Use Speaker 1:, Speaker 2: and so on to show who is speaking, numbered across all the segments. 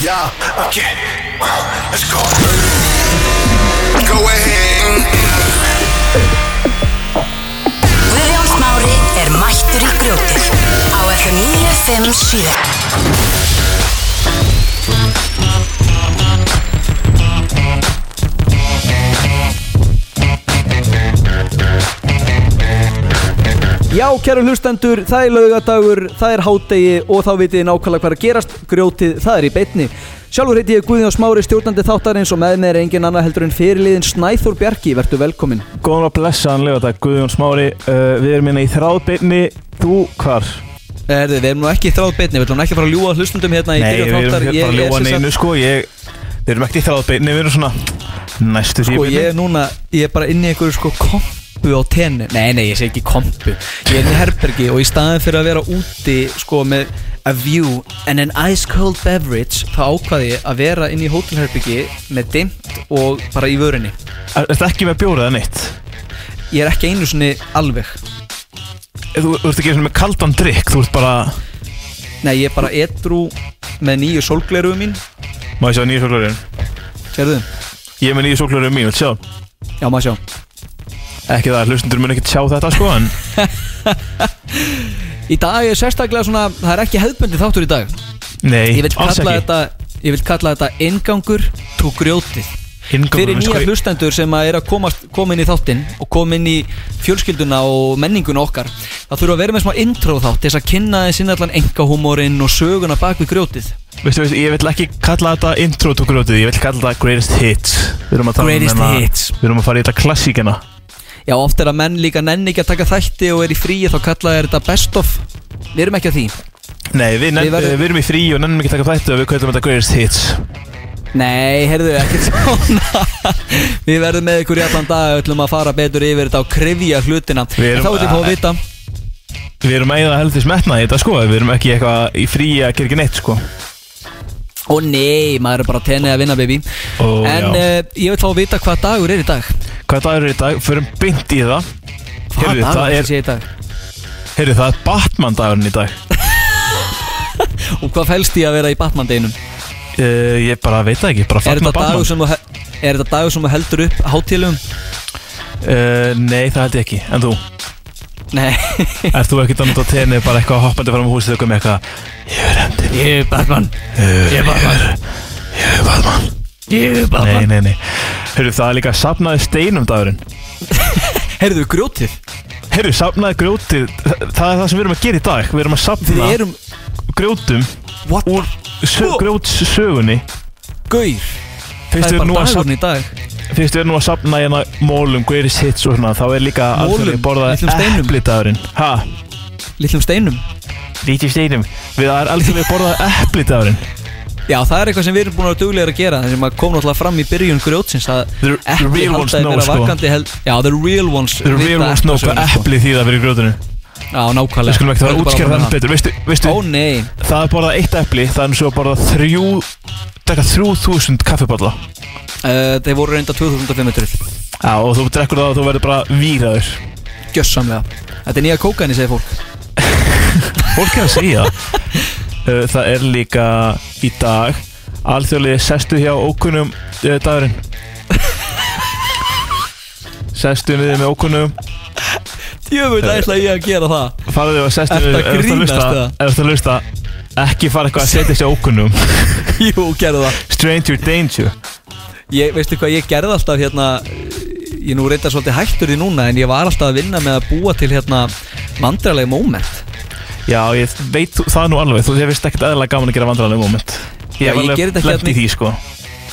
Speaker 1: Yeah. Okay. Let's go. Go ahead.
Speaker 2: Guðjón Smári er mættur í grjótið á FM 957
Speaker 3: Já, kæru hlustendur, það er laugadagur, það er hádegi og þá vitið þið nákvæmlega hvað er að gerast, grjótið, það er í beitni. Sjálfur heiti ég Guðjón Smári, stjórnandi þáttarins og með mér er engin annað heldur en fyrirliðin Snæþór Bjarki, verðu velkomin.
Speaker 4: Góðan og blessaðan lögadag Guðjón Smári uh, Við erum minna í þráðbeinni Þú hvar?
Speaker 3: Erði, við erum nú ekki í þráðbeitni, við ætlum ekki að fara að ljúa hlustundum hérna í
Speaker 4: Nei, við
Speaker 3: byrjun
Speaker 4: erum
Speaker 3: þáttar.
Speaker 4: ekki
Speaker 3: Ég
Speaker 4: bara að
Speaker 3: er
Speaker 4: ljúa
Speaker 3: sem sagt-
Speaker 4: neinu sko ég, Við erum ekki í þráðbeinni Við erum svona næstu því
Speaker 3: Sko ég er
Speaker 4: beinni.
Speaker 3: núna, ég er bara inni í einhverju sko kompu á tenni Nei, nei, ég segi ekki kompu Ég er inni í herbergi og í staðin fyrir að vera úti sko með a view and an ice cold beverage þá ákvaði ég að vera inni í hótelherbergi með dimmt og bara í vörinni
Speaker 4: Er þetta ekki með bjórið eða neitt?
Speaker 3: Ég er ekki einu sinni alveg
Speaker 4: Þú, þú ert ekki svona með kaldan drikk Þú ert bara
Speaker 3: Nei, ég er bara edru með nýju sólgleruðu mín
Speaker 4: Má ég sjá nýju sóklurinn?
Speaker 3: Sérðu?
Speaker 4: Ég er með nýju sóklurinn mín, vilt sjá?
Speaker 3: Já, maður sjá
Speaker 4: Ekki það, hlustundur mun ekki sjá þetta sko en
Speaker 3: Í dag er sérstaklega svona, það er ekki hefðbundi þáttur í dag
Speaker 4: Nei,
Speaker 3: Ég vil
Speaker 4: alls
Speaker 3: kalla
Speaker 4: ekki
Speaker 3: þetta, ég vil kalla þetta ingangur tó grjótið
Speaker 4: Inngangur,
Speaker 3: Fyrir
Speaker 4: við
Speaker 3: nýja
Speaker 4: sko-
Speaker 3: hlustendur sem að er að komast, koma inn í þáttinn og koma inn í fjölskylduna og menninguna okkar Það þurfa að vera með smá intro þátt til þess að kynna þess inn allan engahúmórin og söguna bak við grjótið
Speaker 4: Veistu, veistu, ég vil ekki kalla þetta intro to grjótið, ég vil kalla þetta greatest hits Við erum að tala um
Speaker 3: Greatest
Speaker 4: hérna-
Speaker 3: hits.
Speaker 4: Við erum að fara í þetta klassíkina
Speaker 3: Já, oft er að menn líka nenni ekki að taka þætti og er í fríi þá kalla þeir þetta best of Við erum ekki að því
Speaker 4: Nei, við, nenn,
Speaker 3: Við
Speaker 4: við,
Speaker 3: verðum-
Speaker 4: erum í frí og nennum ekki að taka þættu og við kallum þetta greatest hits
Speaker 3: Nei, heyrðu ekki svona Við verðum með ykkur í allan dag og ætlum að fara betur yfir þetta og krifja hlutina
Speaker 4: Við erum-
Speaker 3: En Þá veit ég fá að vita
Speaker 4: Við erum að eða heldur smetna í þetta sko, við erum ekki eitthvað í frí að gera ekki neitt sko
Speaker 3: Ó nei, maður er bara tennið að vinna, baby
Speaker 4: Ó,
Speaker 3: En
Speaker 4: já.
Speaker 3: uh, ég vil fá að vita hvað dagur er í dag
Speaker 4: Hvað dagur er í dag? Förum beint í það
Speaker 3: Hvað
Speaker 4: Heyrðu,
Speaker 3: dagur
Speaker 4: það
Speaker 3: er
Speaker 4: er,
Speaker 3: sé í dag?
Speaker 4: heyrðu, það er Batman dagurinn í dag
Speaker 3: Og hvað fælst í að vera í Batman-deinum?
Speaker 4: uh, Ég bara veit það ekki, bara
Speaker 3: Er
Speaker 4: fagna
Speaker 3: þetta dagur
Speaker 4: Batman
Speaker 3: sem þú he- er þetta dagur sem þú heldur upp hátíðlegum?
Speaker 4: uh, Nei, það held ég ekki, en þú?
Speaker 3: Nei
Speaker 4: Ert þú ekkert að nota tenni bara eitthvað hoppandi fram á húsið eitthvað með eitthvað
Speaker 3: Ég er Batman Ég er Batman
Speaker 4: Ég er Batman
Speaker 3: Ég er
Speaker 4: Nei, nei, nei Heyrðu, það er líka safnaði steinum dagurinn
Speaker 3: Heyrðu, grjótið
Speaker 4: Heyrðu, safnaði grjótið Það það er það sem við erum að gera í dag Við erum að safna
Speaker 3: Við erum
Speaker 4: grjótum
Speaker 3: What?
Speaker 4: Úr sö
Speaker 3: Sko.
Speaker 4: grjótssögunni
Speaker 3: Gaur
Speaker 4: Fyrst
Speaker 3: Það
Speaker 4: við
Speaker 3: er
Speaker 4: erum nú
Speaker 3: bara dagurinn
Speaker 4: að safna
Speaker 3: í dag
Speaker 4: Fyrst við erum nú að safna hérna Mólum, greatest hits og svona Þá er líka
Speaker 3: Mólum,
Speaker 4: alþjóðlega
Speaker 3: litlum
Speaker 4: borðað
Speaker 3: steinum.
Speaker 4: epli dagurinn Ha?
Speaker 3: Lillum steinum
Speaker 4: Lítið steinum Við það er alþjóðlega borðað epli dagurinn
Speaker 3: Já, það er eitthvað sem við erum búin að duglega að gera Það sem að kom náttúrulega fram í byrjun grjótsins að
Speaker 4: The
Speaker 3: epli
Speaker 4: real
Speaker 3: halda
Speaker 4: ones
Speaker 3: þeim
Speaker 4: know,
Speaker 3: vera
Speaker 4: sko.
Speaker 3: vakandi held, Já, the real ones
Speaker 4: Þeir eru
Speaker 3: vita
Speaker 4: real ones nóg
Speaker 3: eftir
Speaker 4: hvað
Speaker 3: sögunni, sko.
Speaker 4: epli því það verið grjótinu
Speaker 3: Já, nákvæmlega
Speaker 4: Við skulum ekkert fara að
Speaker 3: Höldum bara
Speaker 4: útskjara
Speaker 3: áfram
Speaker 4: þann
Speaker 3: með
Speaker 4: betur Veistu,
Speaker 3: það.
Speaker 4: veistu
Speaker 3: Ó nei,
Speaker 4: Það er borðað eitt epli Það er svo borðað þrjú Drekka þrjú þúsund kaffiballa
Speaker 3: uh, þeir voru reynda 2500
Speaker 4: Já, og þú drekkur það og þú verður bara víraður
Speaker 3: Gjössamlega Þetta er nýja kókaini, segir fólk
Speaker 4: Fólk er að segja það Uh, Það er líka í dag Alþjóðlega sestu hjá ókunnum uh, dagurinn Sestu niður með ókunnum
Speaker 3: Djöfull
Speaker 4: Eh.
Speaker 3: ætla ég að gera það
Speaker 4: Farðu og sestu
Speaker 3: Ertu að
Speaker 4: niður ef þú ert
Speaker 3: grínast
Speaker 4: hlusta-
Speaker 3: eða?
Speaker 4: Ef þú lusta Ekki fara eitthvað að setja sig á ókunnum
Speaker 3: Jú, gerðu það
Speaker 4: Stranger danger
Speaker 3: ég, Veistu hvað ég gerði alltaf hérna Ég er nú reynda svolítið hættur því núna En ég var alltaf að vinna með að búa til hérna Mandralegi moment
Speaker 4: Já, ég veit þú- það nú alveg Þú þér veist ekkert eðalega gaman að gera vandræðanlega moment Ég
Speaker 3: Já,
Speaker 4: hef
Speaker 3: ég geri þetta ekki
Speaker 4: alveg lent í
Speaker 3: hérna-
Speaker 4: því sko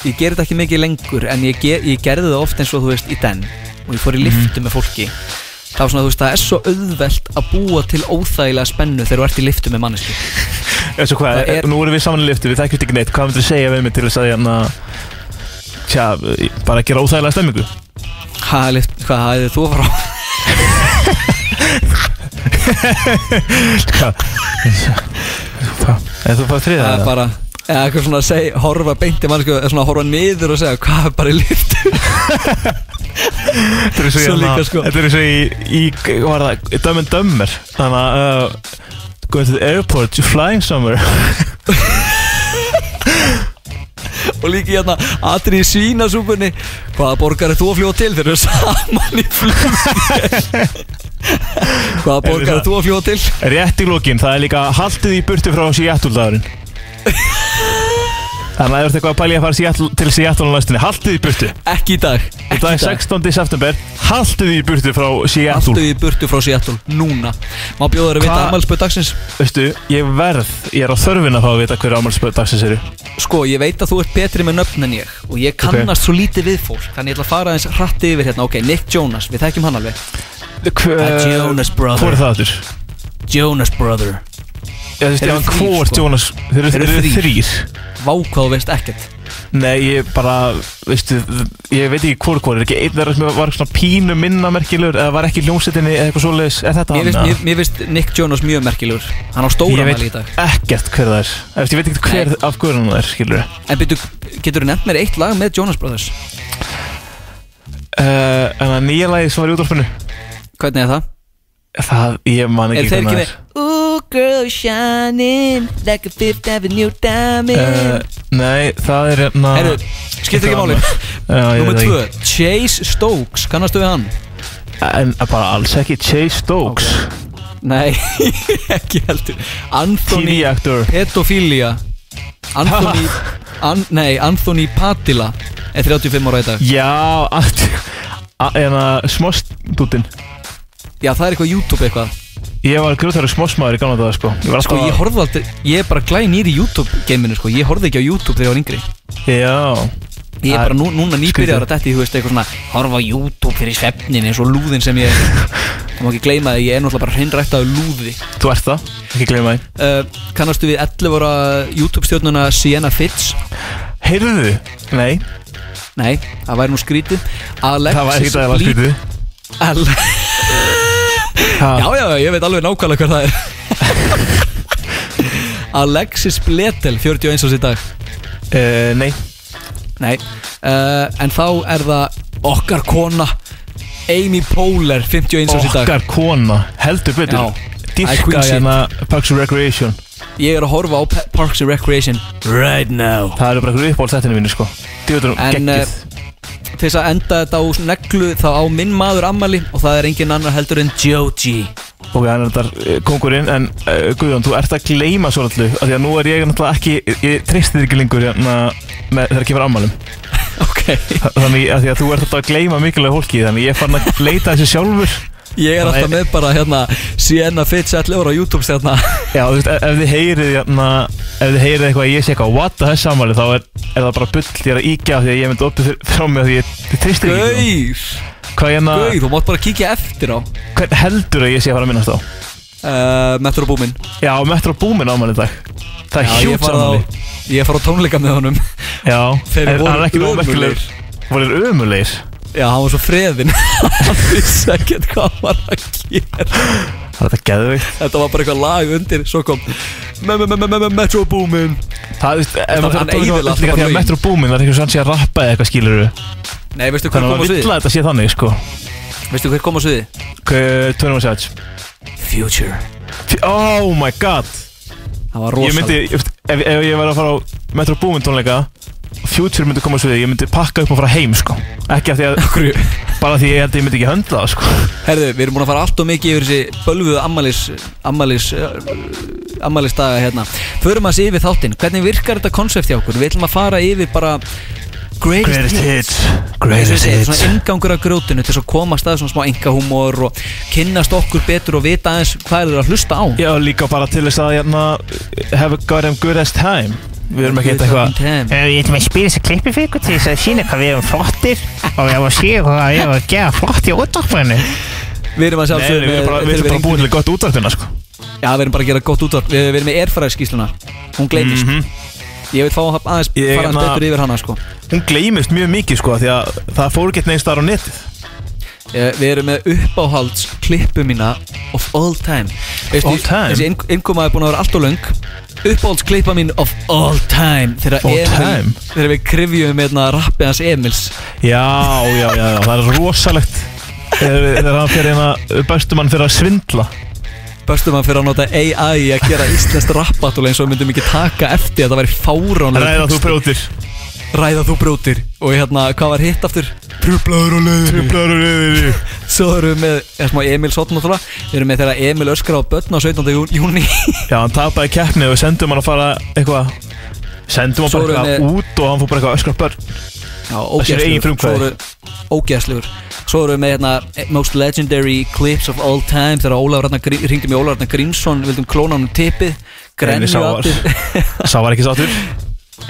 Speaker 3: Ég gerði þetta ekki mikið lengur En ég, ge- ég gerði það oft eins og þú veist í den Og ég fór í liftu með fólki Það var svona, þú veist, það er svo auðvelt að búa til óþægilega spennu þegar þú ert í liftu með manneski
Speaker 4: Eða svo hvað,
Speaker 3: Það er-
Speaker 4: nú erum við saman í liftu, við þekkjum ekki neitt Hvað myndir þú segja við mig til þess að hérna Tja, bara gera óþægilega stemmingu
Speaker 3: Ha, lift, hvað hafið þú frá?
Speaker 4: Hvað? Hvað? Eða þú fara þriða
Speaker 3: Það er
Speaker 4: það?
Speaker 3: bara, eða eitthvað svona að segja, horfa beinti mannsku Eða svona horfa niður og segja, hvað er bara í liftu?
Speaker 4: Þetta er eins og
Speaker 3: svo
Speaker 4: hérna-
Speaker 3: líka, sko.
Speaker 4: Þetta er eins og í, í hvað var það, Dumb and Dumber Þannig að uh, Going to the airport, you're flying somewhere
Speaker 3: og líki hérna atri í svínasúpunni hvaða borgar er þú að fljóða til þeir eru saman í flugvél hvaða borgar er þú að fljóða til
Speaker 4: Rétt í lokin, það er líka haldið í burtu frá Seattle-dagurinn Þannig að ef þú ert eitthvað að pæli að fara Seattle, til Seattle á næstunni, haldið í burtu
Speaker 3: ekki í dag ekki
Speaker 4: Það er 16. september, haldið í burtu frá Seattle
Speaker 3: Alltaf í burtu frá Seattle, núna Má bjóða þér að vita
Speaker 4: Hva-
Speaker 3: afmælspöð dagsins
Speaker 4: Veistu, ég verð, ég er á þörfin að fá að vita hverju ámælspöð dagsins eru
Speaker 3: Sko, ég veit að þú ert betri með nöfn en ég Og ég kannast svo lítið við fólk Þannig ég ætla að fara aðeins hratti yfir hérna Ok, Nick Jonas, við þekkjum hann alveg
Speaker 4: Hver,
Speaker 3: Uh, Jonas Brother.
Speaker 4: Eh, Hvor er það aftur?
Speaker 3: Jonas Brother
Speaker 4: Ég veist,
Speaker 3: Þeir
Speaker 4: já,
Speaker 3: eru þrír,
Speaker 4: hvort
Speaker 3: sko.
Speaker 4: Jonas, þeir eru-
Speaker 3: Þeir eru
Speaker 4: þeir eru
Speaker 3: þrír.
Speaker 4: þrýr
Speaker 3: Vá hvað þú veist ekkert
Speaker 4: Nei, ég bara, veistu, ég veit ekki hvort hvort, er ekki einn þeirra sem var svona pínu minna merkilegur eða var ekki í hljómsettinni eða eitthvað svoleiðis, er þetta
Speaker 3: Mér
Speaker 4: hann?
Speaker 3: veist,
Speaker 4: eða?
Speaker 3: mér, mér veist Nick Jonas mjög merkilegur Hann á stóra
Speaker 4: ég
Speaker 3: mæli í dag
Speaker 4: veit ekkert hver það er, eftir, ég veit ekkert hver af hverjum það er, skilur við.
Speaker 3: En byrju, getur þú nefnt mér eitt lag með Jonas Brothers?
Speaker 4: Uh, en það nýja lagið sem var í útdorfinu,
Speaker 3: Hvernig er það?
Speaker 4: það, ég man
Speaker 3: Er
Speaker 4: ekki
Speaker 3: þeir ekki
Speaker 4: hvernig
Speaker 3: með Ooh girl shining Like a fifth avenue diamond
Speaker 4: Uh, nei, það er hérna...
Speaker 3: Herru, skiptir ekki máli Númer 2, Chase Stokes, kannastu við hann?
Speaker 4: En bara alls ekki Chase Stokes,
Speaker 3: Nei, ekki heldur Anthony
Speaker 4: TV-actor.
Speaker 3: Pedophilia Anthony an, Nei, Anthony Patila Er 35 ára í dag
Speaker 4: Já, hérna, en að smostútin.
Speaker 3: Já, það er eitthvað YouTube eitthvað
Speaker 4: Ég var grjótæru smosmaður í gamla daga, sko. Ég var
Speaker 3: Sko,
Speaker 4: alltaf-
Speaker 3: ég horfði aldrei Ég er bara glæn í YouTube geiminu, sko Ég horfði ekki á YouTube þegar ég var yngri
Speaker 4: Já,
Speaker 3: Ég er
Speaker 4: Það
Speaker 3: bara nú, núna nýbyrjar
Speaker 4: skrítið.
Speaker 3: að detti, þú veist, eitthvað svona Horfa á YouTube fyrir svefnin eins og lúðin sem ég Það má ekki gleyma því, ég er náttúrulega bara hreinrættaðu lúði
Speaker 4: þú ert það, ekki gleyma því
Speaker 3: uh, Kannastu við 11 ára YouTube stjórnuna Sienna Fitz?
Speaker 4: Heyrðu, nei,
Speaker 3: Nei, það væri nú skrítið Alexis
Speaker 4: það var ekkert aðeins skrítið
Speaker 3: Al
Speaker 4: Ha,
Speaker 3: Já, já, já, ég veit alveg nákvæmlega hvað það er Alexis Bletel, 41 ás í dag
Speaker 4: eh, Nei,
Speaker 3: Nei, uh, en þá er það okkar kona Amy Poehler, 51 ás í dag
Speaker 4: okkar kona, heldur
Speaker 3: Já.
Speaker 4: betur
Speaker 3: Æ, Queen
Speaker 4: Dýrka
Speaker 3: shit.
Speaker 4: hérna Parks and Recreation
Speaker 3: Ég er að horfa á Pe- Parks and Recreation Right now
Speaker 4: Það eru bara einhverju uppáhald þættinu mínu sko Dýrður
Speaker 3: En, eh,
Speaker 4: geggið
Speaker 3: Til þess að enda þetta á neglu þá á minn maður ammali og það er engin annar heldur en Joji
Speaker 4: Ok, hann er þetta eh, kóngurinn En uh, Guðjón, þú ert að gleyma svo allu Því að nú er ég náttúrulega ekki Ég treysti þér ekki lengur hérna með, Þegar kemur ammælum
Speaker 3: Ok,
Speaker 4: Þannig að, því að þú ert alltaf að gleyma mikilvæg hólki Þannig ég er farin að leita þessu sjálfur
Speaker 3: ég er
Speaker 4: Þannig-
Speaker 3: alltaf með bara hérna Sienna Fitz, 11 ára á YouTube hérna. stjórna
Speaker 4: Já, þú veist, e-, ef, ef þið heyrið hérna, ef þið heyrið eitthvað að ég sé eitthvað what the hell samanlega, þá er, er það bara bull ég er að íkja af því að ég myndi opið fyrir- frá mig af því ég, ég tristir ekki í
Speaker 3: Gauð,
Speaker 4: það. Hvað hérna,
Speaker 3: gauð, þú mátt bara kíkja eftir á
Speaker 4: hvern heldur að ég sé að fara að minnast á?
Speaker 3: uh, Metro Boomin
Speaker 4: Já, Metro Boomin ámæli dag Það er hjút samanlega
Speaker 3: Ég fara á tónleika með honum
Speaker 4: Já,
Speaker 3: Þeir
Speaker 4: en
Speaker 3: voru
Speaker 4: hann er ekki nóg merkilegur Vorir ömulegir
Speaker 3: Já, hann var svo freðin Hann vissi ekkert hvað hann var að gera
Speaker 4: Það er þetta geðvikt
Speaker 3: Þetta var bara eitthvað lag undir Svo kom me- me- me- me- me- Metro Boomin
Speaker 4: Það er, þú veist, ef maður
Speaker 3: hann
Speaker 4: fyrir
Speaker 3: eyðilagði
Speaker 4: að tóka
Speaker 3: alltaf
Speaker 4: því að
Speaker 3: bara
Speaker 4: Metro Boomin það er eitthvað sem hann sé að rappa eða eitthvað skilur
Speaker 3: Nei, veistu hver
Speaker 4: Þannig að
Speaker 3: kom á
Speaker 4: maður vill
Speaker 3: sviði?
Speaker 4: að þetta sé þannig sko
Speaker 3: Veistu hver kom á sviði?
Speaker 4: Tönum að
Speaker 3: Future
Speaker 4: Oh my god
Speaker 3: Það var
Speaker 4: Ég
Speaker 3: rosalega
Speaker 4: myndi, ef, ef ef ég væri að fara á Metro Boomin tónleika Future myndi koma svo við, ég myndi pakka upp og fara heim sko Ekki af því að,
Speaker 3: Hverju?
Speaker 4: bara því ég held að ég myndi ekki höndla það sko
Speaker 3: Herðu, við erum búin að fara allt og mikið yfir þessi bölvuðu ammalis ammalis, ammalis daga hérna Förum að sé yfir þáttinn, hvernig virkar þetta konsept hjá okkur? Við ætlum að fara yfir bara greatest, Greatest hits Svona ingangur af grjótinu til þess að komast að svona smá engahúmor og kynnast okkur betur og vita aðeins hvað er það að hlusta á
Speaker 4: Já, líka bara til þess að hérna Have a goddamn good ass time Við erum ekki eitthvað
Speaker 3: eitthvað
Speaker 5: Eh, Ég ætlum að spila þessi klippi fyrir ykkur til þess að sína hvað við erum flottir og við erum að sé hvað við erum að gera flott í útvarpinu.
Speaker 3: Við erum að
Speaker 4: Nei, nei,
Speaker 3: sjálfsögum
Speaker 4: við erum bara, við erum bara búin til gott útvartina sko
Speaker 3: Já, við erum bara að gera gott útvarp Við við erum með erfæraðskísluna, hún gleymist
Speaker 4: Mhm.
Speaker 3: Ég vil fá að- aðeins
Speaker 4: Ég- hérna-
Speaker 3: fara aðeins
Speaker 4: na-
Speaker 3: betur yfir hana sko
Speaker 4: Hún gleymist mjög mikið sko, af því að það fór gett neins þar á netið
Speaker 3: Eh, Við erum með uppáhalds klippu mína of all time Veistu,
Speaker 4: All time?
Speaker 3: Þessi inn- innkoma er búin að vera allt og löng Uppáhalds klippa mín of all time Þegar
Speaker 4: All
Speaker 3: Emil
Speaker 4: time?
Speaker 3: Þegar við krifjum með hérna rappið hans Emils
Speaker 4: Já, já, já, já, það er rosalegt Þegar þegar hann fyrir hérna Bestumann fyrir að svindla
Speaker 3: Börstum hann fyrir að nota AI í að gera íslenskt rappatúl eins og við myndum ekki taka eftir að það væri fáránlega
Speaker 4: Ræða þú brjótir
Speaker 3: ræða þú brótir og hérna, hvað var hitt aftur? Trublaður og leiðinni
Speaker 6: Trublaður og reyðir
Speaker 3: Svo erum við með, það er smá Emil Sotn náttúrulega Við erum með þegar Emil öskra á börn á 17. jú- júni
Speaker 6: Já, hann tapaði keppni og við sendum hann að fara eitthvað Sendum hann
Speaker 3: Svo
Speaker 6: bara
Speaker 3: erum
Speaker 6: eitthvað
Speaker 3: við-
Speaker 6: út og hann fór bara eitthvað að öskra á börn
Speaker 3: Já,
Speaker 6: sér eigin
Speaker 3: ógeðslegur Svo
Speaker 6: frumkvæði.
Speaker 3: eru- Ógeðslegur Svo erum við með hérna Most legendary clips of all time Þegar Ólafur hérna ringdi mig Ólafur hérna Grímsson Vildum klóna hann um tippið
Speaker 6: Grenju
Speaker 3: Grenju
Speaker 6: sá- Sá var ekki sáttur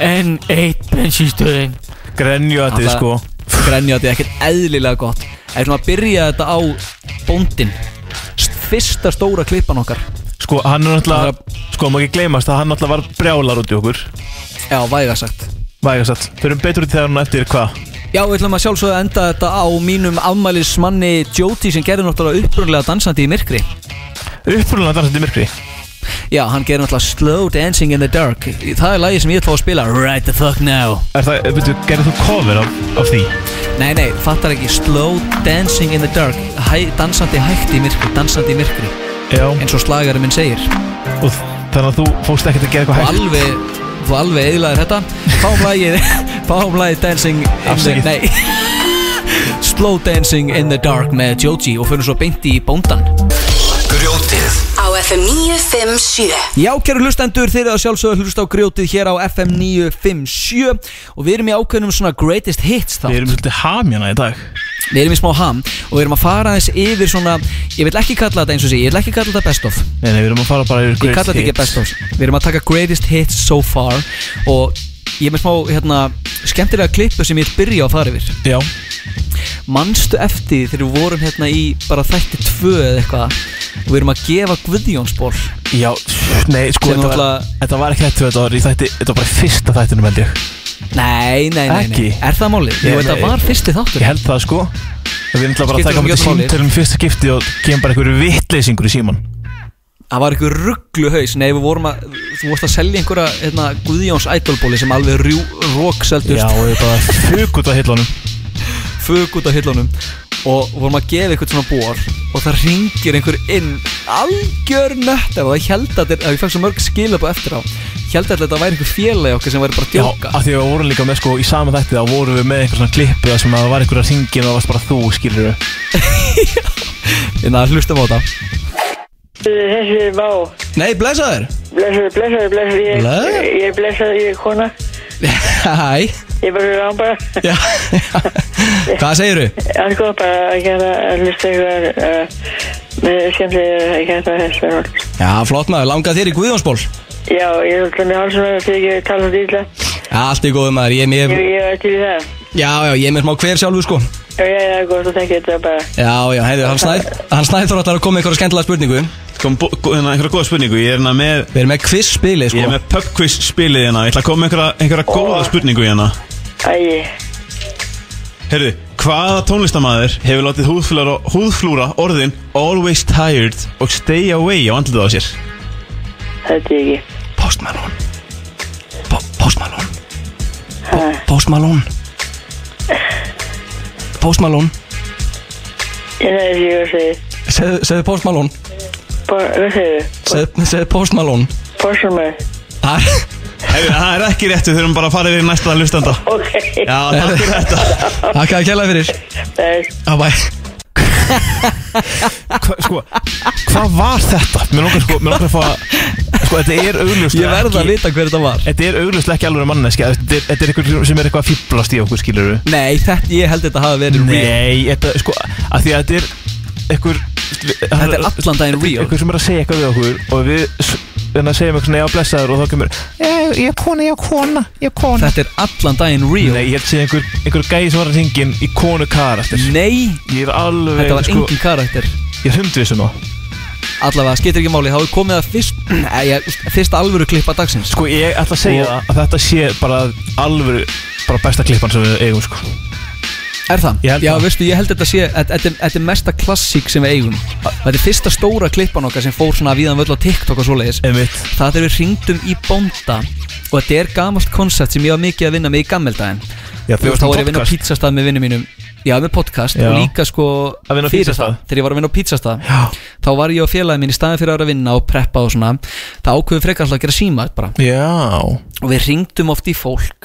Speaker 7: Enn eitt bensinstöðin
Speaker 6: Grenju að þið sko
Speaker 3: Grenjátti, ekkert eðlilega gott Það er svona að byrja þetta á bóndin Fyrsta stóra klippan okkar
Speaker 6: Sko, hann er
Speaker 3: Það er
Speaker 6: náttúrulega Sko, maður ekki gleymast að hann náttúrulega var brjálar út í okkur
Speaker 3: Já, vægasagt
Speaker 6: Vægast Förum betur út í þegar hann eftir hvað
Speaker 3: Já, við ætlum að sjálfsögðu að enda þetta á mínum afmælismanni Jóti sem gerði náttúrulega upprunlega dansandi í myrkri
Speaker 6: Upprúlega dansandi í myrkri
Speaker 3: Já, hann gerði náttúrulega Slow Dancing in the Dark Það er lagið sem ég ætla að spila Right the fuck now
Speaker 6: Er það, veitu, gerðir þú cover af, af því?
Speaker 3: Nei, nei, fattar ekki Slow Dancing in the Dark Hæ, Dansandi hægt í myrkri, dansandi í myrkri
Speaker 6: Já
Speaker 3: eins og slagari minn segir
Speaker 6: og Þannig að þú fókst ekkert að gera eitthvað
Speaker 3: og
Speaker 6: hægt
Speaker 3: alveg þú alveg eðlaðir þetta fáum lagið fáum lagið Dancing in the
Speaker 6: Afsakið.
Speaker 3: nei Slow Dancing in the Dark með Joji og fyrir svo beint í bóndan
Speaker 8: Grjótið
Speaker 2: á FM 957
Speaker 3: Já, kæru hlustendur, þeir eru að sjálfsögðu að hlusta á grjótið hér á FM 957 og við erum í ákveðnum svona greatest hits þá
Speaker 6: Við erum svolítið hamjana í dag
Speaker 3: Við erum í smá ham og við erum að fara aðeins yfir svona Ég vil ekki kalla þetta eins og sé, ég vil ekki kalla þetta best of
Speaker 6: Nei, nei, við erum að fara bara yfir
Speaker 3: Ég kalla þetta ekki best of Við erum að taka greatest hits so far Og ég er með smá hérna, skemmtilega klippu sem ég vil byrja á að fara yfir
Speaker 6: Já,
Speaker 3: Manstu eftir þegar við vorum hérna í bara þætti tvö eða eitthvað Og við erum að gefa Guðjónsból
Speaker 6: já, nei, sko Þetta var,
Speaker 3: Sem náttúrulega-
Speaker 6: þetta var ekki þetta, þetta var í þætti Þetta var bara í fyrsta þættinum held ég
Speaker 3: Nei, nei, nei, nei.
Speaker 6: Ekki?
Speaker 3: Er það málið? Jú,
Speaker 6: Nei,
Speaker 3: þetta
Speaker 6: nei.
Speaker 3: var fyrsti þáttur
Speaker 6: Ég held það sko Við erum bara að
Speaker 3: Skiptir
Speaker 6: taka
Speaker 3: svo
Speaker 6: með
Speaker 3: mjög máli.
Speaker 6: síntelum fyrsta skipti og kemur bara einhverju vitleysingur í síman
Speaker 3: Það var einhver rugglu haus Nei, við vorum að, þú vorst að selja einhverja hérna, Guðjóns idolbóli sem alveg rjú, rókseldust
Speaker 6: Já, og við bara fug út á hillunum
Speaker 3: fug út á hillunum og vorum að gefa eitthvað svona bor og það ringir einhver inn algjör nöttar og það held að þetta að ég fæk svo mörg skilabó eftir á held að þetta væri einhver félagi okkar sem væri bara að
Speaker 6: Já,
Speaker 3: djóka
Speaker 6: af því að við vorum líka með sko í sama þætti þá vorum við með einhver svona klippu þar sem að það var einhverja hringin og það varst bara þú, skilur
Speaker 3: en það Hérna, hlustum á það
Speaker 9: Þessi er vá,
Speaker 3: Nei, blessaður
Speaker 9: blessaður, blessaður, blessaður, ég,
Speaker 3: Blessaður?
Speaker 9: ég, ég er blessaður, ég er kona,
Speaker 3: Hæ
Speaker 9: ég er bara fyrir án bara,
Speaker 3: Já Hvað segiru?
Speaker 9: allt góð bara að gera að hlusta ykkur uh, með hérna, skemmtilega að gera það þess verður.
Speaker 3: Já, flott maður, langað þér í Guðjónsból
Speaker 9: Já, ég er alltaf með hálsum að því ekki tala um dýla,
Speaker 3: Allt í góðum maður, ég er mér
Speaker 9: ég, ég er til í það.
Speaker 3: Já, já, ég er mér smá hver sjálfu sko
Speaker 9: Já, já, já, góð, þú tekir þetta bara.
Speaker 3: Já, já, heiðu, hann snæð Hann snæð þarf alltaf að koma með einhverja skemmtilega spurningu
Speaker 4: kom bó- gó- hérna, einhverja góða spurningu ég er hérna með
Speaker 3: Við erum með quiz spilið sko.
Speaker 4: Ég
Speaker 6: Sko.
Speaker 4: er með pubquiz spilið hérna, ég ætla að koma með einhverja, einhverja góða spurningu hérna
Speaker 9: Æ,
Speaker 4: Herðu, hvaða tónlistamæður hefur látið húðflúra, húðflúra orðin Always tired og stay away á andlitað á sér?
Speaker 9: þetta er ekki.
Speaker 3: Post Malone po Post Malone po Post Malone Post Malone
Speaker 9: Ég nefnir því að segja,
Speaker 3: Segðu segðu Post Malone
Speaker 9: Bor- hvað segir þú?
Speaker 3: Segðu segðu Post Malone
Speaker 9: Borsumar?
Speaker 3: Það er-
Speaker 4: Herðu, það er ekki rétt, við þurfum bara að fara yfir í næsta hlustanda
Speaker 9: Ok,
Speaker 4: Já, takk fyrir þetta
Speaker 3: Takk að kjalla fyrir
Speaker 9: það er,
Speaker 3: Já, bæ
Speaker 6: Hva, sko, hvað var þetta? Mér langar sko, mér langar að fá að Sko, þetta er augljóslega
Speaker 3: Ég verð
Speaker 6: ekki-
Speaker 3: að vita hver þetta var
Speaker 6: Þetta er augljóslega ekki alveg manneski Þetta er, þetta er eitthvað sem er eitthvað að fýblast í okkur, skilur
Speaker 3: Nei, þetta, ég held þetta hafa verið real
Speaker 6: Nei, þetta, sko, að því að þetta er eitthvað
Speaker 3: Þetta er allan daginn real
Speaker 6: Eitthvað sem er að segja eitthvað við okkur Og við s- hérna segjum eitthvað svona, já, blessaður Og þá kemur, "Eh, ég er kona, ég er kona, ég er kona
Speaker 3: Þetta er allan daginn real
Speaker 6: Nei, ég held að segja einhver, einhver gæði sem var að hringin í konu karakter
Speaker 3: Nei,
Speaker 6: Ég er alveg, sko,
Speaker 3: þetta var engin karakter
Speaker 6: Ég er hundvisum á
Speaker 3: Allavega, skiptir ekki máli, þá er komið að fyrst, eh, ég- fyrst alvöru klippa dagsins
Speaker 6: Sko, ég ætla að segja það að þetta sé bara alvöru bara besta klippan sem við eigum, sko
Speaker 3: Er það?
Speaker 6: Ég held
Speaker 3: Já,
Speaker 6: það.
Speaker 3: veistu, ég held þetta sé þetta- Þetta er- þetta er mesta klassík sem við eigum Þetta er fyrsta stóra klippan okkar sem fór svona viðan völl á TikTok og svoleiðis
Speaker 6: Einmitt.
Speaker 3: Það er við hringdum í bónda og þetta er gamalt koncept sem ég var mikið að vinna með í gammeldaginn
Speaker 6: Já, þú
Speaker 3: Þú veist,
Speaker 6: varst
Speaker 3: þá
Speaker 6: með
Speaker 3: var ég að vinna á
Speaker 6: podcast.
Speaker 3: pizzastað með vinnum mínum Já, með podcast
Speaker 6: Já.
Speaker 3: og líka sko
Speaker 6: Að vinna á
Speaker 3: fyrir
Speaker 6: pizzastað.
Speaker 3: það, Þegar ég var að vinna á pizzastað
Speaker 6: Já.
Speaker 3: Þá var ég og félagið mín í staðin fyrir að vera að vinna og preppa og svona Það ákveðum frekar alltaf að gera síma bara
Speaker 6: Já
Speaker 3: og við ringdum oft í fólk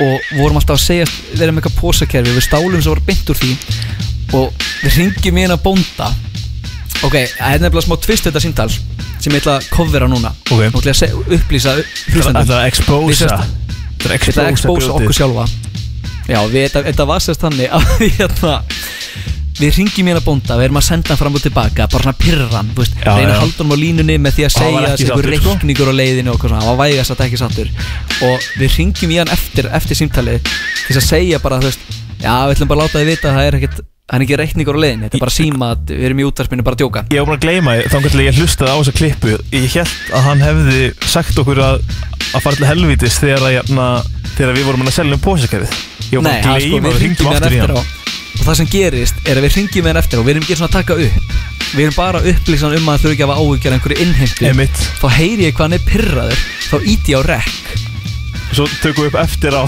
Speaker 3: og vorum alltaf að segja vera með eitthvað pósakerfi, við stálum svo var beint úr því og við ringjum í hérna bónda ok, það er nefnilega smá tvist þetta símtals sem ég ætla að kofvera núna
Speaker 4: Ok.
Speaker 3: Nú ætla ég að seg- upplýsa
Speaker 4: Það
Speaker 3: hlustendum.
Speaker 4: er að
Speaker 3: Við
Speaker 4: expósa
Speaker 3: sést-
Speaker 4: Það er að
Speaker 3: Við ætla að expósa okkur
Speaker 4: brjótið.
Speaker 3: sjálfa Já, við, þetta, þetta var sérst þannig að við, hérna, við ringjum hérna bónda við erum að senda hann fram og tilbaka bara svona pyrran, þú veist,
Speaker 4: Já,
Speaker 3: reyna
Speaker 4: já.
Speaker 3: að halda hann á línunni með því að
Speaker 4: hann var
Speaker 3: segja
Speaker 4: ekki
Speaker 3: þessi einhver
Speaker 4: sáttur, sko.
Speaker 3: reikningur á leiðinu og okkur svona, hann var vægast að ekki sattur og við ringjum í hann eftir, eftir símtalið til þess að segja bara, þú veist já, við ætlum bara að láta þið vita að það er ekkert hann er ekki reikningur á leiðinu, þetta er bara síma að við erum í útvarpinu bara að djóka
Speaker 4: Ég var bara að gleyma því, þannig að ég hlustaði á þessa klippu Ég held að hann hefði sagt okkur að, að fara til helvítis þegar, að, jafna, þegar við vorum að selja um pósakefið Ég var
Speaker 3: Nei,
Speaker 4: bara
Speaker 3: það
Speaker 4: að
Speaker 3: sko,
Speaker 4: gleyma
Speaker 3: við
Speaker 4: að við
Speaker 3: ringjum
Speaker 4: hringdum
Speaker 3: hérna
Speaker 4: aftur í
Speaker 3: eftir
Speaker 4: hann
Speaker 3: á Og það sem gerist er að við ringjum hérna eftir á Við erum ekki svona að taka upp Við erum bara upplýsan um að þau ekki að hafa áhugjara einhverju innheimtu
Speaker 4: Einmitt.
Speaker 3: Þá heyri ég hvað hann er pyrraður Þá íti ég á rekk
Speaker 4: Svo tökum við upp eftir á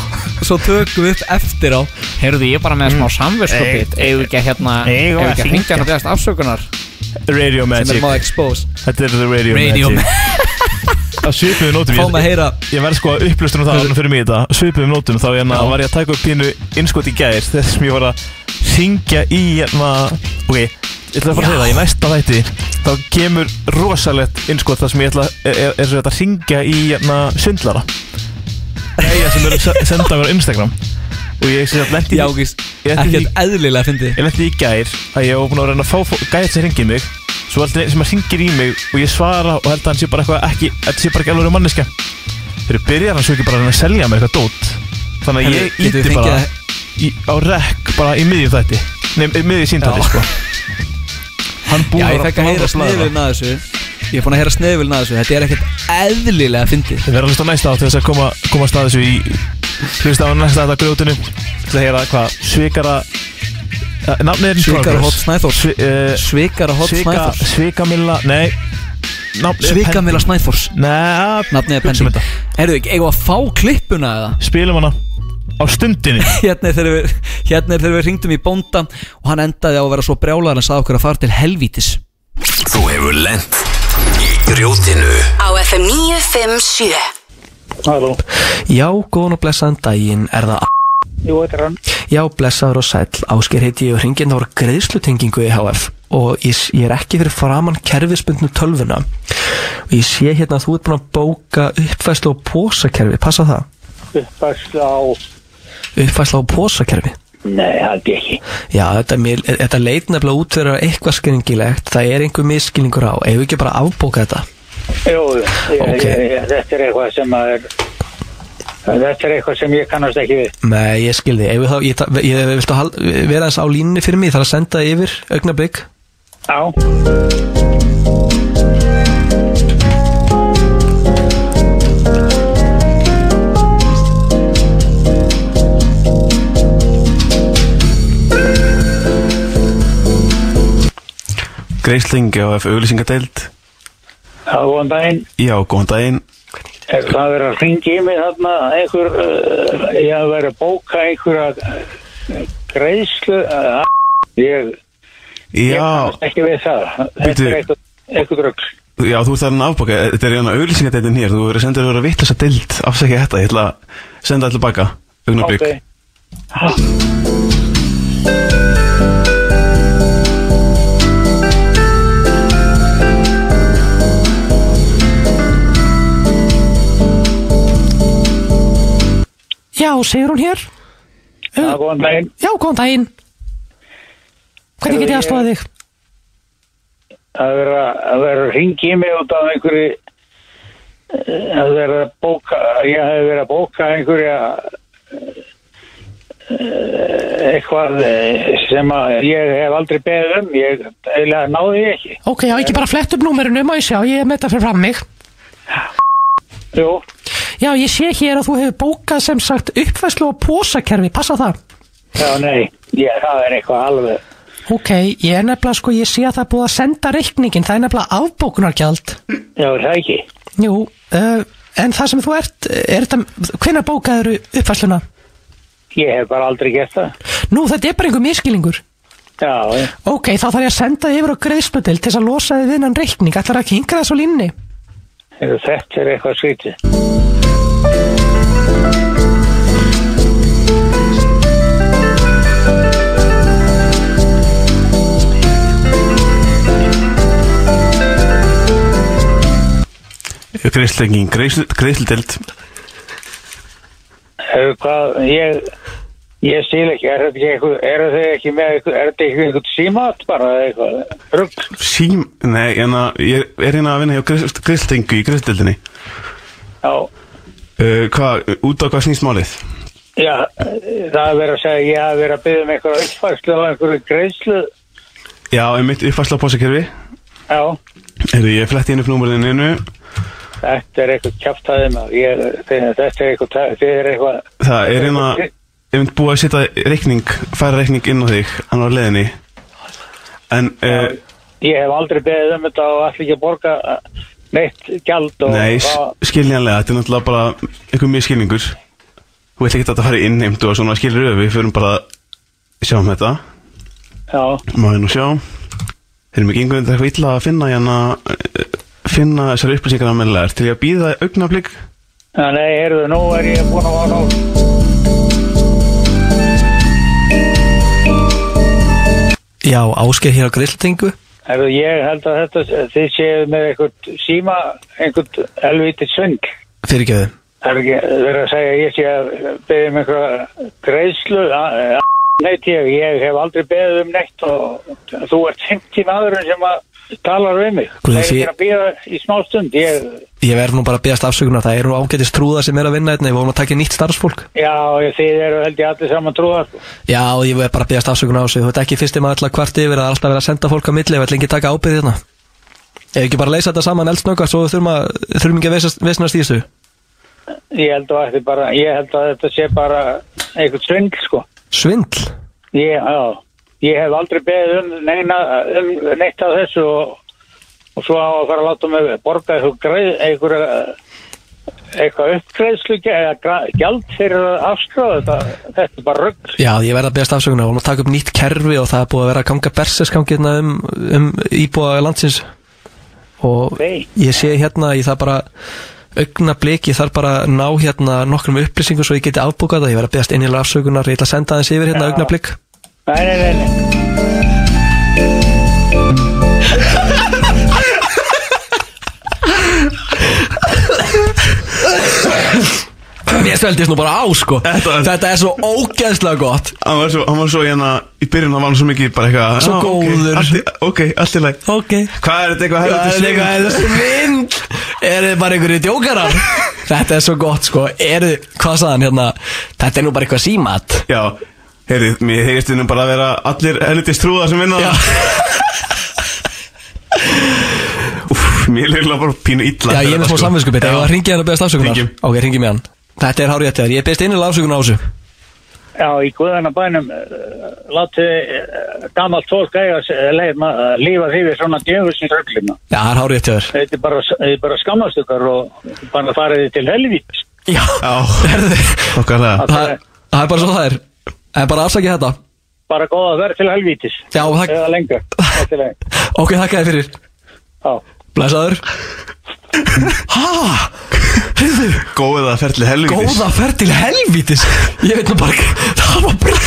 Speaker 3: Svo tökum við upp eftir á
Speaker 10: Heyrðu, ég er bara með smá
Speaker 11: Mm.
Speaker 10: samverðskopið Eigum við ekki að hérna
Speaker 12: Eigum við
Speaker 10: Eigum við
Speaker 12: að
Speaker 10: ekki að hringja hann og beðast afsökunar
Speaker 4: Radio
Speaker 3: Sem er
Speaker 4: Magic
Speaker 3: maður expose
Speaker 4: Þetta er The Radio,
Speaker 10: Radio
Speaker 4: Magic Það svipuðu nótum
Speaker 3: Fáum að
Speaker 4: Ég,
Speaker 3: heyra
Speaker 4: ég verð sko að upplustur um það Þannig fyrir mig í þetta Svipuðu nótum Þá hérna, var ég að taka upp pínu innskot í gær Þess sem ég var að syngja í hérna, Ok, ég ætla að fara að segja það Í næsta þætti Þá kemur rosalegt innskot Það sem ég ætla Er, er, er þetta að syngja í hérna, svindlara Æja sem eru að se- senda mér á Instagram Og ég sem sagt lendi
Speaker 3: Já, ekki
Speaker 4: í- ég lendi í-
Speaker 3: Ekkert eðlilega fyndi
Speaker 4: Ég lenti í gær að ég var búin að reyna að fá fó- gæt sem hringið mig Svo heldur einn sem að hringir í mig og ég svara og held að hann sé bara eitthvað ekki Þetta sé bara ekki alveg manneska Þegar byrjar hann svo ekki bara að reyna að selja mér eitthvað dót Þannig að ég
Speaker 3: Getum við
Speaker 4: íti
Speaker 3: fengið
Speaker 4: bara
Speaker 3: að-
Speaker 4: í, á rekk bara í miðjum þætti Nei, í miðjum síndætti
Speaker 3: Já.
Speaker 4: sko Hann
Speaker 3: Já,
Speaker 4: búin
Speaker 3: ég fekk að heyra sneðvilna að þessu Ég er búin að heyra sneðvilna að þessu Þetta er ekkert eðlilega fyndi
Speaker 4: Við verðum að hlusta á næsta átt til þess að koma, koma að staða þessu í Hlusta á næsta þetta grjótinu Til að heyra hvað svikara eh, Nafnið er
Speaker 3: Svikara Hot Snæþórs
Speaker 4: Svi, uh,
Speaker 3: Svikara Hot
Speaker 4: Svika,
Speaker 3: Snæþórs
Speaker 4: Svikamilla, nei Nafnið er
Speaker 3: Svikamila
Speaker 4: pending.
Speaker 3: Snæþórs
Speaker 4: Nei, ah,
Speaker 3: Nafnið er
Speaker 4: hugsum
Speaker 3: pending
Speaker 4: þetta.
Speaker 3: Herðu, eigum við að fá klippuna eða?
Speaker 4: Spilum hana á stundinni
Speaker 3: Hérna er þegar við, hérna er þegar við ringdum í bónda og hann endaði á að vera svo brjálaðan að sagði okkur að fara til helvítis
Speaker 13: Þú hefur lent í grjótinu
Speaker 2: Á FM 957
Speaker 11: Halló,
Speaker 6: Já, góðan og blessaðan daginn, er það a-
Speaker 11: jú, þetta er hann.
Speaker 6: Já, blessaður og sæll, ásker heiti ég og hringin á greiðslutengingu í HF og ég, s- ég er ekki fyrir framann kerfisbundnu tölvuna og ég sé hérna að þú ert búin að bóka uppfæslu á pósakerfi, passa það?
Speaker 11: Uppfærsla á...
Speaker 6: Uppfæslu á pósakerfi?
Speaker 11: Nei, held ég ekki.
Speaker 6: Já, þetta, mér- e- þetta leit nefnilega út fyrir að vera eitthvað skilningilegt, það er einhver miskilningur á, eigum við ekki bara að afbóka þetta?
Speaker 11: Jú, ég,
Speaker 6: Ok.
Speaker 11: ég, ég, þetta er eitthvað sem að er... Þetta er eitthvað sem ég kannast ekki við.
Speaker 6: Nei, ég skilði, eigum við þá, ég, ta- ég, ég viltu hal- vera þess á línunni fyrir mig, ég þarf að senda það yfir, augnablik.
Speaker 11: Á,
Speaker 14: Greislingi á F. auðlýsingadeild
Speaker 11: á góðan daginn.
Speaker 14: Já, góðan daginn
Speaker 11: Er það verið að ringi í mig þarna einhver... Uh, ég hef verið að bóka einhverja eh, greiðslu... Uh, ég, ég
Speaker 14: Já,
Speaker 11: kannast ekki við það. Þetta
Speaker 14: Bíddu.
Speaker 11: er eitthvað, eitthvað drögg.
Speaker 14: já þú ert þarna afbaka Þetta er hérna auðlýsingadeildin hér Þú verður sendur að vera vitt þessa deild Afsækja þetta, ég ætla að senda allir baka Augnablik
Speaker 11: Ok.
Speaker 6: Já, segir hún hér.
Speaker 11: Á góðan daginn.
Speaker 6: Já, góðan daginn. Hvernig get ég aðstofa þig?
Speaker 11: að vera að vera að ringi í mig út af einhverju eh, að vera að bóka ég hef verið að bóka einhverja eh, eitthvað eh, sem að ég hef aldrei beðið um ég eiginlega náði því ekki
Speaker 6: Ok, já, ekki bara flett upp númerinu, má ég sjá, ég er með þetta fyrir fram mig.
Speaker 11: Jú,
Speaker 6: Já, ég sé hér að þú hefur bókað sem sagt uppfæslu á pósakerfi, passa það.
Speaker 11: já nei ég, það er eitthvað alveg
Speaker 6: Ok, ég er nefnilega sko, ég sé að það er búið að senda reikningin, það er nefnilega afbókunargjald.
Speaker 11: já er það ekki
Speaker 6: Jú, uh, en það sem þú ert, er þetta, hvenær bókaður uppfæsluna?
Speaker 11: ég hef bara aldrei gert það
Speaker 6: Nú, þetta er bara einhver miskilingur.
Speaker 11: já, eh,
Speaker 6: Ok, þá þarf ég að senda þig yfir á greiðsputil til þess að losa þig vinnan reikning, ætlar ekki hingra þess á línni.
Speaker 11: þetta er eitthvað skrítið
Speaker 4: greiðslutenging, greiðslutild
Speaker 11: Hefur hvað, ég, ég skil ekki, er þetta ekki eitthvað, eru þau ekki með eitthvað, er þetta ekki eitthvað símat bara eða eitthvað? Rugg,
Speaker 4: Sím, nei, en að ég er hérna að vinna hjá greiðslutengu í greiðslutildinni
Speaker 11: já,
Speaker 4: uh, Hvað, út á hvað snýst málið?
Speaker 11: já, það er verið að segja, ég hafi verið að byggja um eitthvað uppfærslu á einhverju greiðslu,
Speaker 4: Já, um mitt uppfærsla á bósakerfi
Speaker 11: já,
Speaker 4: Heyrðu, ég fletti inn upp númurðinu innu
Speaker 11: þetta er eitthvað kjáftæði maður, ég, þetta er eitthvað, þetta er eitthvað,
Speaker 4: Það er hérna, ég mynd búið að setja reikning, færa reikning inn á þig, annar leðinni En, uh,
Speaker 11: ég hef aldrei beðið um þetta og allir ekki að borga eh, neitt gjald og
Speaker 4: nei,
Speaker 11: það-
Speaker 4: s- skiljanlega, þetta er náttúrulega bara einhver miskilningur Þú veit ekki að þetta fari innheimt og svona skilur öfi, við fyrir bara að sjá um þetta
Speaker 11: já,
Speaker 4: Má ég nú sjá Erum við gengur þetta eitthvað illa að finna hérna eh, finna þessar upplýsingar að meðlega til ég að býða augnablík
Speaker 11: já, nei, heyrðu, nú er ég búin að vara á,
Speaker 10: Já, Ásker hér á grilltingu
Speaker 11: heyrðu, ég held að þetta, þið séu með eitthvað síma, einhvern helvítið svindl.
Speaker 10: fyrirgjöðu
Speaker 11: Það er ekki verið að segja að ég sé að beðið um einhverja greiðslu að- að- neitt ég, ég hef aldrei beðið um neitt og þú ert 50 maðurinn sem að talar við mig
Speaker 10: Guð,
Speaker 11: það er
Speaker 10: því-
Speaker 11: ekki að býða í smá stund ég,
Speaker 10: Ég verð nú bara að beðast afsökunar, það eru nú ágætist trúða sem er að vinna hérna, ég vorum að taka nýtt starfsfólk
Speaker 11: já, ég- þið eru held ég allir saman trúðar sko.
Speaker 10: Já, ég verð bara að beðast afsökunar á þessu, þú veit ekki fyrst um að alltaf kvart yfir að alltaf vera að senda fólk á milli ef ætla ekki taka ábyrð hérna Ef ekki bara leysa þetta saman eldsnöggast svo þurfum, að, þurfum ekki að vesast- vesnast í þessu
Speaker 11: ég held að þetta bara ég held að þetta sé bara einhvern svindl sko.
Speaker 10: Svindl?
Speaker 11: ég, já, ég hef aldrei beðið um, neina, um neitt af þessu og, og svo á að fara að láta mig borga eitthvað greið, einhverja eitthvað uppgreiðslu eða gra- gjald fyrir að afskráða þetta þetta er bara rugg
Speaker 10: Já, ég verð að beðast afsökunar, við vorum að taka upp nýtt kerfi og það er búið að vera að ganga berserskangir hérna um, um íbúa landsins og
Speaker 11: Nei.
Speaker 10: ég sé hérna, ég þarf bara augnablik, ég þarf bara að ná hérna nokkrum upplýsingum svo ég geti afbúkað það, ég verð að beðast innilega afsökunar, ég ætla að senda aðeins yfir hérna
Speaker 11: Já.
Speaker 10: augnablik
Speaker 11: nei, nei, nei, nei.
Speaker 10: Mér sveldist nú bara á sko Þetta, er svo ógeðslega gott
Speaker 4: Hann var svo, hann var svo hérna, í byrjun hann var hann svo mikið bara eitthvað
Speaker 10: Svo
Speaker 4: "Já,
Speaker 10: góður."
Speaker 4: Ok, allt í læk
Speaker 10: Ok
Speaker 4: Hvað er þetta eitthvað helviti svindl?
Speaker 10: Hvað er þetta svind? Er þið bara einhverju djókarar? Þetta er svo gott sko, er þið, hvað sagðan hérna Þetta er nú bara eitthvað símat
Speaker 4: Já, heyrið, mér heyrist við nú bara að vera allir helviti strúðar sem vinna
Speaker 10: Já.
Speaker 4: Úff, mér er eiginlega bara pínu illa
Speaker 10: Já, ég
Speaker 4: fyrir
Speaker 10: er með
Speaker 4: þetta,
Speaker 10: smá
Speaker 4: sko.
Speaker 10: samvinskupið
Speaker 4: Já.
Speaker 10: Þegar að ringið hann og beðast afsökunar
Speaker 4: Hringjum.
Speaker 10: Ok, ringið mér hann Þetta er hárið eftir Ég beðast innilega afsökunar á þessu
Speaker 11: já, í guðana bænum eh, látið eh, gamalt fólk eiga s- eh, leið, ma- eh, lífa því við svona djöfusins rugglina
Speaker 10: Já, það er hárið eftir
Speaker 11: þetta er bara, þetta er bara skammast ykkar og bara fariði til helvít
Speaker 10: Já
Speaker 4: Já,
Speaker 10: Herðu
Speaker 4: okkarlega
Speaker 10: Það það er bara svo það er Það er bara afsakið þetta
Speaker 11: bara góða verð til helvítis
Speaker 10: Já, það
Speaker 11: eða lengur Þetta er leið.
Speaker 10: Ok, þakka þér fyrir
Speaker 11: Já.
Speaker 10: Blæsaður Hæ? Heyrðu
Speaker 4: Góða ferli helvitis
Speaker 10: Góða ferð til helvítis Ég veit nú bara ekki- Það var bara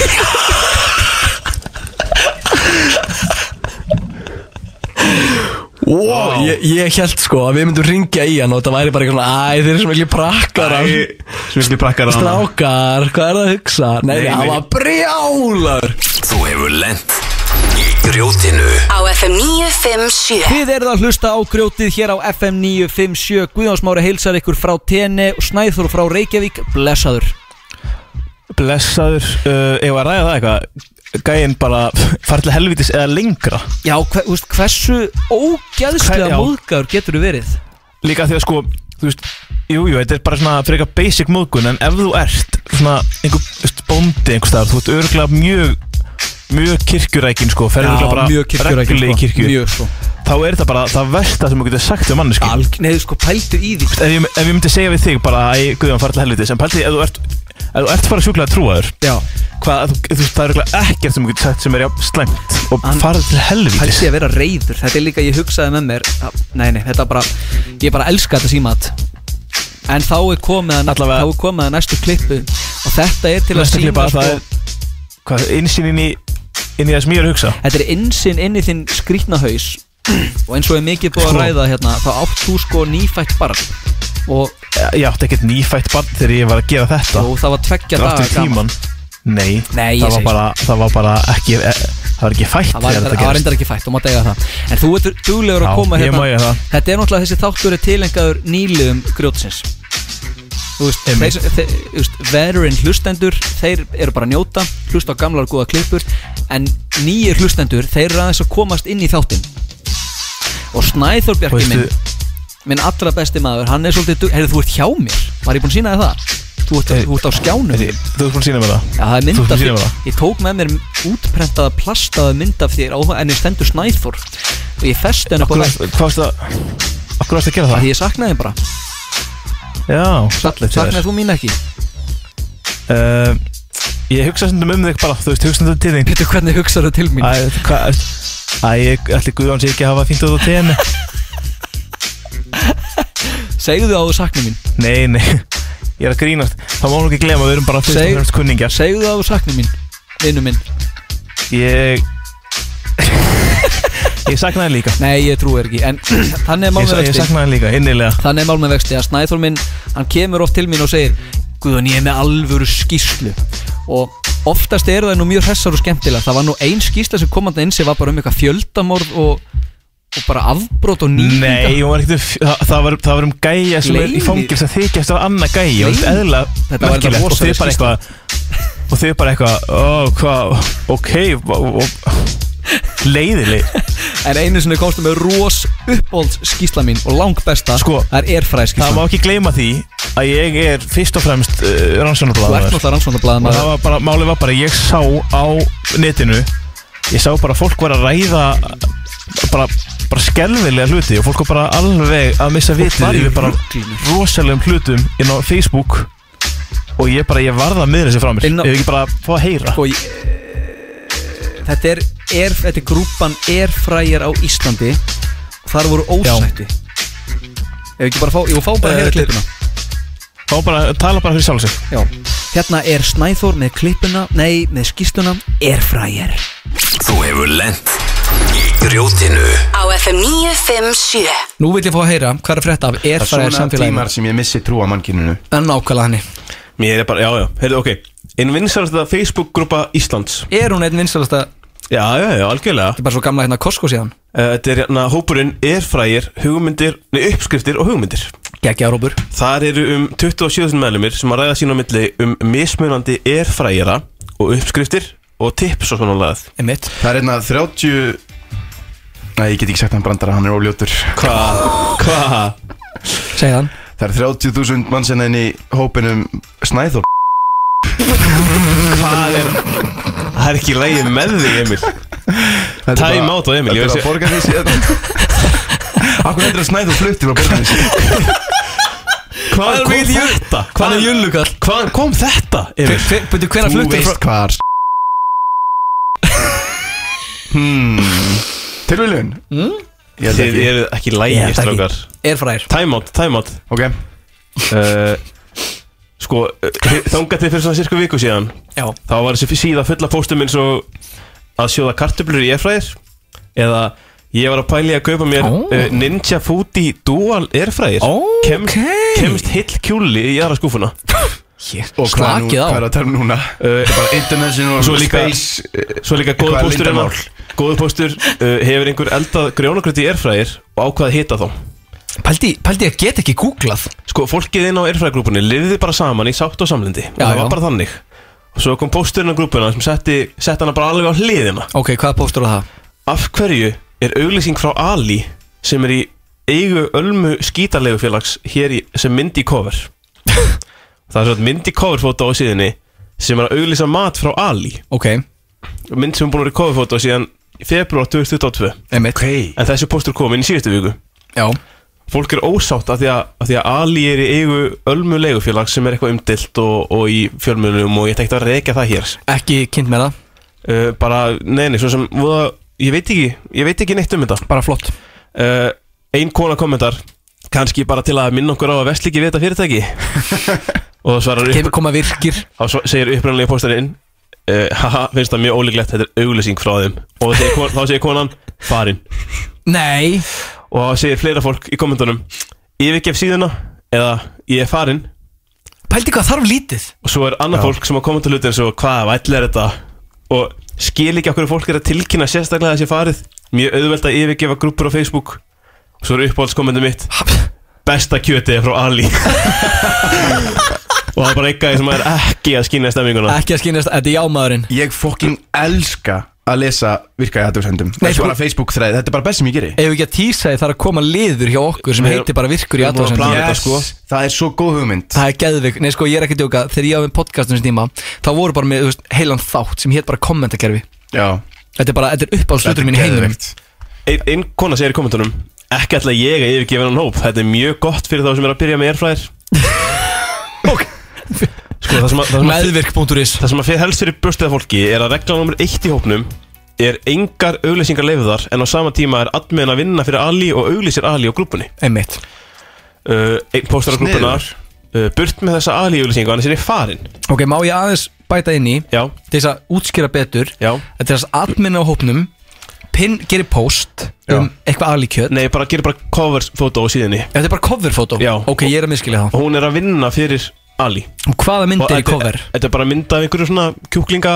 Speaker 10: Wow, ég, ég held sko að við myndum ringja í hann og það væri bara eitthvað svona Æ, þeir eru svo miklu prakkar af
Speaker 4: Svildi prakkar á hana
Speaker 10: Strákar, hvað er það að hugsa? Nei,
Speaker 4: Nei,
Speaker 10: nei, hann
Speaker 4: nei.
Speaker 10: var brjálar
Speaker 8: Þú hefur lent í grjótinu
Speaker 2: Á FM 957
Speaker 3: Þið eruð að hlusta á grjótið hér á FM 957 Guðjónsmári heilsar ykkur frá TN og Snæður frá Reykjavík Blessaður
Speaker 6: Blessaður, uh, ég var að ræða það eitthvað Gæinn bara fara til helvitis eða lengra
Speaker 3: Já, hver, þú veist, hversu
Speaker 6: Hver-
Speaker 3: ógæðslega
Speaker 6: já.
Speaker 3: móðgæður getur þú verið?
Speaker 6: Líka því að sko, þú veist Jú, jú, þetta er bara svona frekar basic móðgun En ef þú ert svona einhver þú veist, bóndi einhver staðar Þú ert örgulega mjög, mjög kirkjurækin sko Ferðu örugglega bara
Speaker 3: mjög kirkjurækinn,
Speaker 6: reglulega í
Speaker 3: sko.
Speaker 6: kirkju
Speaker 3: Mjög sko
Speaker 6: Þá er þetta bara það versta sem þú getur sagt um mannesku
Speaker 3: Alg, Nei, sko, pæltu í því
Speaker 6: ef, ég- ef ég myndi segja við þig bara Æ, guðjum, fara til helvitis En pælti, ef þú ert, ef þú ert bara sjúklega trúaður
Speaker 3: Já,
Speaker 6: hvað, þú, þú, það er örugglega ekkert sem þú getur sagt sem er jafn slæmt og
Speaker 3: An-
Speaker 6: farið til helvítis
Speaker 3: pæltu í að vera reyður Þetta er líka, ég hugsaði með mér að- Nei, nei, þetta er bara, ég bara elska þetta símat En þá er komið að,
Speaker 6: Allavega.
Speaker 3: þá er komið að næstu klippu Og þetta er til að
Speaker 6: næsta
Speaker 3: sýna
Speaker 6: klipa
Speaker 3: sko,
Speaker 6: það er hvað, einsinn inn í inn í það sem ég er að hugsa
Speaker 3: Þetta er innsinn inn í þinn skrýtna haus Og eins og er mikið búið að
Speaker 6: Sko.
Speaker 3: ræða hérna Þá átt þú sko nýfætt barn og
Speaker 6: Eh, Ég átti ekkert nýfætt barn þegar ég var að gera þetta
Speaker 3: Jú, það var tveggja
Speaker 6: Þetta er
Speaker 3: daga
Speaker 6: aftur í tímann. Nei,
Speaker 3: Nei, ég
Speaker 6: það, var
Speaker 3: segi
Speaker 6: bara, það var bara ekki eh, Það var ekki fætt þegar
Speaker 3: Það var, það
Speaker 6: þetta
Speaker 3: var
Speaker 6: gerist.
Speaker 3: reyndar ekki fætt, þú mátt eiga það En þú ert duglegur að
Speaker 6: Já,
Speaker 3: koma
Speaker 6: ég
Speaker 3: hérna
Speaker 6: má eiga það.
Speaker 3: Þetta er náttúrulega þessi þáttur er tilengaður nýliðum grjótsins Þú veist, þeir, sem- þeir, þú veist, veteran hlustendur, þeir eru bara að njóta Hlusta á gamlar góða klippur En nýjir hlustendur, þeir eru aðeins að komast inn í þáttin Og Snæþór Bjarki
Speaker 6: Veistu-
Speaker 3: minn Minn allra besti maður, hann er svolítið dug- Heyrðu, þú ert hjá mér, var ég búinn að sína þér það? Þú ert, þú ert á skjánum
Speaker 6: Þú ert búin að sína mér það
Speaker 3: Já, það er
Speaker 6: Eh, Þú
Speaker 3: mynd
Speaker 6: ert búin að
Speaker 3: af þér
Speaker 6: sína mér það
Speaker 3: Ég tók með mér útprentaða plastaða mynd af þér á enni stendur snæþór og ég festi henni upp á
Speaker 6: Hvað
Speaker 3: vegg
Speaker 6: varst að Hvað varst að gera
Speaker 3: að
Speaker 6: það?
Speaker 3: því ég saknaði þín bara
Speaker 6: Já, sallið
Speaker 3: Saknaði þú mín ekki?
Speaker 6: Uh, ég hugsa stundum um þig bara, þú veist, hugsa stundum til þig
Speaker 3: Pétur, hvernig hugsaðu til mín?
Speaker 6: Æ, hvað, æ, ég ætli Guðjón sé ekki að hafa fínt út á teginu
Speaker 3: Segðu á þú sakna mín
Speaker 6: Nei, nei, ég er að grínast Það má nú ekki glema, við erum bara fyrst og
Speaker 3: Seg-
Speaker 6: fremst kunningjar
Speaker 3: Segðu á þú sakna mín, vinnu minn
Speaker 6: Ég Ég saknaði líka
Speaker 3: Nei, ég trúi þér ekki En þannig er mál
Speaker 6: Ég,
Speaker 3: með
Speaker 6: ég
Speaker 3: vexti
Speaker 6: saknaði líka, innilega
Speaker 3: Þannig er mál með vexti að Snæþór minn Hann kemur oft til mín og segir Guðan, ég er með alvöru skýslu Og oftast eru það nú mjög hressar og skemmtilega Það var nú ein skýsla sem komandi inn sem var bara um eitthvað fjöldamorð og, og bara afbrót og nýtinga
Speaker 6: Nei, hún var ekkert, það, það, var, það var um gæja sem er í
Speaker 3: Leyni.
Speaker 6: fangils að þykjast á annað gæja og
Speaker 3: Leyni.
Speaker 6: þetta eðla
Speaker 3: Þetta var þetta
Speaker 6: og þau
Speaker 3: rosaleg
Speaker 6: bara
Speaker 3: skýrsla.
Speaker 6: eitthvað og þau bara eitthvað, ó, hvað, ok og, og, leiðileg
Speaker 3: En einu sinni komstu með ros uppbólds skýsla mín og lang besta
Speaker 6: Sko,
Speaker 3: Það er erfræði
Speaker 6: það má
Speaker 3: skýsla
Speaker 6: ekki gleyma því að ég er fyrst og fremst uh,
Speaker 3: Þú ert
Speaker 6: rannsóknarblæður
Speaker 3: náttúrulega rannsóknarblæðum
Speaker 6: og það var bara, málið var bara, ég sá á netinu, ég sá bara að fólk var að ræða bara, bara skelvilega hluti og fólk var bara alveg að missa
Speaker 3: var
Speaker 6: vitið
Speaker 3: í
Speaker 6: yfir bara
Speaker 3: ruglinu.
Speaker 6: rosalegum hlutum inn á Facebook og ég bara, ég varða að miðra sér frá mér
Speaker 3: Inn á-
Speaker 6: ég hef ekki bara að fá að heyra
Speaker 3: Sko, ég, þetta er, er Þetta er grúpan erfræjar á Íslandi og Þar voru ósætti Ef ekki bara fá Ég fá bara
Speaker 6: Eh,
Speaker 3: að
Speaker 6: þetta
Speaker 3: heyra
Speaker 6: er-
Speaker 3: klippuna
Speaker 6: þá bara, tala bara fyrir sjálf sig
Speaker 3: Já. Hérna er Snæþór með klippuna Nei, með skýsluna Erfræjar
Speaker 8: Þú hefur lent í grjótinu
Speaker 2: Á FM 957
Speaker 3: Nú vil ég fá að heyra Hvað er að frétta af
Speaker 15: Það er svona tímar sem ég missi trú á mannkyninu
Speaker 3: En Eh, nákvæmlega henni
Speaker 4: Mér er bara, já, já, heyrðu, ok Einn vinsarasta Facebook-grúpa Íslands
Speaker 3: Er hún einn vinsalasta
Speaker 4: Já, já, já, algjörlega Þetta
Speaker 3: er bara svo gamla hérna Costco síðan
Speaker 4: Þetta er hérna, hópurinn er frægir, hugmyndir, nei, uppskriftir og hugmyndir
Speaker 3: Gægja hópur
Speaker 4: Þar eru um 27.000 meðlumir sem að ræða sín á milli um mismunandi erfrægjara og uppskriftir og tips og svona lagað
Speaker 3: Einmitt
Speaker 15: Það er hérna einna 30 Nei, ég get ekki sagt hann brandara, hann er óljótur
Speaker 4: Hvað? Hvað?
Speaker 3: Segð hann
Speaker 15: Það er 30.000 mann
Speaker 16: hérna
Speaker 15: sem enn í hópinum Snæþór
Speaker 4: Hvað er Það er ekki lægið með þig Emil
Speaker 15: Þetta er
Speaker 4: Time
Speaker 15: bara-
Speaker 4: out á Emil
Speaker 15: Þetta er að borga því
Speaker 16: hérna.
Speaker 15: síðan Akkur heldur að Snæþór flutti frá borga því síðan
Speaker 4: Hvað er mikill jörg? þetta?
Speaker 3: Hvað er jullukall?
Speaker 4: Hvaðan kom þetta? Emil?
Speaker 3: Búttu hvenær
Speaker 15: Þú
Speaker 3: fluttir
Speaker 15: veist hvað Hmm Tilvílun
Speaker 3: Mm?
Speaker 15: Ég held
Speaker 4: Þið
Speaker 15: ekki
Speaker 4: eru ekki
Speaker 3: Ég
Speaker 4: lægið
Speaker 3: held ekki.
Speaker 4: strákar
Speaker 3: Erfræjar
Speaker 4: Time out, time out
Speaker 15: Ok
Speaker 4: uh, Sko, þangat þið fyrir svona cirka viku síðan
Speaker 3: Já.
Speaker 4: Þá var þessi síða fulla póstum eins og að sjóða kartöflur í erfræðir Eða ég var að pæli að kaupa mér
Speaker 3: Ó.
Speaker 4: uh, Ninja Foodie Dual erfræðir
Speaker 3: Ó, ókei.
Speaker 4: Kemst heill kjúli í aðra skúfuna
Speaker 15: Og hvað er nú-
Speaker 3: Slakið á.
Speaker 15: hvað er að tala um núna?
Speaker 4: uh,
Speaker 15: Bara international
Speaker 4: Svo líka-
Speaker 15: space eh,
Speaker 4: Svo líka góðu
Speaker 15: Eitthvað
Speaker 4: póstur
Speaker 15: leyndarmál.
Speaker 4: hennar Góðu póstur uh, hefur einhver eldað grjónakröti í erfræðir og ákvað að hita þá
Speaker 3: Pældi, pældi ég get ekki googlað
Speaker 4: Sko, fólkið inn á erfræðgrúpunni lifði bara saman í sátt og samlindi og
Speaker 3: Já,
Speaker 4: það var
Speaker 3: já.
Speaker 4: bara þannig og svo kom pósturinn á grúpuna sem setti, setti hana bara alveg á hliðina
Speaker 3: Ok, hvað póstur það?
Speaker 4: Af hverju er auglýsing frá Ali sem er í eigu ölmu skítarlegufélags hér í, sem myndi í cover Það er svo myndi í cover fótó á síðinni sem er að auglýsa mat frá Ali
Speaker 3: Ok,
Speaker 4: mynd sem er búin að vera í coverfótó síðan februar 2022
Speaker 3: emitt
Speaker 4: en þessi póstur kom inn í síðustu viku
Speaker 3: Já,
Speaker 4: fólk er ósátt af því að, af því að Ali er í eigu ölmu leigufélag sem er eitthvað umdilt og, og í fjölmjölum og ég ætla ekkert að reyka það hér
Speaker 3: ekki kynnt með það
Speaker 4: uh, bara, neini, svo sem voða, ég veit ekki, ég veit ekki neitt um þetta
Speaker 3: Bara flott
Speaker 4: uh, ein kona kommentar kannski bara til að minna okkur á að vestlíki við þetta fyrirtæki og þá svarar
Speaker 3: Kem,
Speaker 4: upp,
Speaker 3: Koma virkir
Speaker 4: þá svo- segir upprænlega póstarinn uh, haha, finnst það mjög ólíklegt þetta er auglýsing frá þeim og segir, kon- þá segir konan, farinn
Speaker 3: Nei
Speaker 4: og það segir fleira fólk í kommentunum yfirgef síðuna eða ég er farin
Speaker 3: Pældi hvað þarf lítið
Speaker 4: og svo er annað fólk sem að koma til hlutin og hvað ætla er þetta og skil ekki okkur fólk er að tilkynna sérstaklega þessi farið mjög auðvelt að yfirgefa grúpur á Facebook og svo er uppáhaldskommendu mitt besta kjötið er frá Ali og það er bara eitthvað sem er ekki að skýna stemminguna
Speaker 3: Ekki að skynast, þetta er jámaðurinn
Speaker 16: Ég fokkin elska að lesa virkaði aðtöfsendum
Speaker 3: Nei,
Speaker 16: Nei,
Speaker 3: sko-
Speaker 16: sko Facebook þræði, þetta er bara best sem ég geri
Speaker 3: Ef við ekki að tísa því þarf að koma liður hjá okkur sem
Speaker 16: Við erum-
Speaker 3: heitir bara virkur í
Speaker 16: við erum búin að plana þetta, sko.
Speaker 3: aðtöðsendum
Speaker 16: Það er svo góð hugmynd
Speaker 3: Það er geðvik, nei sko ég er ekki að djóka Þegar ég var með podcastum sem tíma Þá voru bara með þú veist, heilan þátt sem hétt bara kommentakerfi
Speaker 16: Já
Speaker 3: Þetta er bara, þetta er
Speaker 4: Þetta
Speaker 3: uppáhaldslutur
Speaker 4: er
Speaker 3: mín í heiminum
Speaker 4: geðveikt. Ein, ein kona segir í kommentunum Ekki ætla ég að yfirgefa hann hóp Þetta er mjög gott fyrir þá sem er að byrja með airfryer sko, það sem að- það sem að-
Speaker 3: Meðvirk.is
Speaker 4: Það sem að fyrir helst fyrir burstið af fólki Er að regla nummer eitt í hópnum Er engar auglýsingar leifuðar En á sama tíma er admin að vinna fyrir Ali Og auglýsir Ali á grúpunni
Speaker 3: Einmitt
Speaker 4: uh, Einn póstar á grúpuna
Speaker 3: Sniðugur.
Speaker 4: uh, Burt með þessa Ali auglýsingu Annars er ég farin
Speaker 3: Ok, má ég aðeins bæta inn í
Speaker 4: Já
Speaker 3: Til þess að útskýra betur
Speaker 4: Já
Speaker 3: Til þess að admin á hópnum Pinn gerir post um eitthvað alíkjöt
Speaker 4: Nei, bara gerir bara coverfótó á síðinni
Speaker 3: Þetta er bara coverfótó?
Speaker 4: Já
Speaker 3: Ok, ég er að miskilja það
Speaker 4: Og hún er að vinna fyrir Ali
Speaker 3: Og hvaða mynd er í
Speaker 4: þetta-
Speaker 3: cover?
Speaker 4: Þetta er bara mynd af einhverju svona kjúklinga,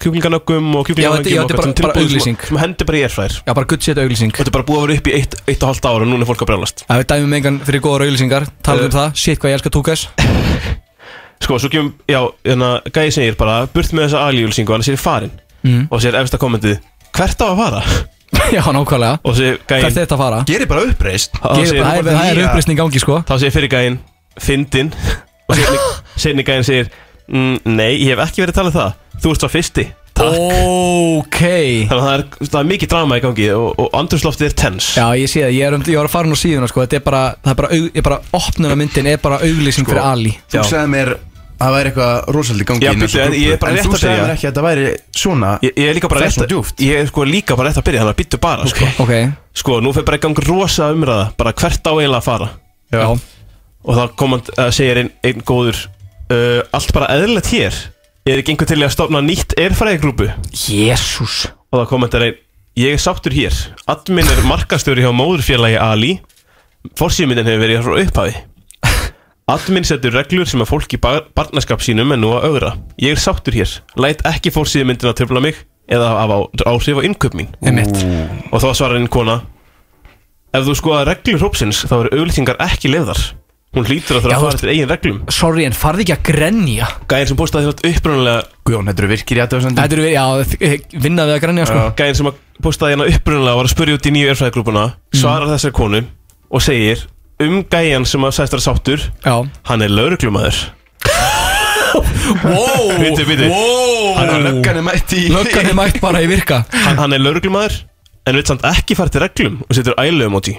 Speaker 4: kjúklinganöggum og kjúklinganöggum
Speaker 3: Já, þetta- já,
Speaker 4: og
Speaker 3: þetta er bara-
Speaker 4: öllum
Speaker 3: bara
Speaker 4: tilbúðum
Speaker 3: auglýsing.
Speaker 4: sem- Sem hendur bara í erfræðir
Speaker 3: Já, bara gutt sétt auglýsing
Speaker 4: Þetta er bara búið að vera upp í eitt, eitt og halvt ára og núna er fólk að brjálast
Speaker 3: Það við dæmum engan fyrir góðar auglýsingar Talum um
Speaker 4: Eh.
Speaker 3: það, shit hvað ég elska túkas
Speaker 4: Sko, svo kemum, já, hérna, gæði segir bara Burt með þessa alíjulsingu, annars er ég farin
Speaker 3: Mhm.
Speaker 4: Og sér efsta kommentið Hvert á að fara?
Speaker 3: Já, nákvæmlega
Speaker 4: Og sér gæðin
Speaker 3: Hvert er þetta að fara?
Speaker 16: Gerir bara uppreist
Speaker 3: Gerir bara- það er- það er uppreisn í gangi, sko
Speaker 4: Þá segir fyrir gæðin, fyndin Og seinni, seinni gæðin segir mm, Nei, ég hef ekki verið að tala um það Þú ert svo fyrsti Takk
Speaker 3: Ok Þannig
Speaker 4: að það er, það er mikið drama í gangi og, og andrusloftið er tens
Speaker 3: Já, ég sé það, ég, er um, ég var að fara nú síðuna sko. Þetta er bara, það er bara, aug, ég bara opnuna myndin er bara auglýsing fyrir Ali
Speaker 16: Þú sagði mér að það væri eitthvað rosaldi gangi
Speaker 4: Já,
Speaker 16: inn á
Speaker 4: bíddu,
Speaker 16: þessu
Speaker 4: en ég er
Speaker 16: grúpu.
Speaker 4: bara rétt að
Speaker 16: En þú sagði
Speaker 4: byrja.
Speaker 16: mér ekki að þetta væri svona
Speaker 4: Ég, ég er líka bara rétt
Speaker 16: Þessum
Speaker 4: að Ég er sko líka bara rétt að byrja þannig að býttu bara sko.
Speaker 3: okay.
Speaker 4: sko, nú fer bara í gang rosa umræða Bara hvert á eiginlega að fara
Speaker 3: Já.
Speaker 4: Og þá kom hann að segja einn ein góður uh, Allt bara eðlilegt hér Er ekki einhver til í að stofna nýtt erfæðigrúpu
Speaker 3: Jésús
Speaker 4: Og þá kom hann einn Ég er sáttur hér Admin er markastjóri hjá móðurfélagi Ali Forsýmyndin hefur verið frá upphafi Admin setur reglur sem að fólk í bar barnaskap sínum er nú að augra. Ég er sáttur hér. Læt ekki fórsíðu myndina töfla mig eða hafa á- áhrif á innköp mín.
Speaker 3: Einmitt.
Speaker 4: Og þá svarar einn kona Ef þú skoða reglur hópsins þá eru auglýsingar ekki leiðar. Hún hlýtur að
Speaker 3: Já, þú
Speaker 4: þurfa að fara
Speaker 3: veist-
Speaker 4: eftir eigin reglum.
Speaker 3: Sorry, en farði ekki að grenja
Speaker 4: Gæðin Sko, sem postaði þér upprunalega
Speaker 16: Guðjón, þetta eru virkir í aðtöðsendum
Speaker 3: Þetta eru, já, þ- vinna við að grenja sko
Speaker 4: Gæðin sem að postaði hérna upprunalega var að spurja út í nýju erfræðigrúpuna svarar þessari konu og segir um gæjan sem að sæstar sáttur
Speaker 3: Já.
Speaker 4: hann er lauruglumæður
Speaker 3: Wow,
Speaker 4: Bíddu, bíddu. Hann er-
Speaker 16: Löggan er mætt í
Speaker 3: Löggan er mætt bara í virka
Speaker 4: hann, hann er lauruglumæður en vil samt ekki fara til reglum og setur ælu emoji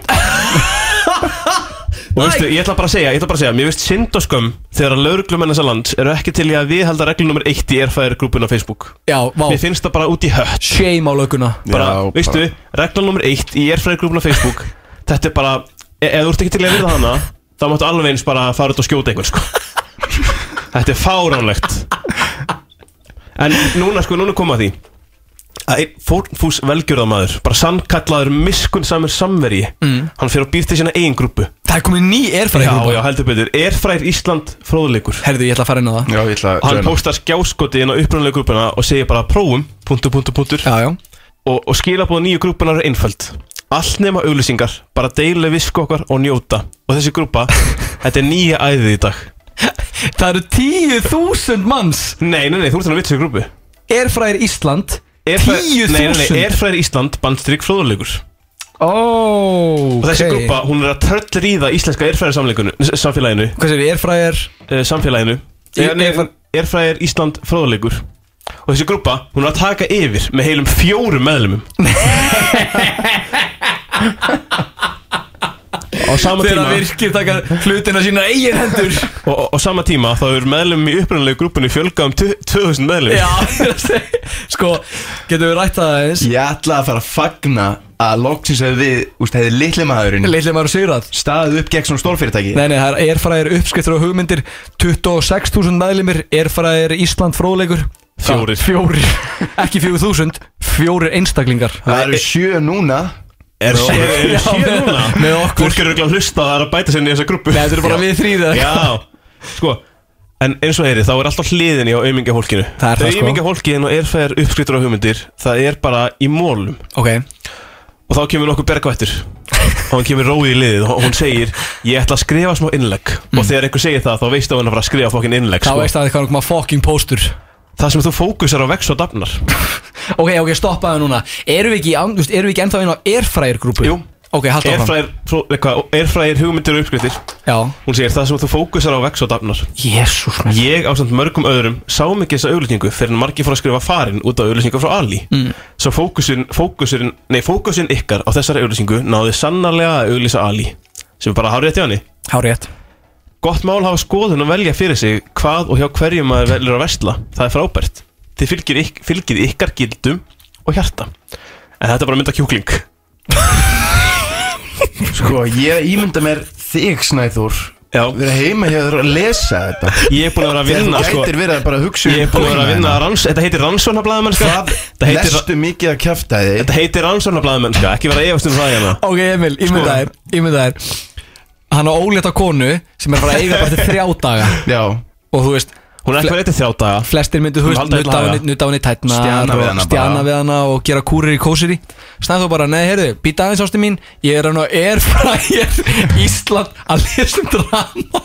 Speaker 4: og veistu, ég ætla bara að segja ég ætla bara að segja, mér veist synd og skömm þegar að lauruglumenn þessa land eru ekki til í að viðhalda reglum nummer 1 í erfæðir grúpun á Facebook
Speaker 3: Já, vá
Speaker 4: mér finnst það bara út í hött
Speaker 3: Shame á lögguna
Speaker 4: bara, veistu, regla nummer 1 í erfæðir grúpun á Facebook þetta er bara, e ef þú ert ekki til í að virða hana þá máttu alveg eins bara fara út og skjóta einhvern sko. þetta er fáránlegt en núna sko, núna koma að því að einn fórnfús velgjörðamaður bara sannkallaður miskun samir samveri
Speaker 3: Mm.
Speaker 4: hann fyrir að býr til sína eigin grúpu
Speaker 3: Það er komið ný erfræði
Speaker 4: já, já, heldur betur, erfræðir Ísland fróðleikur
Speaker 3: Herðu, ég ætla að fara inn á það
Speaker 16: Já, ég ætla
Speaker 4: og hann postar skjáskoti inn á upprunalega grúpuna og segir bara prófum, punktu, punktu, punktur
Speaker 3: já, já.
Speaker 4: og, og skilabóða nýju grúpunar er einföld allt nema auglýsingar, bara deila visku okkar og njóta og þessi grúpa, þetta er nýja æðið í dag
Speaker 3: Það eru tíu þúsund manns
Speaker 4: nei, nei, nei, þú ert hann að vitsa í grúpu
Speaker 3: Erfræðir Ísland Tíu
Speaker 4: Nei, nei, nei,
Speaker 3: þúsund
Speaker 4: erfræðir Ísland bandstrykk fróðleikur
Speaker 3: Ó,
Speaker 4: Og þessi grúpa, hún er að tröllríða íslenska erfræðarsamfélaginu
Speaker 3: Hvað segir við, erfræðir?
Speaker 4: Samfélaginu Eh, nei, Erfræðir Ísland fróðleikur Og þessi grúpa, hún er að taka yfir með heilum fjórum meðlumum Á sama
Speaker 3: Þegar
Speaker 4: tíma
Speaker 3: að virkir taka hlutina sína eigin hendur
Speaker 4: Og, og, og sama tíma þá er meðlum í upprunalegu grúpunni fjölgað um tu- 2000 meðlum
Speaker 3: Já, ég er að segja, sko, getum við rætt það aðeins
Speaker 16: Ég ætla að fara að fagna að loksins hefði við, úst, hefði litli maðurinn
Speaker 3: Litli maður sigrað
Speaker 16: Staðið upp gegn svona stórfyrirtæki
Speaker 3: Nei, nei, það er erfræðir uppskriftur og hugmyndir 26.000 meðlimir, erfræðir Ísland fróðleikur
Speaker 4: Fjórir.
Speaker 3: Fjórir, ekki 4.000, fjórir einstaklingar
Speaker 16: Það eru sjö núna
Speaker 4: Er
Speaker 13: Með
Speaker 4: sér,
Speaker 13: okkur.
Speaker 4: er sér
Speaker 13: Já,
Speaker 4: núna?
Speaker 13: með- með okkur.
Speaker 4: Fólk er auðvitað að hlusta og það er að bæta sér inn í þessa grúpu
Speaker 13: Nei, þetta eru bara
Speaker 4: Já.
Speaker 13: við þrír eða-
Speaker 4: Já, sko En eins og heyri, þá er alltaf hliðin í á auðmingja fólkinu Það
Speaker 13: er það, sko.
Speaker 4: Auðmingja fólkin og erfæðar uppskriftur og hugmyndir Það er bara í mólum
Speaker 13: Ok
Speaker 4: Og þá kemur nokkuð bergvættur Og hann kemur róið í liðið og hún segir Ég ætla að skrifa smá innlegg Og þegar einhver segir það, þá veistu að hann er að fara að skrifa fokkin
Speaker 13: Mm.
Speaker 4: innlegg
Speaker 13: Þá
Speaker 4: sko.
Speaker 13: veist það hvað er okkur fucking póstur
Speaker 4: Það sem þú fókusar á vex og dafnar
Speaker 13: Ok, ok, stoppaðu núna Erum við ekki, í an- þú veist, erum við ekki ennþá inn á Airfryer grúpu? Jú Ok, haldt áfram
Speaker 4: Erfræðir, fró- eitthvað, erfræðir hugmyndir og uppskriftir
Speaker 13: Já
Speaker 4: Hún segir það sem þú fókusar á vex og dafnar
Speaker 13: Jésús
Speaker 4: Ég ásamt mörgum öðrum sá mikið þessa auðlýtingu fyrir en margir fór að skrifa farin út af auðlýtingu frá Ali
Speaker 13: Mm.
Speaker 4: Svo fókusin, fókusin, nei, fókusin ykkar á þessari auðlýsingu náði sannarlega að auðlýsa Ali sem er bara hárið eftir hann
Speaker 13: Hárétt
Speaker 4: Gott mál hafa skoðun að velja fyrir sig hvað og hjá hverjum maður velur að versla Það er frábært Þið fylgir, ykk, fylgir ykkar gildum og hjarta En þetta er bara mynda kjúkling
Speaker 15: Sko, ég er að ímynda mér þig, Snæður
Speaker 4: Já
Speaker 15: Verið heima hjá þér að lesa þetta
Speaker 4: Ég er búin að vera að vinna sko.
Speaker 15: Þegar þú
Speaker 16: sko.
Speaker 15: gætir verið að bara hugsa um
Speaker 4: Ég er búin að vera að
Speaker 15: bókina
Speaker 4: vinna
Speaker 15: hérna.
Speaker 4: ranns, Þetta heitir rannsóknarblæðamennska
Speaker 15: Það
Speaker 4: Þetta heitir-
Speaker 15: lestu mikið að kjæfta þig
Speaker 4: Þetta heitir rannsóknarblæðamennska Ekki vera að efast um það hérna
Speaker 13: Ok, Emil, ímynda þér, ímynda þér Sko. Hann á ólétta konu sem er bara að eiga bara til þrjá daga
Speaker 15: Já
Speaker 13: Og þú veist
Speaker 4: Hún er ekki verið til þrjá daga
Speaker 13: Flestir myndu, þú
Speaker 4: Hún
Speaker 13: veist,
Speaker 4: halda
Speaker 13: nutta á
Speaker 4: illa
Speaker 13: henni-
Speaker 4: haga.
Speaker 13: nutta á henni tætna
Speaker 4: Stjana við hana bara.
Speaker 13: Stjana við hana og gera kúrir í kósiri Snæður bara, nei, heyrðu, býta aðeins ástu mín Ég er hann á Airfryer Ísland að lesa um drama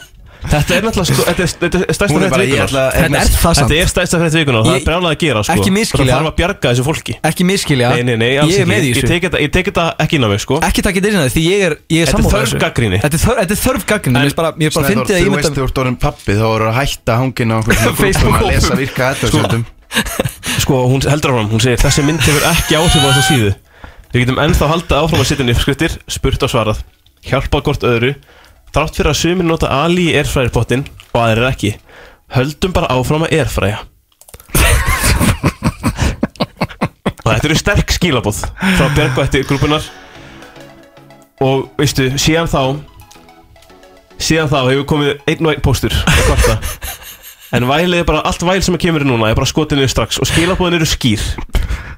Speaker 4: Þetta er náttúrulega sko, þetta er, þetta er stærsta
Speaker 13: Hún er
Speaker 4: frétt
Speaker 13: bara, ég
Speaker 4: vikunar
Speaker 13: ætla að-
Speaker 4: Þetta er það samt Þetta er stærsta frétt vikunar og það
Speaker 13: Ég-
Speaker 4: er brjálað að gera sko
Speaker 13: Ekki misskilja.
Speaker 4: Það þarf að bjarga þessu fólki
Speaker 13: Ekki miskilja
Speaker 4: Nei, nei, nei, alls
Speaker 13: Ég er
Speaker 4: ekki.
Speaker 13: með í
Speaker 4: Ég
Speaker 13: þessu.
Speaker 4: tek þetta- Ég tek þetta ekki inn á mig sko
Speaker 13: Ekki takk eitthvað inn að því ég er, ég er
Speaker 4: Þetta er
Speaker 13: sammála
Speaker 4: þörf
Speaker 13: þessu.
Speaker 4: gagnrýni.
Speaker 13: Þetta er þörf- þetta er þörf gaggrinni Mér er bara, mér er bara fyndið að
Speaker 15: þú
Speaker 13: ég
Speaker 15: veist
Speaker 13: mynda
Speaker 15: þú ert orðin pappi Þá voru að hætta að hangina á einhverjum grúppum
Speaker 4: Facebook-hópum.
Speaker 15: Að lesa virka aðtöðsendum
Speaker 4: Sko, hún heldur áfram, hún segir Þessi mynd hefur ekki áhrif á þessa síðu Við getum ennþá haldið áfram að setja inn uppskriftir Spurt og svarað Hjálpað hvort öðru Þrátt fyrir að sumir nota Ali í erfræðirpottin Og aðrir ekki Höldum bara áfram að erfræja Og þetta eru sterk skilabóð Frá Björgvætti grúpunar Og veistu, síðan þá Síðan þá hefur komið einn og einn póstur og kvarta En vælið er bara allt væl sem kemur núna er bara skotið niður strax og skilabóðin eru skýr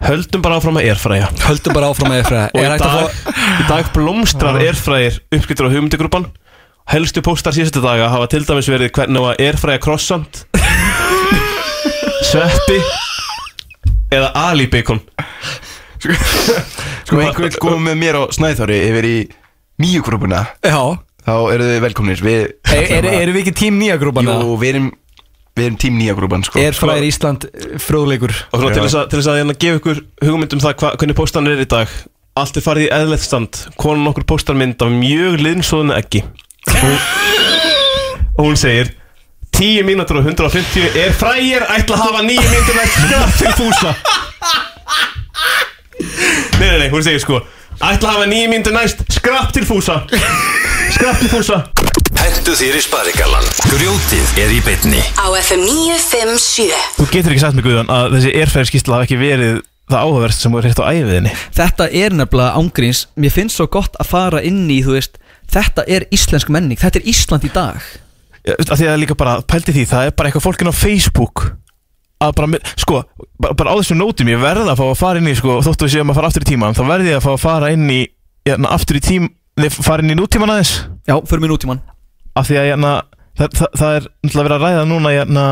Speaker 4: Höldum bara áfram að erfræja
Speaker 13: Höldum bara áfram að erfræja
Speaker 4: Og
Speaker 13: Er
Speaker 4: í
Speaker 13: hægt að Ah.
Speaker 4: dag, í dag blómstrar
Speaker 13: Já.
Speaker 4: erfræjir uppskiptur á hugmyndigrúpan Helstu póstar síðustu daga hafa til dæmis verið hvernig á að erfræja krossant Sveppi Eða alibikon
Speaker 15: Sko, einhver vill koma með mér á Snæðóri Yfir í nýju grúppuna
Speaker 13: Já
Speaker 15: Þá eru þið velkomnir Við
Speaker 13: Er- er- erum við ekki tím nýja grúpan,
Speaker 15: Jú, við erum Við erum tím nýja grúpan sko.
Speaker 13: Airfryer Ísland eh, fróðleikur
Speaker 4: Og svona til þess að, til þess að hérna gefa ykkur hugmynd um það hva, hvernig póstan er í dag Allt er farið í eðlert stand Konan okkur póstar mynd af mjög liðnsóðinu ekki Og hún segir 10 mínútur og 150 er frægir ætla að hafa nýju myndir ekstra til fúsa Nei, nei, nei, hún segir sko Ætla að hafa nýju myndir næst Skrapp til fúsa Skrapp til fúsa
Speaker 8: Hentu þér í sparigallan Grjótið er í bytni
Speaker 2: Á FM 957
Speaker 4: Þú getur ekki sagt mig Guðan að þessi erfæðskísla hafa ekki verið það áhugaverst sem þú er hitt á æfiðinni
Speaker 3: Þetta er nefnilega ángríns Mér finnst svo gott að fara inn í, þú veist Þetta er íslensk menning, þetta er Ísland í dag
Speaker 4: Já, veist, að því að líka bara, pældi því, það er bara eitthvað fólkin á Facebook að bara, með- sko, bara, bara á þessum nótum ég verða að fá að fara inn í, sko, þóttu við séum að fara aftur í tíman, þá verði ég að fá að fara inn í jæna, aftur í tím, þið fara inn í nútíman aðeins
Speaker 3: Já, förum í nútíman
Speaker 4: Af því að, jæna, það, það, það er náttúrulega verið að ræða núna, jæna,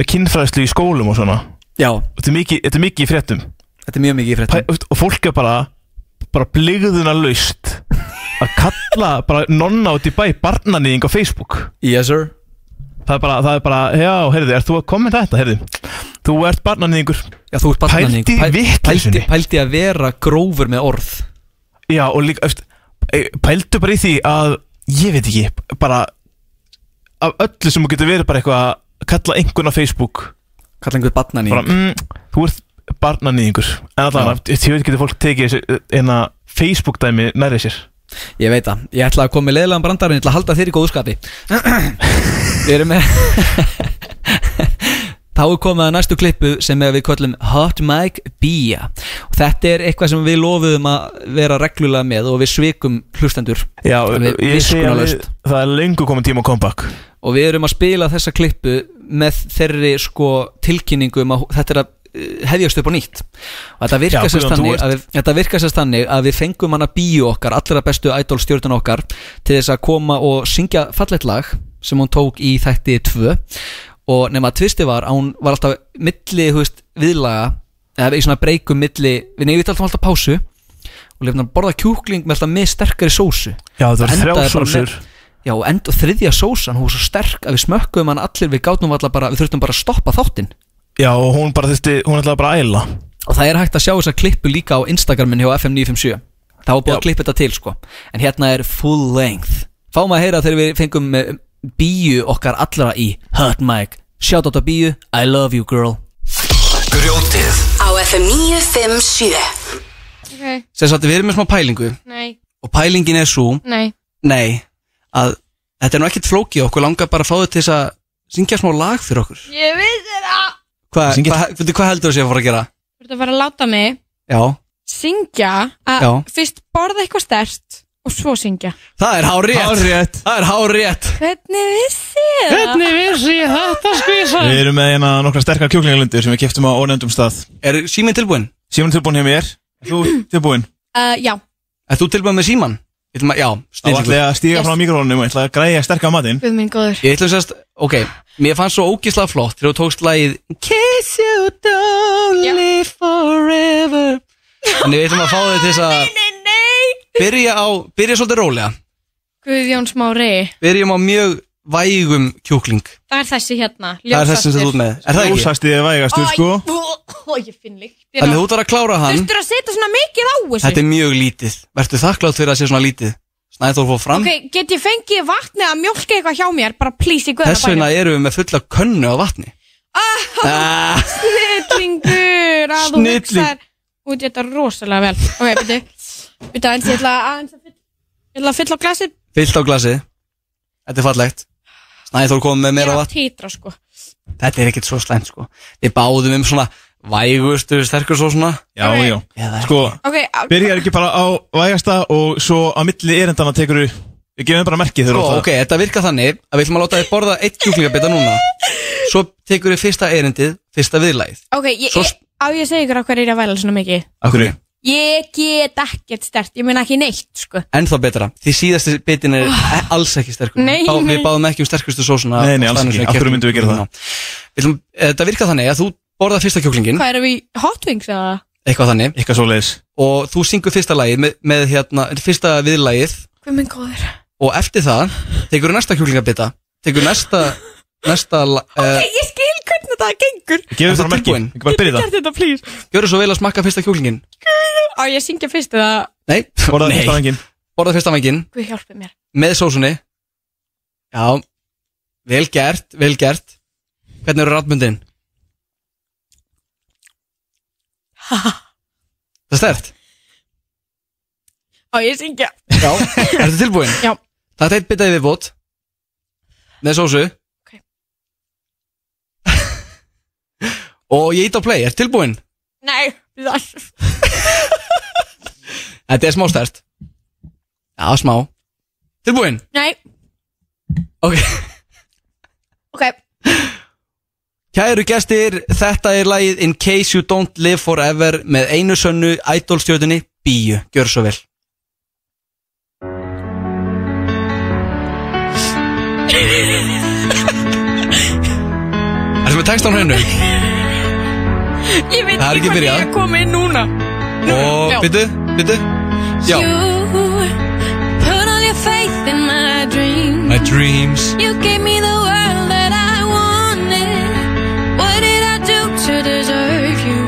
Speaker 4: með kynfræðslu í skólum og svona
Speaker 3: Já
Speaker 4: Þetta er mikið, þetta er mikið í fréttum
Speaker 3: Þetta er mjög mikið í fréttum
Speaker 4: Pæ, Og fólk er bara, bara bligðuna laust að kalla bara nonna út í bæ barnanýðing á Facebook
Speaker 3: Yes sir
Speaker 4: Það er bara, það er bara, já, heyrðu, ert þú að koma með þetta, heyrðu Þú ert barnanýðingur
Speaker 3: Já, þú ert barnaníðingur. Pæ-
Speaker 4: Pældi
Speaker 3: pældi,
Speaker 4: vittlisunni
Speaker 3: pældi að vera grófur með orð
Speaker 4: Já, og líka, eftir, pældu bara í því að, ég veit ekki, bara Af öllu sem þú getur verið bara eitthvað að kalla einhvern á Facebook
Speaker 3: Kalla einhvern barnanýðing
Speaker 4: Bara, mm, þú ert barnanýðingur En allavega, ég veit getur fólk tekið þessu, eh, en að Facebook dæmi nærið sér
Speaker 3: Ég veit það, ég ætla að koma með leiðilegan brandarinn Ég ætla að halda þér í góðu skapi Við erum með Þá er komið að næstu klippu sem við köllum Hot Mic Bia og þetta er eitthvað sem við lofuðum að vera reglulega með og við svikum hlustendur
Speaker 4: Já,
Speaker 3: við,
Speaker 4: ég segi að
Speaker 3: viskunarlaust.
Speaker 4: við- það er löngu komið tíma að comeback
Speaker 3: og við erum að spila þessa klippu með þeirri sko tilkynningu um að þetta er að
Speaker 10: eh, hefjast upp á nýtt og þetta
Speaker 4: Já,
Speaker 10: virkar sérst
Speaker 4: Guðjón, þú
Speaker 10: þannig
Speaker 4: ert-
Speaker 10: að við, þetta virkar sérst þannig að við fengum hana bíu okkar allra bestu idol stjórnun okkar til þess að koma og syngja fallett lag sem hún tók í þætti 2 og nema að tvisti var að hún var alltaf milli, þú veist, viðlaga eða í svona breykum milli við neyfum alltaf alltaf pásu og lefnum að borða kjúkling með alltaf með sterkari sósu
Speaker 4: Já, þetta voru
Speaker 10: endaði
Speaker 4: þrjár
Speaker 10: bara með-
Speaker 4: sósur.
Speaker 10: Já, og, end, og þriðja sósan, hún var svo sterk að við smökkuðum hann allir, við gátum alltaf bara, við þurftum bara að stoppa þáttinn
Speaker 4: Já, og hún bara þurfti, hún ætlaði bara að æla
Speaker 10: og það er hægt að sjá þessa klippu líka á Instagramin hjá FM957 það var búið að klippa þetta til sko en hérna er full length fáum að heyra þegar við fengum eh, bíu okkar allra í Hot Mic shout out á bíu, I love you girl
Speaker 13: Grjótið
Speaker 2: Á FM 957
Speaker 17: Ok,
Speaker 3: Sér satt við erum með smá pælingu
Speaker 17: nei,
Speaker 3: og pælingin er svo,
Speaker 17: nei
Speaker 3: nei, að þetta er nú ekkert flókið okkur langar bara að fá þetta til þess að syngja smá lag fyrir okkur.
Speaker 17: Ég vissi það
Speaker 3: Hvað hva, veitu, hvað heldur þú sé að fara að gera?
Speaker 17: Þú ert að fara að láta mig
Speaker 3: Já,
Speaker 17: syngja að
Speaker 3: Já.
Speaker 17: fyrst borða eitthvað stert og svo syngja
Speaker 3: það er hárétt. Hárétt. Það er hárétt.
Speaker 17: Hvernig vissi ég það?
Speaker 6: Hvernig vissi ég þetta skvísa?
Speaker 4: Við erum með hérna nokkra sterkar kjúklingalundir sem við kiptum á ónefndum stað
Speaker 3: Er síminn tilbúinn?
Speaker 4: Síminn tilbúinn hjá mér Er Þú tilbúinn?
Speaker 17: Uh, já,
Speaker 3: Er þú tilbúin með síman? Já,
Speaker 4: Þá ætla ég að stíga frá mikrofónum og ætla að græja sterkar matinn
Speaker 17: guð minn góður
Speaker 3: Ég ætlum sérst, ok, mér fannst svo ógislega flott þegar þú tókst lagið Kiss you don't live forever Þannig við ætlum að fá þau til þess að byrja á, byrja svolítið rólega
Speaker 17: Guðjón Smári
Speaker 3: Byrjum á mjög vægum kjúkling
Speaker 17: Það er þessi hérna,
Speaker 3: Það er þessi sem þú ert með, er það ekki?
Speaker 4: Ljósasti er vægastur, sko.
Speaker 17: Ó, ég finn líkt
Speaker 3: Þannig þú ætlar að klára hann
Speaker 17: Þurftur að setja svona mikið á þessu
Speaker 3: Þetta er mjög lítið, verður þakklátt fyrir að sé svona lítið Snæður fór fram
Speaker 17: Ok, get ég fengið vatnið að mjólka eitthvað hjá mér bara please í guðra
Speaker 3: Þess vegna erum við með fulla könnu á vatni Ah,
Speaker 17: Snillingur að þú
Speaker 3: Snilling.
Speaker 17: hugsaðir út í þetta rosalega vel Ok, byrju Byrju aðeins, ég ætla aðeins að fylla Ég ætla að fylla á glasið
Speaker 3: Fyllt á glasið Þetta er fallegt Snæður komið með
Speaker 17: Ég er
Speaker 3: meira vatn
Speaker 17: að títra sko
Speaker 3: Þetta er ekkert svo slæmt sko Við báðum um svona vægustu, sterkur svo svona
Speaker 4: Já, já Sko,
Speaker 17: Ok, á-
Speaker 4: byrjar ekki bara á vægasta og svo á milli erindana tekur við Við gefum bara merki þegar
Speaker 3: Sko,
Speaker 4: þú ætlar-
Speaker 3: ok, þetta virkar þannig að við ætlum að láta þið borða eitt kjúklingabita núna Svo tekur við fyrsta erindið, fyrsta viðlæð
Speaker 17: Ok, ég, ég, á ég að segja ykkur okkur er ég að væla svona mikið
Speaker 3: Akkur
Speaker 17: Ég get ekkert stert, ég meina ekki neitt sko
Speaker 3: Ennþá betra, því síðasti bitin er e- alls ekki sterkur
Speaker 17: Ah. Nei,
Speaker 3: Bá,
Speaker 17: nei.
Speaker 3: Við báðum ekki um sterkustu sósuna
Speaker 4: Nei, nei, alls ekki. Af hverju myndum við gera það?
Speaker 3: eh, það? Þetta virkar þannig að þú borða fyrsta kjúklingin
Speaker 17: Hvað erum við, í hot wings eða?
Speaker 3: Eitthvað þannig
Speaker 4: Eitthvað svoleiðis
Speaker 3: Og þú syngur fyrsta lagið með, með hérna, fyrsta viðlægið
Speaker 17: Guð minn góður
Speaker 3: Og eftir það tekur næsta kjúklingabita Tekur næsta, næsta
Speaker 17: Ok,
Speaker 3: uh,
Speaker 17: ég skil hvernig þetta gengur
Speaker 3: Gefum bara merki, ekki bara byrja
Speaker 17: Gert þetta, please
Speaker 3: Gjörðu svo vel að smakka fyrsta kjúklingin
Speaker 17: Á ég að syngja fyrst eða
Speaker 3: Nei, borða
Speaker 4: fyrsta vanginn
Speaker 3: Borða fyrsta vanginn
Speaker 17: Guð hjálpi mér
Speaker 3: með sósunni Já, vel gert, vel gert Hvernig eru ratmundin? Það er stert
Speaker 17: Á ég að syngja
Speaker 3: Já, ertu tilbúin?
Speaker 17: Já.
Speaker 3: Það er eitt bitið viðbót með sósu Og ég ít á play, ertu tilbúin?
Speaker 17: Nei, það
Speaker 3: Þetta er smá stert Já, smá Tilbúin?
Speaker 17: Nei,
Speaker 3: Ok
Speaker 17: ok
Speaker 3: Kæru gestir, þetta er lagið In Case You Don't Live Forever með einu sönnu idolstjörðunni Bíu, gjör svo vel Ertu með textan hreinu?
Speaker 17: Ég veit
Speaker 3: Það er
Speaker 17: ekki hvað
Speaker 3: ekki
Speaker 17: ég
Speaker 3: byrjað.
Speaker 17: er að koma inn núna
Speaker 3: Og,
Speaker 17: Já.
Speaker 3: byttu, byttu Já,
Speaker 18: You put all your faith in my dream.
Speaker 3: my dreams
Speaker 18: You gave me the world that I wanted. What did I do to deserve you?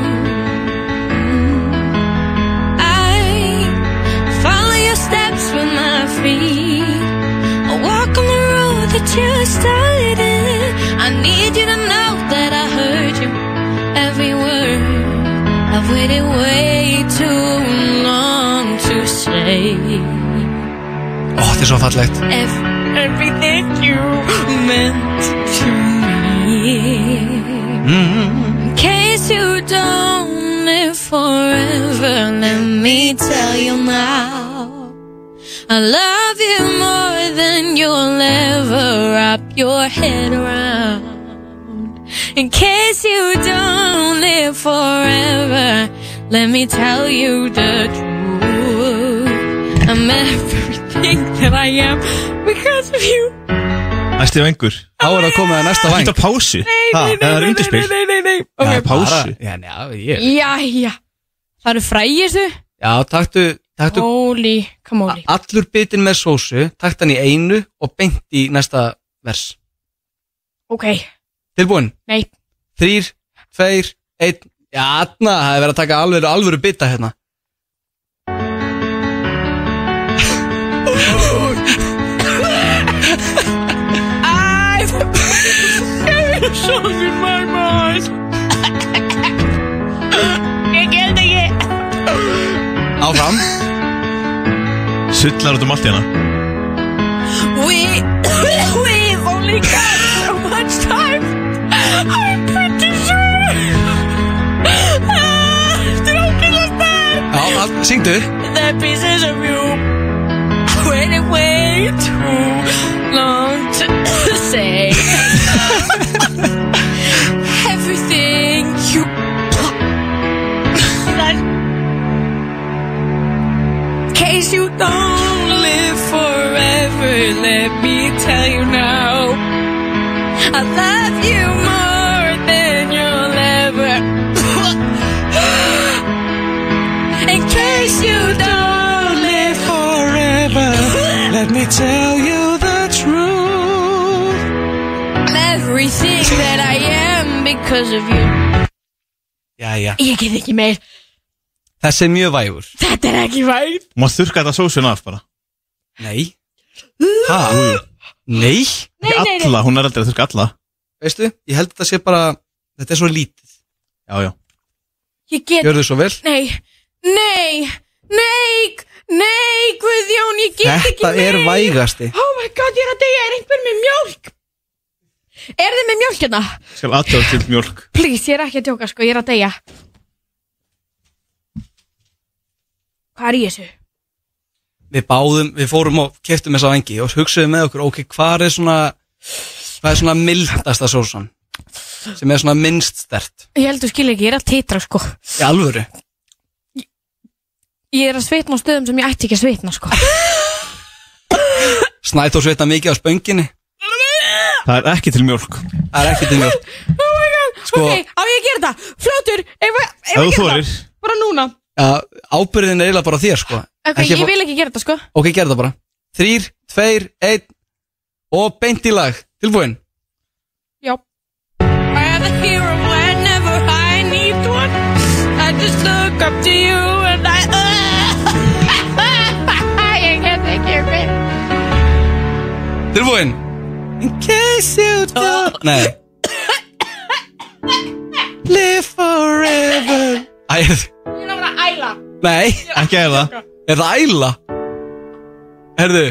Speaker 18: I follow your steps with my feet. I walk on the road that you started. I need you to know that I heard you every word. I've waited way too long to say.
Speaker 3: Ó, þetta er svo fallegt
Speaker 18: Ev- everything you meant to me. In case you don't live forever, let me tell you now. I love you more than you'll ever wrap your head around. in case you don't live forever. Let me tell you the truth. I'm everything that I am because of you.
Speaker 4: Næsti vengur
Speaker 3: Þá er það komið að næsta væng
Speaker 4: Þetta pásu
Speaker 18: Nei, nei, nei, nei, nei, nei, nei, nei, nei.
Speaker 3: Það er
Speaker 18: Ok,
Speaker 3: pásu
Speaker 17: Já, já,
Speaker 18: Jæja, það eru frægistu
Speaker 3: Já, taktu, taktu
Speaker 18: Holy kamóli
Speaker 3: allur bitin með sósu Taktu hann í einu og beint í næsta vers
Speaker 18: Ok,
Speaker 3: Tilbúin
Speaker 18: nei,
Speaker 3: Þrýr, tveir, einn Já, na, það er verið að taka alveg alvöru bita hérna
Speaker 18: I've been a song in my mind Ég get ekki
Speaker 3: Áfram
Speaker 4: Sullar út um allt hérna
Speaker 18: We, we've only got so much time I'm pretty sure Ah, Þetta er ókvæmlega stær
Speaker 3: Já, syngdu
Speaker 18: The pieces of you waiting way too long to say everything you that in case you don't live forever let me tell you now I love you more than you'll ever in case you don't live forever, let me tell you the truth. I'm everything that I am because of you.
Speaker 4: Jæja
Speaker 18: Ég get ekki meir.
Speaker 3: Þessi er mjög vægur
Speaker 18: Þetta er ekki vægt.
Speaker 4: Má þurrka þetta sósun af bara
Speaker 3: Nei
Speaker 4: Ha?
Speaker 3: Nei
Speaker 18: Nei, nei, nei.
Speaker 4: Alla, hún er aldrei að þurrka alla
Speaker 3: Veistu, ég held að þetta sé bara Þetta er svo lítið
Speaker 4: Já, já
Speaker 18: Ég get...
Speaker 3: Gjörðu svo vel
Speaker 18: Nei, nei, nei, nei, Guðjón, ég get ekki
Speaker 3: Þetta
Speaker 18: meir.
Speaker 3: er vægasti
Speaker 18: Oh my god, ég er að deyja, er einhver með mjólk? Er þið með mjólk hérna?
Speaker 4: Skal aðtöða til mjölk
Speaker 18: Please, ég er ekki að djóka, sko, ég er að deyja. Hvað er í þessu?
Speaker 3: Við báðum, við fórum og keftum þessa vengi Og hugsuðum með okkur, ok, hvað er svona Hvað er svona mildasta sósan Sem er svona minnst stert
Speaker 18: Ég held að skilja ekki, ég er að titra sko
Speaker 3: Í alvöru
Speaker 18: Ég er að svitna á stöðum sem ég ætti ekki að svitna sko
Speaker 3: Snæþór sveitna mikið á spönginni
Speaker 4: Það er ekki til mjölk
Speaker 3: Það er ekki til mjölk
Speaker 18: Oh my god,
Speaker 3: Sko-
Speaker 18: ok, á ég að gera það Fljótur, ef ef- ef ég
Speaker 3: Ef þú
Speaker 18: gera
Speaker 3: þorir.
Speaker 18: það Bara núna
Speaker 3: ja, Ábyrðin er eiginlega bara á þér sko
Speaker 18: Ok,
Speaker 3: Ekki
Speaker 18: ég
Speaker 3: fá-
Speaker 18: vil ekki gera það sko
Speaker 3: Ok, gerð það bara Þrýr, tveir, einn Og beint í lag Tilbúin
Speaker 18: I'm the hero whenever I need one I just look up to you and I Ég get ekki meir
Speaker 3: Tilbúin In case
Speaker 18: Oh.
Speaker 3: you don't Nei Live forever Æ,
Speaker 18: Ég er að vera að æla
Speaker 3: nei Ekki æla Er það æla? Herðu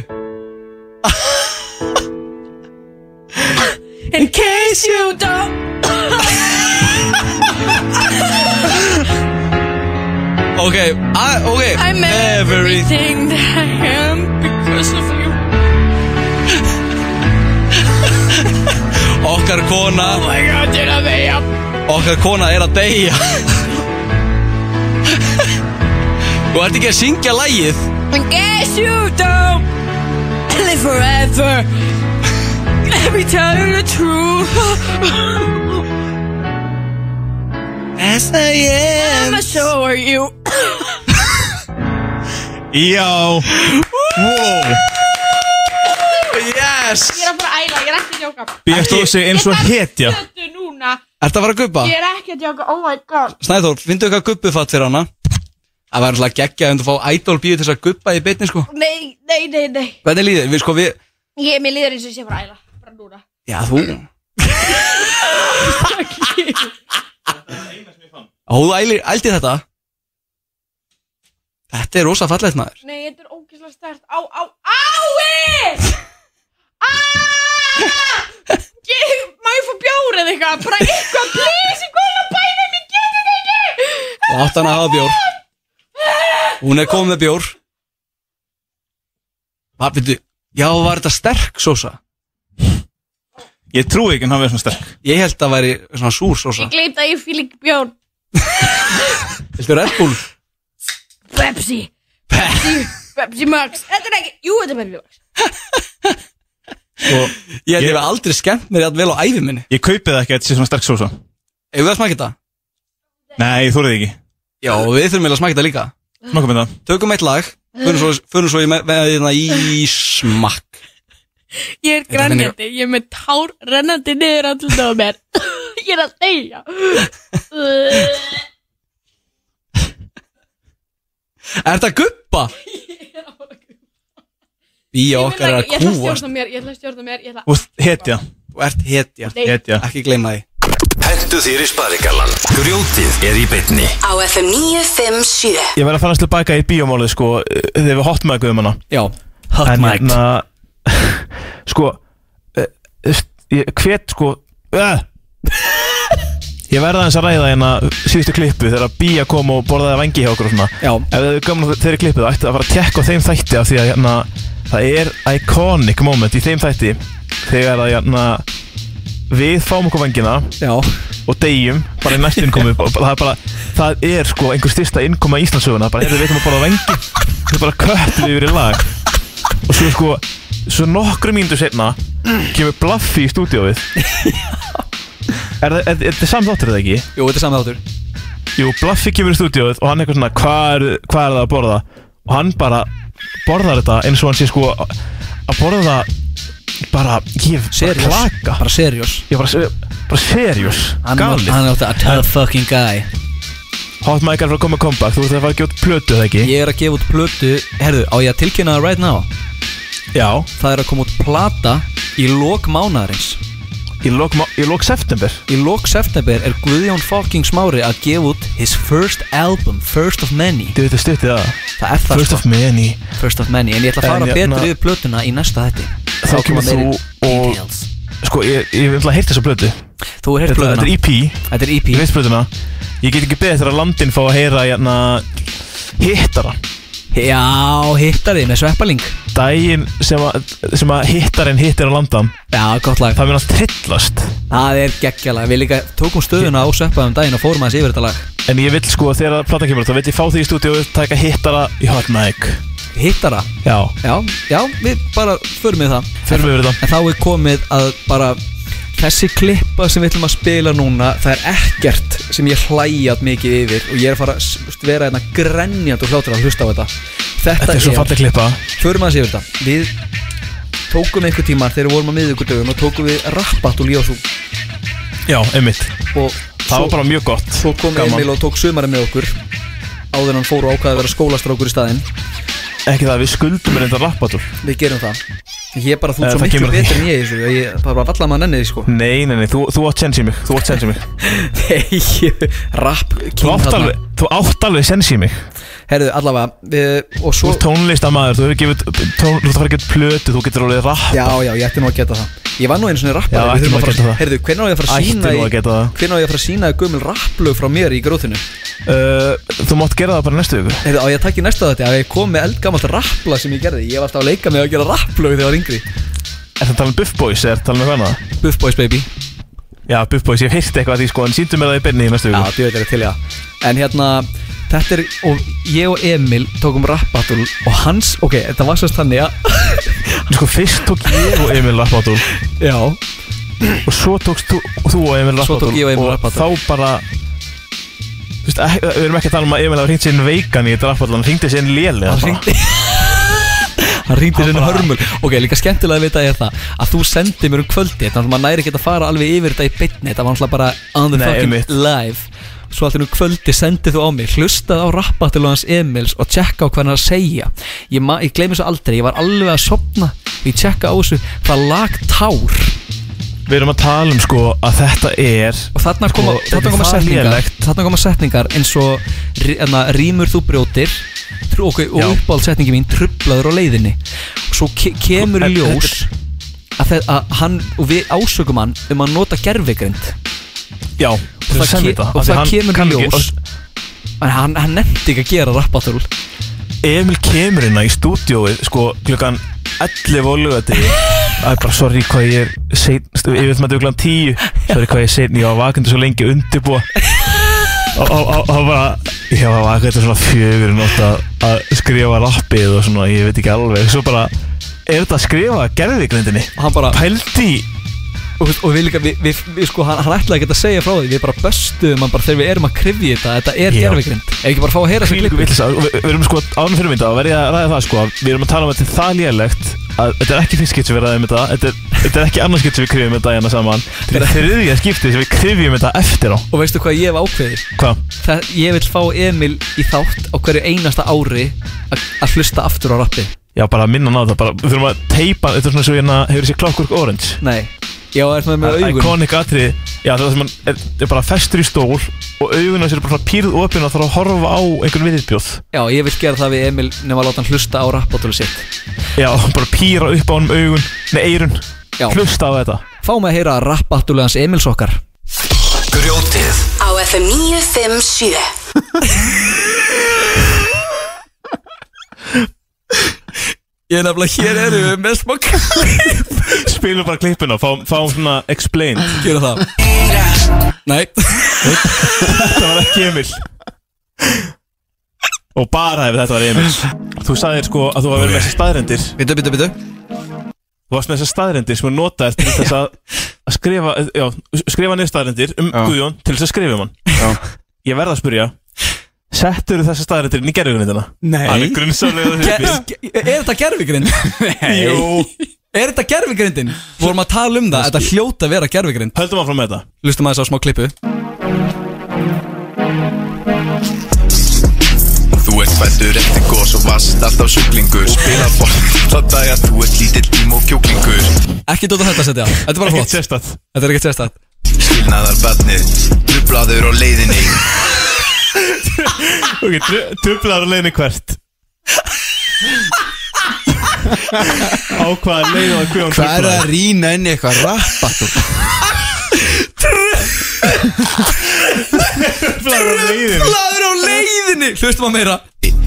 Speaker 18: In case you don't
Speaker 3: Ok, a, ok
Speaker 18: I'm everything that I am because of you
Speaker 3: Okkar kona
Speaker 18: Oh my god, ég er að veja
Speaker 3: Okkar kona er að deyja Þú ert ekki að syngja lagið
Speaker 18: In case you don't live forever, let me tell you the truth.
Speaker 3: As I am.
Speaker 18: I'ma show you.
Speaker 4: Já Wow
Speaker 3: Yes
Speaker 18: Ég er að fara að æla, ég er ekki að djóka.
Speaker 4: Bíðast þú sig eins og hetja
Speaker 18: Þetta er núna.
Speaker 3: Ert að fara að guppa?
Speaker 18: Ég er ekki að djóka, oh my god.
Speaker 3: Snæþór, fyndu eitthvað guppufatt fyrir hana Það væri alltaf geggja að fá idol bíu til þess að guppa í beinni sko
Speaker 18: Nei, nei, nei, nei.
Speaker 3: Hvernig líður, þér? við sko við
Speaker 18: Ég, mér líður eins og ég sé að fara að æla. Bara núna.
Speaker 3: Já, þú Ó, þú ælir, ældi þetta Þetta er rosa fallegt maður
Speaker 18: nei, þetta er ógeðslega stert. Á, á, ái! Ah! Ég, má ég fá bjór eða eitthvað? Bara eitthvað, please, ég góða bænum, ég get þetta ekki!
Speaker 3: Þú átt hann að hafa bjór Hún er komið með bjór Hvað, veitu Já, var þetta sterk sósa
Speaker 4: Ég trúi ekki en hann verið svona sterk
Speaker 19: Ég held að væri svona súr sósa
Speaker 17: Ég gleymt að ég fíl ekki bjórn
Speaker 19: Viltu Red Bull?
Speaker 17: Pepsi Pepsi Pepsi Max Þetta er ekki Jú, þetta er Pepsi Max
Speaker 19: Ég held ég hef aldrei skemmt mér jafn vel á ævi minni
Speaker 4: Ég kaupi það ekki að þetta sé svona sterk sósa
Speaker 19: Eða við að smaka þetta?
Speaker 4: Nei, ég þúrið ekki
Speaker 19: Já, við þurfum eiginlega að smaka þetta líka
Speaker 4: Smakum þetta
Speaker 19: Tökum eitt lag Förum svo, förum svo í, með, með, með, í smakk
Speaker 17: Ég er grænjandi Ég er með tár rennandi niður andlunda á mér Ég er að deyja
Speaker 19: Er þetta guppa? Bíó okkar er að
Speaker 17: Ég ætla að
Speaker 19: kúast
Speaker 17: stjórna mér Ég ætla að stjórna mér Ég ætla
Speaker 4: Þú ert hetja
Speaker 19: Þú ert hetja
Speaker 17: Nei. Hetja.
Speaker 19: Ekki gleyma því
Speaker 8: Hentu þér í sparigallan Grjótið er í bytni
Speaker 2: Á FM 957
Speaker 4: Ég verði að fara að tilbaka í bíómálið sko Þegar við hotmækuðum hana
Speaker 19: Já,
Speaker 4: hotmækt
Speaker 3: hérna-
Speaker 4: hérna, Sko eh, eh, ég- Hvet sko uh, Ég verði aðeins að ræða hérna síðustu klippu þegar Bía kom og borðaði vangi hjá okkur og svona Já. Ef þið hefur gaman af þeirri klippu þá ættu að fara að tekka á þeim þætti af því að hérna, það er iconic moment í þeim þætti þegar að hérna, við fáum okkur vangina
Speaker 3: Já.
Speaker 4: og deyjum bara í næstu innkomu og það er bara það er sko einhver styrsta innkoma í Íslandsöguna bara hefur við veitum að borða vangi þau bara köttum yfir í lag og svo sko svo nokkru mínútur setna kemur Bluffy í stúdíóið Er það- er- er þetta samþáttur eða ekki?
Speaker 19: Jú, þetta er samþáttur
Speaker 4: Jú, Blaffi kemur í stúdíóið og hann eitthvað svona hvað er, hvað er það að borða? Og hann bara borðar þetta eins og hann sé sko að borða bara, ég
Speaker 3: Serious.
Speaker 4: bara klaka
Speaker 3: Bara seriós
Speaker 4: Ég bara, se- bara serious
Speaker 3: Hann- hann er alltaf a tough
Speaker 4: fucking guy Hot Mike er frá að koma comeback, þú ert að fara að gefa út plötu eða ekki?
Speaker 3: Ég er að gefa út plötu Herðu, á ég að tilkynna það right now
Speaker 4: Já
Speaker 3: Það er að koma út plata í lok mánaðarins
Speaker 4: Í lok, í lok september
Speaker 3: Í lok september er Guðjón fucking smári að gefa út his first album First of many
Speaker 4: Þú veit að stutti það
Speaker 3: Það er það
Speaker 4: First
Speaker 3: sko.
Speaker 4: of many
Speaker 3: First of many En ég ætla að
Speaker 4: En
Speaker 3: fara
Speaker 4: hérna-
Speaker 3: betur yfir plötuna í næsta þætti
Speaker 4: Þá kemur þú og Sko, ég, ég vil að heyrta þessa blötu
Speaker 3: Þú hefur heyrt plötuna.
Speaker 4: Þetta- Þetta er E EP
Speaker 3: Þetta er EP
Speaker 4: Ég veist blötuna Ég get ekki beðið þegar að landin fá að heyra hérna Hittara
Speaker 3: Já, hittari með sveppaling
Speaker 4: Dægin sem að, sem að hittarinn hittir á landan
Speaker 3: Já, gott lag
Speaker 4: Það mun að trillast
Speaker 3: Það er geggjala Við líka tókum stöðuna á sveppaðum daginn og fórum aðeins yfir þetta lag
Speaker 4: En ég vil sko þegar að platan kemur út, Þá vil ég fá þig í stúdíu og taka hittara í hot mic
Speaker 3: Hittara?
Speaker 4: Já
Speaker 3: Já, já, við bara förum við það
Speaker 4: Förum við það
Speaker 3: En þá er komið að bara Þessi klippa sem við ætlum að spila núna Það er ekkert sem ég hlæjat mikið yfir Og ég er að fara að s- st- vera hérna grenjand og hlátur að hlusta á þetta Þetta,
Speaker 4: Þetta er svo falleg klippa.
Speaker 3: Förum aðeins yfir þetta Við tókum einhver tíma þegar við vorum á miðvíkudögun Og tókum við rappat úr Ljósú
Speaker 4: Já, einmitt
Speaker 3: og
Speaker 4: Það var bara mjög gott
Speaker 3: Svo kom
Speaker 4: Gaman.
Speaker 3: Emil og tók sumarið með okkur Áður en hann fór og ákvaði að vera skólastrákur í staðinn
Speaker 4: Ekki það, við skuldum er enda rappatur
Speaker 3: Við gerum það Ég er bara þú ert
Speaker 4: Eh,
Speaker 3: svo
Speaker 4: það
Speaker 3: miklu
Speaker 4: kemur að
Speaker 3: betur
Speaker 4: því.
Speaker 3: en ég í þessu að Ég bara bara valla maður nenni því sko
Speaker 4: Nei, nei, nei, þú, þú átt sensi mig Þú átt sensi mig
Speaker 3: Nei, ég- rap
Speaker 4: Þú átt alveg, þú átt alveg sensi mig
Speaker 3: Herðu, allavega við, Og
Speaker 4: Þú
Speaker 3: svo
Speaker 4: ert tónlistamæður, þú hefur gefið tón, Þú ert að fara að geta plötu, þú getur alveg rapp
Speaker 3: Já, já, ég ætti nú að geta það Ég var nú einu svona
Speaker 4: Já,
Speaker 3: rappari Við
Speaker 4: ætti
Speaker 3: þurfum að
Speaker 4: nú að geta
Speaker 3: fara
Speaker 4: það.
Speaker 3: Herðu, hvernig á ég að fara að
Speaker 4: Ætti
Speaker 3: sína
Speaker 4: nú að geta það.
Speaker 3: Hvernig á ég að fara að sína Gömul rapplög frá mér í gróðinu
Speaker 4: uh, Þú mátt gera það bara næstu viku
Speaker 3: Herðu, á ég að taka í næsta þetta Að ég kom með eldgamalt rappla sem ég gerði Ég var alltaf að leika með að gera rapplög þegar ég var yngri
Speaker 4: Er það að tala um Buff Boys, er það að tala um eitthvað annað?
Speaker 3: Buff Boys baby
Speaker 4: Já, Buff Boys, ég heyrti eitthvað að því sko En síndum mér það í byrni í næstu viku
Speaker 3: Já, djöðlega til ég En hérna, þetta er Og ég og Emil tókum rappatúl Og hans, ok, þetta var sérst þannig að
Speaker 4: Sko, fyrst tók ég og Emil rappatúl
Speaker 3: Já
Speaker 4: Og svo tókst þú, þú og Emil
Speaker 3: Svo
Speaker 4: rappatúl
Speaker 3: tók ég og Emil rappatúl.
Speaker 4: þá bara Þú veist, ek- við erum ekki að tala um að Emil hafa hringt sér inn veikan í þetta rappatúl Hann hringdi sko. sér inn léli
Speaker 3: Hann hringdi Hann hringdi sinni hörmul Ok, líka skemmtilega að vita er það Að þú sendi mér um kvöldi Þannig að maður næri ekki að fara alveg yfir þetta í bytni Þetta var náttúrulega bara on the
Speaker 4: Nei,
Speaker 3: fucking
Speaker 4: einmitt.
Speaker 3: live Svo alltaf nú kvöldi sendið þú á mig Hlustað á rappatúl hans Emils Og tjekka á hvað hann er að segja Ég, ma- ég gleymi svo aldrei, ég var alveg að sopna og Ég tjekka á þessu, það lag tár
Speaker 4: Við erum að tala um sko að þetta er
Speaker 3: Og þarna koma, þarna koma setningar Þarna koma setningar eins og rí- hérna, Rýmur þú brjótir trú- ok, Og
Speaker 4: Já.
Speaker 3: uppáhald setningi mín Trublaður á leiðinni Og svo ke kemur í
Speaker 4: En-
Speaker 3: ljós
Speaker 4: e-
Speaker 3: að, þe- að hann Og við ásökum hann um að nota gerfigrind
Speaker 4: Já,
Speaker 3: Og það, ke og það kemur í ljós En hann, hann nefndi ekki að gera rappatul
Speaker 4: Emil kemur hérna í stúdióið sko klukkan 11 og lögadegi Æ, bara sorry hvað ég er seinst, ég veit maður duglan tíu Sorry hvað ég er seinst, ég var vakandi svo lengi að undirbúa Og og- og- og bara, ég var vakandi svona fjögur nótt að- að skrifa rappið og svona, ég veit ekki alveg Svo bara, er þetta að skrifa gerðviklindinni?
Speaker 13: Hann bara
Speaker 4: Pældi
Speaker 13: Og, og við líka, við, við, við sko, hann, hann ætlaði ekki að segja frá því Við bara böstuðum hann bara þegar við erum að krifja þetta Þetta er
Speaker 4: Já.
Speaker 13: gerfigrind Ef ekki bara fá að heyra þessa
Speaker 4: Hvílíku
Speaker 13: klippu.
Speaker 4: vitleysa. Og Við við erum sko ánum fyrir mynda og verðið að ræða það sko að Við erum að tala um að þetta er það lélegt að þetta er ekki fyrst skipt sem við ræðum um þetta Þetta er, þetta er ekki annars skipt sem við krifjum þetta hérna saman Þetta er þriðja skiptið sem við krifjum þetta eftir á
Speaker 13: Og veistu hvað ég hef ákveðið?
Speaker 4: Hvað?
Speaker 13: Það, ég vil fá Emil í þátt á hverju einasta ári að að hlusta aftur á rappi
Speaker 4: Já, bara að minna hann á þetta, bara, við þurfum að teipa, þetta er svona svo hérna, hefur þessi Clockwork Orange
Speaker 13: Nei, já, er það með augun?
Speaker 4: Iconic atrið, já það er það sem hann er, er bara festur í stól og augun hans er bara svona pírð opinn og þarf að horfa á einhvern viðbjóð
Speaker 13: Já, ég vil gera það við Emil nema að láta hann hlusta á rappátölu sitt
Speaker 4: Já, bara píra upp á honum augun, með eirun,
Speaker 13: Já.
Speaker 4: hlusta á þetta
Speaker 13: Fá mig að heyra rappátölu hans Emils okkar
Speaker 16: Grjótið
Speaker 2: Á FM 957
Speaker 3: Ég er nefnilega, hér erum við með smá
Speaker 4: Spilum bara klippuna, fáum, fáum svona explained
Speaker 3: Gjöra það Nei
Speaker 4: Þetta var ekki Emil Og bara ef þetta var Emil Þú sagðir sko að þú var verið með þessar staðrendir
Speaker 3: Bitu, bitu, bitu
Speaker 4: Þú varst með þessar staðrendir sem er notaðir til þess að, að skrifa, já, skrifa niður staðrendir um Guðjón til þess að skrifa um hann já. Ég verð að spyrja Settur þessar staðrendir inn í gerðugrindina?
Speaker 3: Nei.
Speaker 4: Hann er grunnsamlega
Speaker 3: Ge- ge- Er þetta gerfigrind? Nei Er þetta gerfigrindin? Vorum að tala um það, þetta hljóta að vera gerfigrind
Speaker 4: Höldum áfram með þetta
Speaker 3: Lustum aðeins á smá klippu
Speaker 16: Þú ert fættur eftir gos og vast Alltaf sjúklingur Spila bort Alla daga Þú ert lítill tím og kjúklingur
Speaker 3: Ekki dóta þetta setja, þetta er bara flott Þetta er ekkert sérstætt
Speaker 16: Skilnaðar barnið Drublaður á leiðinni
Speaker 4: Ok, dublar að leiðinni hvert Á hvaða leið var Guðjón
Speaker 3: Hvað er að
Speaker 5: rýna inn í eitthvað rappatur?
Speaker 4: Drublaður á leiðinni
Speaker 3: Drublaður á leiðinni Hlustum að meira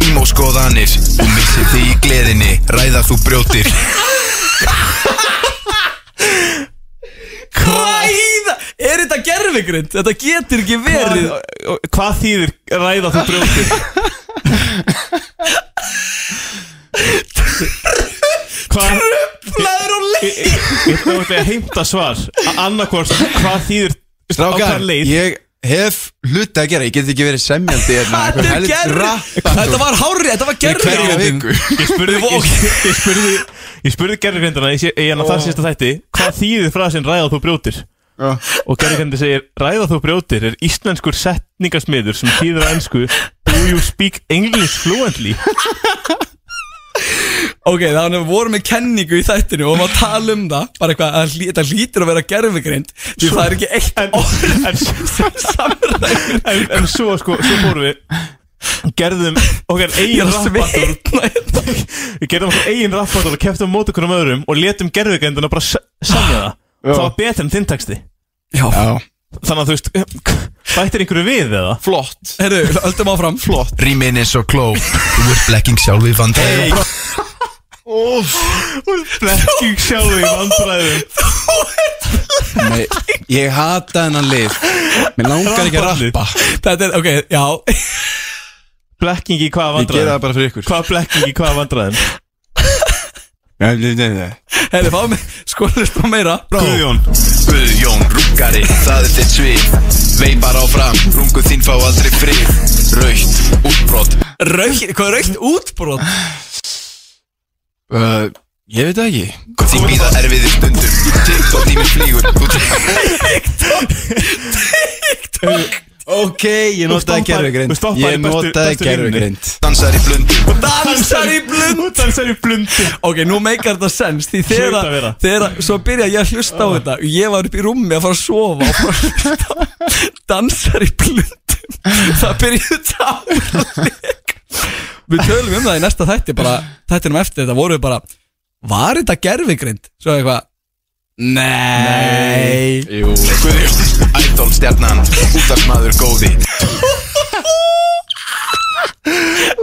Speaker 16: Ímó skoðanir Þú missir þig í gleðinni Ræða þú brjótir
Speaker 3: Hvað í það? Er þetta gerfigrind? Þetta getur ekki verið
Speaker 4: Hvað þýðir ræða þú brjótir? Trublaður
Speaker 3: á leiðinni
Speaker 4: Ég þú ætla að heimta svar Annarkvort, hvað þýðir
Speaker 5: Strákar, ég hef hluti að gera Ég get ekki verið semjandi hérna
Speaker 3: Þetta er gerfigrind Þetta var hárið, þetta var gerfigrind
Speaker 4: Ég spurði, ég, ég spurði, ég spurði gerðurgrindana í, sé- í hann að það sérsta þætti Hvað þýðir frasin ræða þú brjótir? Og gerðurgrindi segir Ræða þú brjótir er íslenskur setningasmiður sem þýðir á ennsku Do you speak English fluently?
Speaker 3: Ok, þannig að við vorum með kenningu í þættinu og við varum að tala um það bara eitthvað að hlý- þetta hlýtur að vera gerfigrind því það er ekki eitt orð
Speaker 4: en, en, en svo sko, svo fórum við gerðum okkar eigin rappatur við gerðum okkar eigin rappatur og keftum mót okkur um öðrum og letum gerðugrindina bara se- semja það það var betra en þinn texti
Speaker 3: Já.
Speaker 4: þannig að þú veist bættir einhverju við eða
Speaker 5: flott
Speaker 3: Herru, höldum áfram
Speaker 5: Flott
Speaker 16: Rýmin eins og kló Þú ert blekking sjálf í vandræðum
Speaker 4: Blekking sjálf í vandræðum
Speaker 5: Nei, ég hata hennan lið Mér langar ekki að rappa
Speaker 3: Þetta er, ok, já
Speaker 4: Blekking í hvaða
Speaker 5: Ég gera
Speaker 4: vandræðum
Speaker 5: það bara fyrir ykkur
Speaker 4: Hvaða blekking í hvaða vandræðum
Speaker 5: Nei, nei, nei, nei
Speaker 3: Herru, fáum við skoðlust á meira
Speaker 4: Guðjón
Speaker 16: Guðjón, rúkari, það er þitt svið Veipar áfram, rungu þín fá aldrei frið Raukt, útbrot
Speaker 3: Raukt, hvað er raukt útbrot?
Speaker 5: Uh, Ég veit það ekki
Speaker 16: Þín býða erfiðir stundum TikTok tími flýgur Þú
Speaker 5: Ok, ég notaði gerfugrind Ég notaði gerfugrind
Speaker 16: Dansar í blundum
Speaker 3: Dansar í blund
Speaker 4: Dansar í blund
Speaker 3: Ok, nú meikar þetta sens Því
Speaker 4: Hlaut að
Speaker 3: þegar
Speaker 4: vera. Ah.
Speaker 3: þegar að Svo byrja ég að hlusta á þetta og Ég var upp í rúmi að fara að sofa Og bara hlusta á Dansar í blundum Það byrjuðu táleik Við tölum um það í næsta þætti bara Þættinum eftir þetta voru við bara Var þetta gerfigrind? Svo eitthvað Nei
Speaker 5: Jú
Speaker 16: Guðjón, idol stjarnan Útarsmaður góði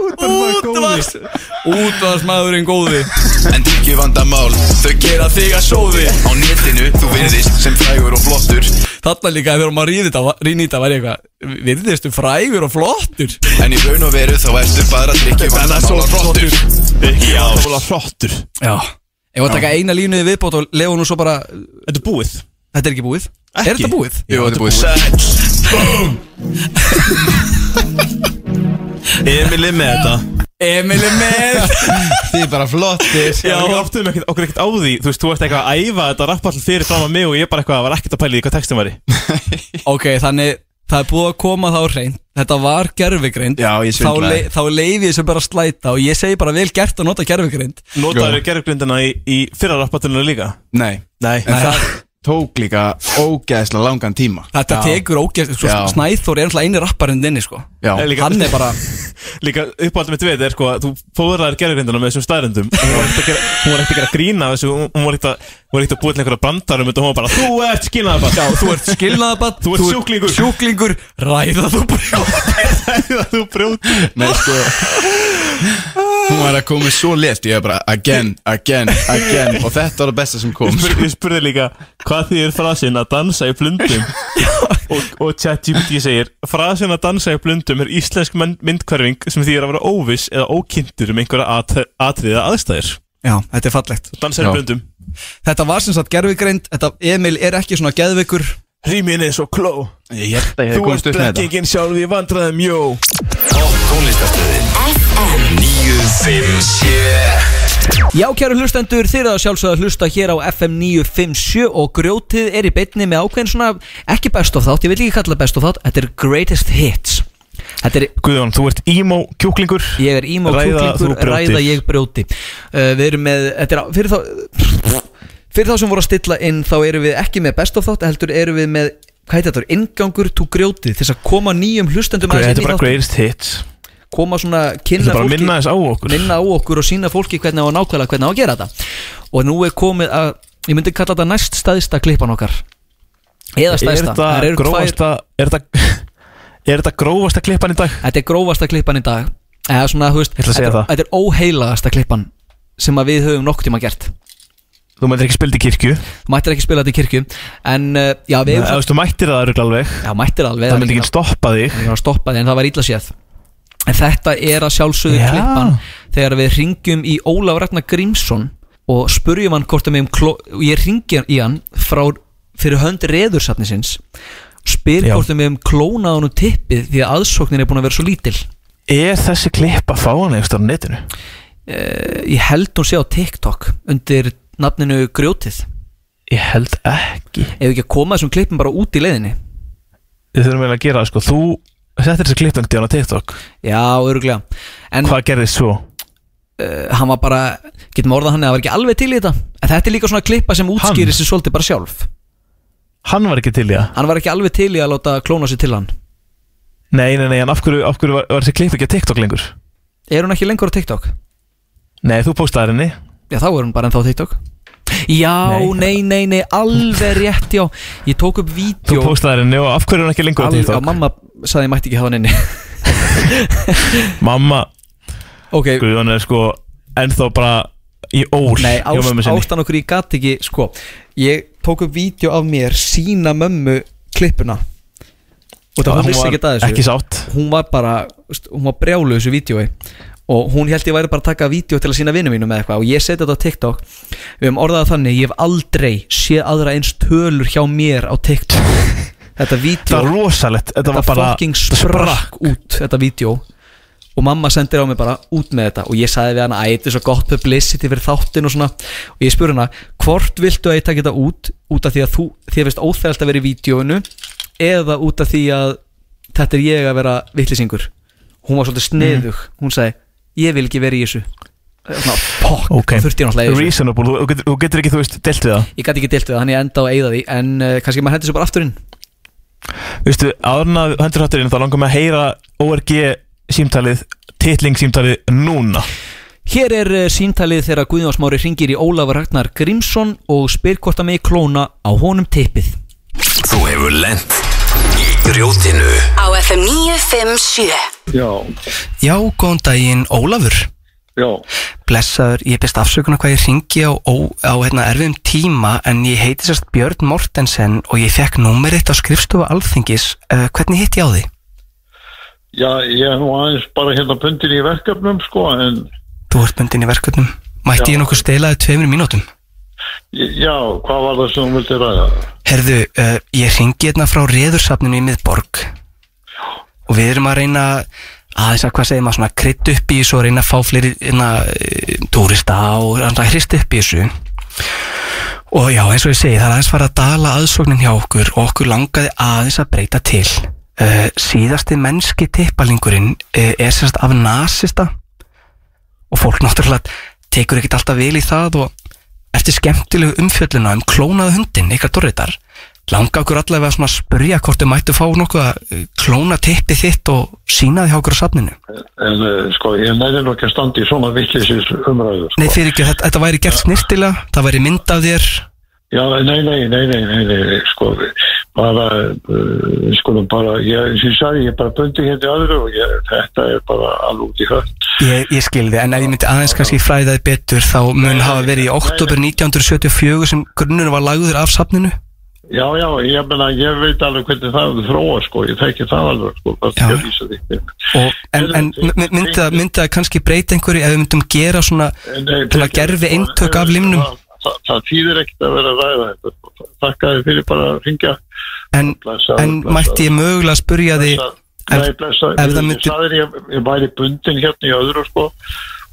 Speaker 3: Útvarps Útvarpsmaðurinn góði
Speaker 13: En drikju vandamál, þau gera þig að sóði Á netinu, þú virðist sem frægur og flottur
Speaker 3: Þarna líka þegar maður rýði þetta, rýni þetta var ég eitthvað Virðistu frægur og flottur
Speaker 13: En í raun og veru þá ertu bara drikju vandamál og flottur
Speaker 3: Ekki á
Speaker 4: flottur
Speaker 3: Já Ég var að taka eina línu í viðbót og lefa nú svo bara Þetta
Speaker 4: er búið
Speaker 3: Þetta er ekki búið Er þetta búið?
Speaker 13: Jú, þetta er búið
Speaker 4: Emil er með þetta
Speaker 3: Emil er með
Speaker 4: Þið er bara flottir Já, við áttum ekkert, okkur ekkert á því Þú veist, þú ert eitthvað að æfa þetta rappall fyrir fram að mig og ég bara eitthvað var ekkert að pæla í því hvað textin var í
Speaker 3: Ok, þannig það er búið að koma þá hreint Þetta var gerfigreind
Speaker 4: Já, ég
Speaker 3: Þá,
Speaker 4: svindlaði.
Speaker 3: le, þá leiði ég sem bara að slæta og ég segi bara vel gert að nota gerfigreind
Speaker 4: Notaður gerðugrindina í, í fyrra rappallinu líka
Speaker 16: Nei,
Speaker 4: Nei.
Speaker 16: En það tók líka ógeðslega langan tíma
Speaker 3: Þetta tekur ógæst sko,
Speaker 16: Já.
Speaker 3: Snæþór er alltaf eini rapparinn inni sko.
Speaker 16: Já.
Speaker 4: Nei, líka-
Speaker 3: Hann er bara
Speaker 4: Líka uppáldum mitt við er sko að þú fóðraðir gerðugrindina með þessum staðrendum Hún var ekkert að gera- hún var ekkert að gera grína þessu Hún hún var ekkert að- hún var ekkert að búið til einhverja brandarum Hún var bara, þú ert skilnaðabann
Speaker 3: Já, þú ert skilnaðabann
Speaker 4: Þú ert sjúklingur
Speaker 3: Sjúklingur, ræða þú
Speaker 4: Ræða þú brjóti
Speaker 16: Nei, sko Hún var að koma svo létt Ég var bara again, again, again Og þetta var það besta sem kom
Speaker 4: Ég spurði, ég spurði líka hvað þýðir frasin að dansa í blundum og, og ChatGPT segir frasin að dansa í blundum er íslensk mynd- myndhverfing sem þýðir að vera óviss eða ókynntur um einhverja at atriða aðstæðir
Speaker 3: Já, þetta er fallegt
Speaker 4: Dansa í blundum
Speaker 3: Þetta var sem sagt gerfigreind Þetta Emil er ekki svona geðvikur
Speaker 4: Rýmin er svo kló
Speaker 16: Ég held að
Speaker 4: Þú ert blekkingin sjálf í vandræðum, jó
Speaker 13: Tónlistastöðin
Speaker 3: Já, kæru hlustendur, þeir eru að sjálfsögða að hlusta hér á FM 957 og grjótið er í beinni með ákveðin svona ekki best of þátt, ég vil ekki kalla það best of þátt þetta er greatest hits Þetta er
Speaker 4: Guðjón, þú ert emo kjúklingur
Speaker 3: Ég er emo
Speaker 4: Ræða þú
Speaker 3: kjúklingur,
Speaker 4: brjótir.
Speaker 3: ræða ég brjóti uh, Við erum með, þetta er á- fyrir þá Fyrir þá sem voru að stilla inn þá erum við ekki með best of þátt heldur erum við með, hvað heitir þetta, ingangur tú grjótið til þess að koma nýjum hlustendum aðeins
Speaker 4: Þetta
Speaker 3: inn
Speaker 4: er
Speaker 3: í
Speaker 4: bara
Speaker 3: þáttinn.
Speaker 4: greatest hits
Speaker 3: koma svona,
Speaker 4: Þetta
Speaker 3: kynna
Speaker 4: er bara að
Speaker 3: fólki
Speaker 4: minna þess á okkur
Speaker 3: minna á okkur og sína fólki hvernig á að nákvæmlega hvernig á að gera þetta og nú er komið að ég myndi kalla þetta næst staðista klippan okkar eða
Speaker 4: Er
Speaker 3: staðista
Speaker 4: þetta grófasta Er þetta Er þetta grófasta klippan í dag?
Speaker 3: þetta er grófasta klippan í dag eða svona, þú veist,
Speaker 4: ætla að segja
Speaker 3: þetta,
Speaker 4: það.
Speaker 3: þetta er óheilagasta klippan sem að við höfum nokk tíma gert
Speaker 4: Þú mættir ekki spildi kirkju
Speaker 3: mættir ekki spila þetta í kirkju en uh, já, við
Speaker 4: Nei, Þú veist, þú mættir það öruglega alveg
Speaker 3: já, mættir alveg
Speaker 4: Það myndi ekki stoppa þig
Speaker 3: Það var stoppað en það var illa séð En þetta er að sjálfsögðu
Speaker 4: Já.
Speaker 3: klippan Þegar við ringjum í Ólaf Ragnar Grímsson Og spurjum hann hvort að mig um kló og Ég ringi í hann frá, fyrir hönd reðursafnisins Spyr
Speaker 4: Já.
Speaker 3: hvort að mig um klónaðan og tippið Því að aðsóknin er búin að vera svo lítil
Speaker 4: Er þessi klippa fáanlegust á netinu?
Speaker 3: Eh, Ég held hún sé á TikTok Undir nafninu Grjótið
Speaker 4: Ég held ekki
Speaker 3: Ef við ekki að koma þessum klippum bara út í leiðinni
Speaker 4: Við þurfum eiginlega að gera það sko Þú settir þessi klippangti á TikTok
Speaker 3: Já, öruglega en,
Speaker 4: Hvað gerðist svo?
Speaker 3: uh, hann var bara, getum orðað hann að það var ekki alveg til í þetta en þetta er líka svona klippa sem útskýri sér svolítið bara sjálf
Speaker 4: Hann var ekki til í það
Speaker 3: hann var ekki alveg til í að láta klóna sér til hann
Speaker 4: Nei, nei, nei, en af hverju, af hverju var, var þessi klipp ekki á TikTok lengur?
Speaker 3: er hún ekki lengur á TikTok?
Speaker 4: Nei, þú postaði henni
Speaker 3: já þá er hún bara ennþá á TikTok já,
Speaker 4: Nei.
Speaker 3: nei, nei, nei, alveg rétt já ég tók upp
Speaker 4: Þú
Speaker 3: vídeo
Speaker 4: postaði henni og af hverju er hann ekki lengur á
Speaker 3: alveg, já,
Speaker 4: TikTok?
Speaker 3: mamma saði ég mætti ekki hafa hann inni
Speaker 4: Mamma,
Speaker 3: ok,
Speaker 4: Guðjón er sko ennþá bara í ól
Speaker 3: Nei,
Speaker 4: hjá mömmu
Speaker 3: ást,
Speaker 4: sinni.
Speaker 3: ástan okkur ég gat ekki sko, ég tók upp vídeo af mér sína mömmu klippuna og
Speaker 4: Já,
Speaker 3: það hún
Speaker 4: hún
Speaker 3: vissi
Speaker 4: var
Speaker 3: ekki að þessu
Speaker 4: ekki sátt.
Speaker 3: hún var bara, veist, hún var brjálu þessu vídjói og hún held ég væri bara að taka vídeo til að sína vinnu mínum eða eitthvað og ég seti þetta á TikTok við höfum orðað það þannig, ég hef aldrei séð aðra eins tölur hjá mér á TikTok þetta vídeo
Speaker 4: Það var rosalegt Þetta,
Speaker 3: þetta
Speaker 4: var bara
Speaker 3: fucking
Speaker 4: þetta
Speaker 3: sprakk út þetta vídeo og mamma sendir á mig bara út með þetta og ég sagði við hana að þetta er svo gott publicity fyrir þáttin og svona og ég spurði hana hvort viltu að ég taka þetta út út af því að þú þér veist óþægalt að vera í vídjóinu eða út af því að þetta er ég að vera vittlisingur hún var
Speaker 4: Mhm.
Speaker 3: svolítið sniðug hún sagði ég vil ekki vera í þessu svona pokk
Speaker 4: Ok.
Speaker 3: þá þurfti ég náttúrulega í þessu
Speaker 4: Reasonable, þú- þú getur, þú getur ekki, þú veist, delt við það
Speaker 3: ég gæti ekki deilt við það þannig ég enda á að eyða því en uh, kannski maður hendur svo bara aftur inn
Speaker 4: Vistu, áðurinn að hendur hatturinn þá langar mig að heyra ORG símtalið, titling símtalið núna
Speaker 3: Hér er eh, símtalið þegar Guðjónsmári ringir í Ólafur Ragnar Grímsson og spyr hvort að megi klóna á honum tippið.
Speaker 13: Þú hefur lent í grjótinu
Speaker 2: Á FM 957
Speaker 10: Já, góðan daginn Ólafur
Speaker 20: Já.
Speaker 10: Blessaður, ég best afsökunar hvað ég ringi á, ó, á hérna, erfiðum tíma en ég heiti sérst Björn Mortensen og ég fekk númerið á skrifstofu alþingis. Uh, hvernig hitt ég á því?
Speaker 20: Já, ég er nú aðeins bara hérna pundin í verkefnum sko en
Speaker 10: Þú ert bundin í verkefnum.
Speaker 20: Já.
Speaker 10: Mætti ég nokkuð stelaði tveimur mínútum?
Speaker 20: já, hvað var það sem þú vildi ræða?
Speaker 10: Herðu, uh, ég ringi hérna frá reðursafninu í miðborg og við erum að reyna aðeins að hvað segir maður svona krydd upp í þessu og reyna að fá fleiri hérna, eh, túrista og að hrist upp í þessu og já eins og ég segi það er aðeins fara að dala aðsóknin hjá okkur og okkur langaði aðeins að breyta til uh, síðasti mennski tippalingurinn uh, er sérst af nasista og fólk náttúrulega tekur ekkert alltaf vel í það og eftir skemmtilegu umfjölluna um klónaða hundin ykkar dorritar langa okkur allavega svona að spurja hvort þau mættu fá nokkuð að eh, klóna tippi þitt og sína því hjá okkur á safninu
Speaker 20: En uh, sko, ég nefnir nú ekki að standa í svona vittlisins umræðu sko.
Speaker 10: Nei fyrir ekki, þetta, þetta væri gert snirtilega það væri mynd af þér
Speaker 20: Já, nei, nei, nei, nei, nei, nei, nei sko, bara, uh, skulum bara, ég, sem ég sagði, ég er bara bundi hérna í öðru og ég, þetta er bara alveg út í hött.
Speaker 10: Ég, ég skilði, en ef ég myndi aðeins kannski fræðaði betur þá mun hafa verið í oktober 1974 sem grunnur var lagður af safninu
Speaker 20: Já, já, ég meina, ég veit alveg hvernig það er þróa, sko, ég þekki það alveg, sko, það er að lýsa því.
Speaker 10: og, en, en my- myndi það- myndi það kannski breyta einhverju ef við myndum gera svona
Speaker 20: Nei,
Speaker 10: til að gerfi eintök af limnum
Speaker 20: sko, eh, Það, það þýðir ekkert að vera að ræða þetta, sko, þakka þið fyrir bara að ringja.
Speaker 10: En,
Speaker 20: blessaður,
Speaker 10: en mætti ég mögulega spurja því
Speaker 20: Nei,
Speaker 10: ef,
Speaker 20: blessa,
Speaker 10: ef
Speaker 20: ég,
Speaker 10: það
Speaker 20: myndi...
Speaker 10: myndi
Speaker 20: ég sagði þér, ég, ég væri bundin hérna í öðru sko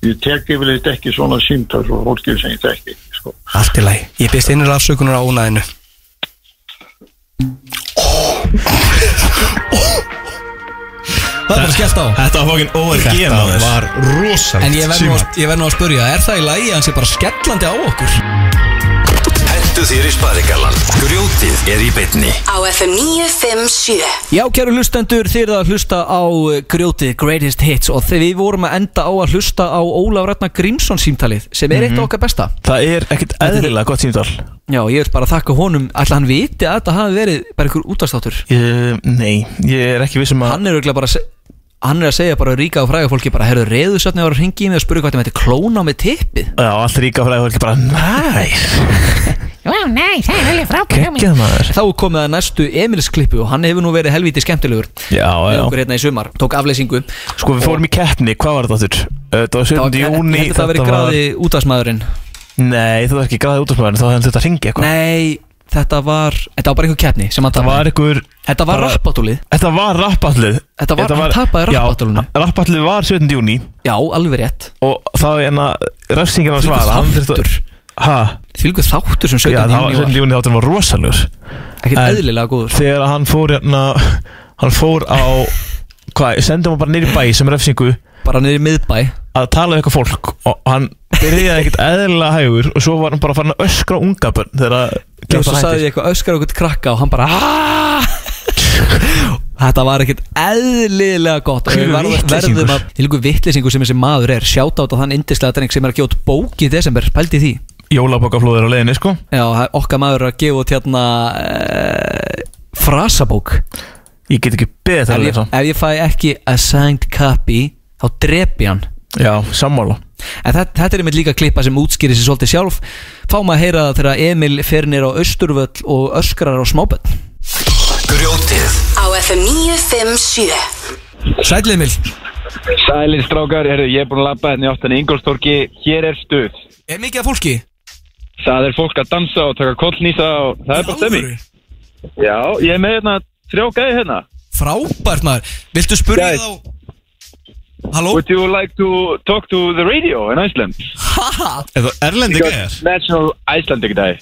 Speaker 20: ég tek yfirleitt ekki svona símtöl og fólki sem ég tek ekki sko.
Speaker 10: allt í lagi, ég byrst einnir afsökunar á ónaðinu
Speaker 3: Það er bara skellt á
Speaker 4: Þetta var fokkin ORG maður.
Speaker 3: rosalegt En ég verð nú að- ég verð nú að spurja, er það í lagi að hann sé bara skellandi á okkur?
Speaker 8: Hentu þér í sparigallan Grjótið er í beinni
Speaker 2: Á FM 957
Speaker 3: Já, kæru hlustendur, þið eruð að hlusta á eh, grjótið Greatest Hits og þegar við vorum að enda á að hlusta á Ólaf Ragnar Grímsson símtalið sem er eitt af
Speaker 4: Mhm.
Speaker 3: okkar besta
Speaker 4: Það er ekkert eðlilega gott símdál
Speaker 3: Já, ég vil bara þakka honum, ætla hann viti að þetta hafi verið bara einhver útastáttur
Speaker 4: uh, Nei, ég er ekki vissum að
Speaker 3: Hann er örugglega bara, að se- hann er að segja bara ríka og fræga fólki bara, herru, reyðu sérna var að ringi í mig og spurði hvað það mætti klóna með tippið
Speaker 4: Já, allt ríka fræði fólki bara Næs
Speaker 18: Vá, næ, það er alveg frábæð
Speaker 4: Geggjað maður
Speaker 3: Þá er komið að næstu Emils klippu og hann hefur nú verið helvítið skemmtilegur
Speaker 4: Já,
Speaker 3: með
Speaker 4: já
Speaker 3: okkur hérna í sumar, tók afleysingu
Speaker 4: Sko, við fórum í keppni, hvað var þetta aftur? Uh, Það var 7. júni
Speaker 3: Þetta var verið gráði útastmaðurinn
Speaker 4: Nei, þetta var ekki gráði útdómsmaður Þá hefði þetta hringi eitthvað
Speaker 3: Nei, þetta var Þetta var bara einhver keppni sem hann
Speaker 4: Það var einhver
Speaker 3: Þetta var
Speaker 4: bara-
Speaker 3: rappatúlið
Speaker 4: Þetta var rappallið
Speaker 3: Þetta var- hann tapaði rappatúlinu.
Speaker 4: Já, rappallið var 7. júni
Speaker 3: Já, alveg rétt
Speaker 4: Og þá er hérna refsingin að
Speaker 3: Þvílíkur
Speaker 4: svara hann þurfti að-
Speaker 3: þáttur.
Speaker 4: Ha?
Speaker 3: Þvílíkur þáttur sem 17.
Speaker 4: Já, það var-
Speaker 3: júní var.
Speaker 4: 17. júni þáttur var rosalegur
Speaker 3: Ekkert
Speaker 4: En
Speaker 3: eðlilega góður.
Speaker 4: Þegar hann fór hérna Hann fór á Hvað, sendum hann bara niður í bæ sem refsingu
Speaker 3: Bara niður í miðbæ
Speaker 4: Að tala við eitthvað fólk Og hann byrjaði ekkert eðlilega hægur Og svo var hann bara farin að öskra á unga bönn Þegar
Speaker 3: Já, svo sagði ég eitthvað öskar okkur krakka og hann bara "Ah!" Þetta var ekkert eðlilega gott og við
Speaker 4: Hvílíkur
Speaker 3: verðum-
Speaker 4: vitleysingur.
Speaker 3: verðum að Hvilgu vittlisingu sem þessi maður er Sjáta á þann indislega dreng sem er að gefa út bók í desember Pældi því
Speaker 4: Jólabokaflóðir á leiðinni sko
Speaker 3: Já, það er okkar maður er að gefa út hérna e, Frasabók
Speaker 4: Ég get ekki
Speaker 3: ef
Speaker 4: beðið um þegar
Speaker 3: ég,
Speaker 4: lesa
Speaker 3: ef ég fæ ekki a signed copy Þá drep ég hann
Speaker 4: Já, sammála
Speaker 3: En þetta, þetta er einmitt líka klippa sem útskýrir sér svolítið sjálf Fáum að heyra það þegar Emil fer nýr á Östurvöll og öskrar á smáböll
Speaker 8: Grjótið
Speaker 2: Á FM 957
Speaker 3: Sæll Emil
Speaker 16: Sælir strákar, heru, ég er búin að labba hérna í áttan í Ingolstorki, hér er stuð
Speaker 3: Er mikið af fólki?
Speaker 16: Það er fólk að dansa og taka kollnýsa og það er bara stemming Já, ég er með hérna þrjá gæði hérna
Speaker 3: Frábært maður Viltu spurja þá Halló?
Speaker 16: Would you like to talk to the radio in Iceland?
Speaker 3: Haha
Speaker 16: Er það erlendig gæðir? National Icelandic Day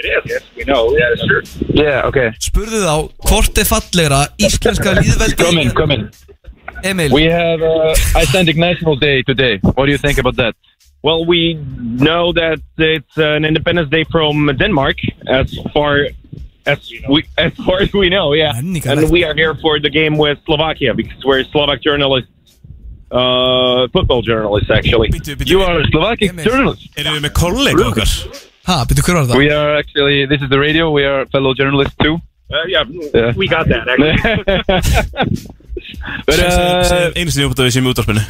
Speaker 16: It is, yes, we know, yeah, sure Yeah, okay
Speaker 3: Spurðu þá hvort er fallegra íslenska líðveldi
Speaker 16: Come in, come in
Speaker 3: Emil
Speaker 16: We have uh, Icelandic National Day today. What do you think about that?
Speaker 5: Well, we know that it's an Independence Day from Denmark, as far as we as far as we know. Yeah, and we are here for the game with Slovakia because we're Slovak journalists, uh, football journalists actually. You are a Slovak journalist.
Speaker 16: Erum við með kollega okkar?
Speaker 3: Ha, betur hver var það?
Speaker 16: We are actually, this is the radio, we are fellow journalists too.
Speaker 5: Uh, yeah,
Speaker 16: Yeah.
Speaker 5: we got that actually.
Speaker 16: But, uh,
Speaker 3: Eh,
Speaker 4: Einu sinni uppdæfið sem í útdórspinu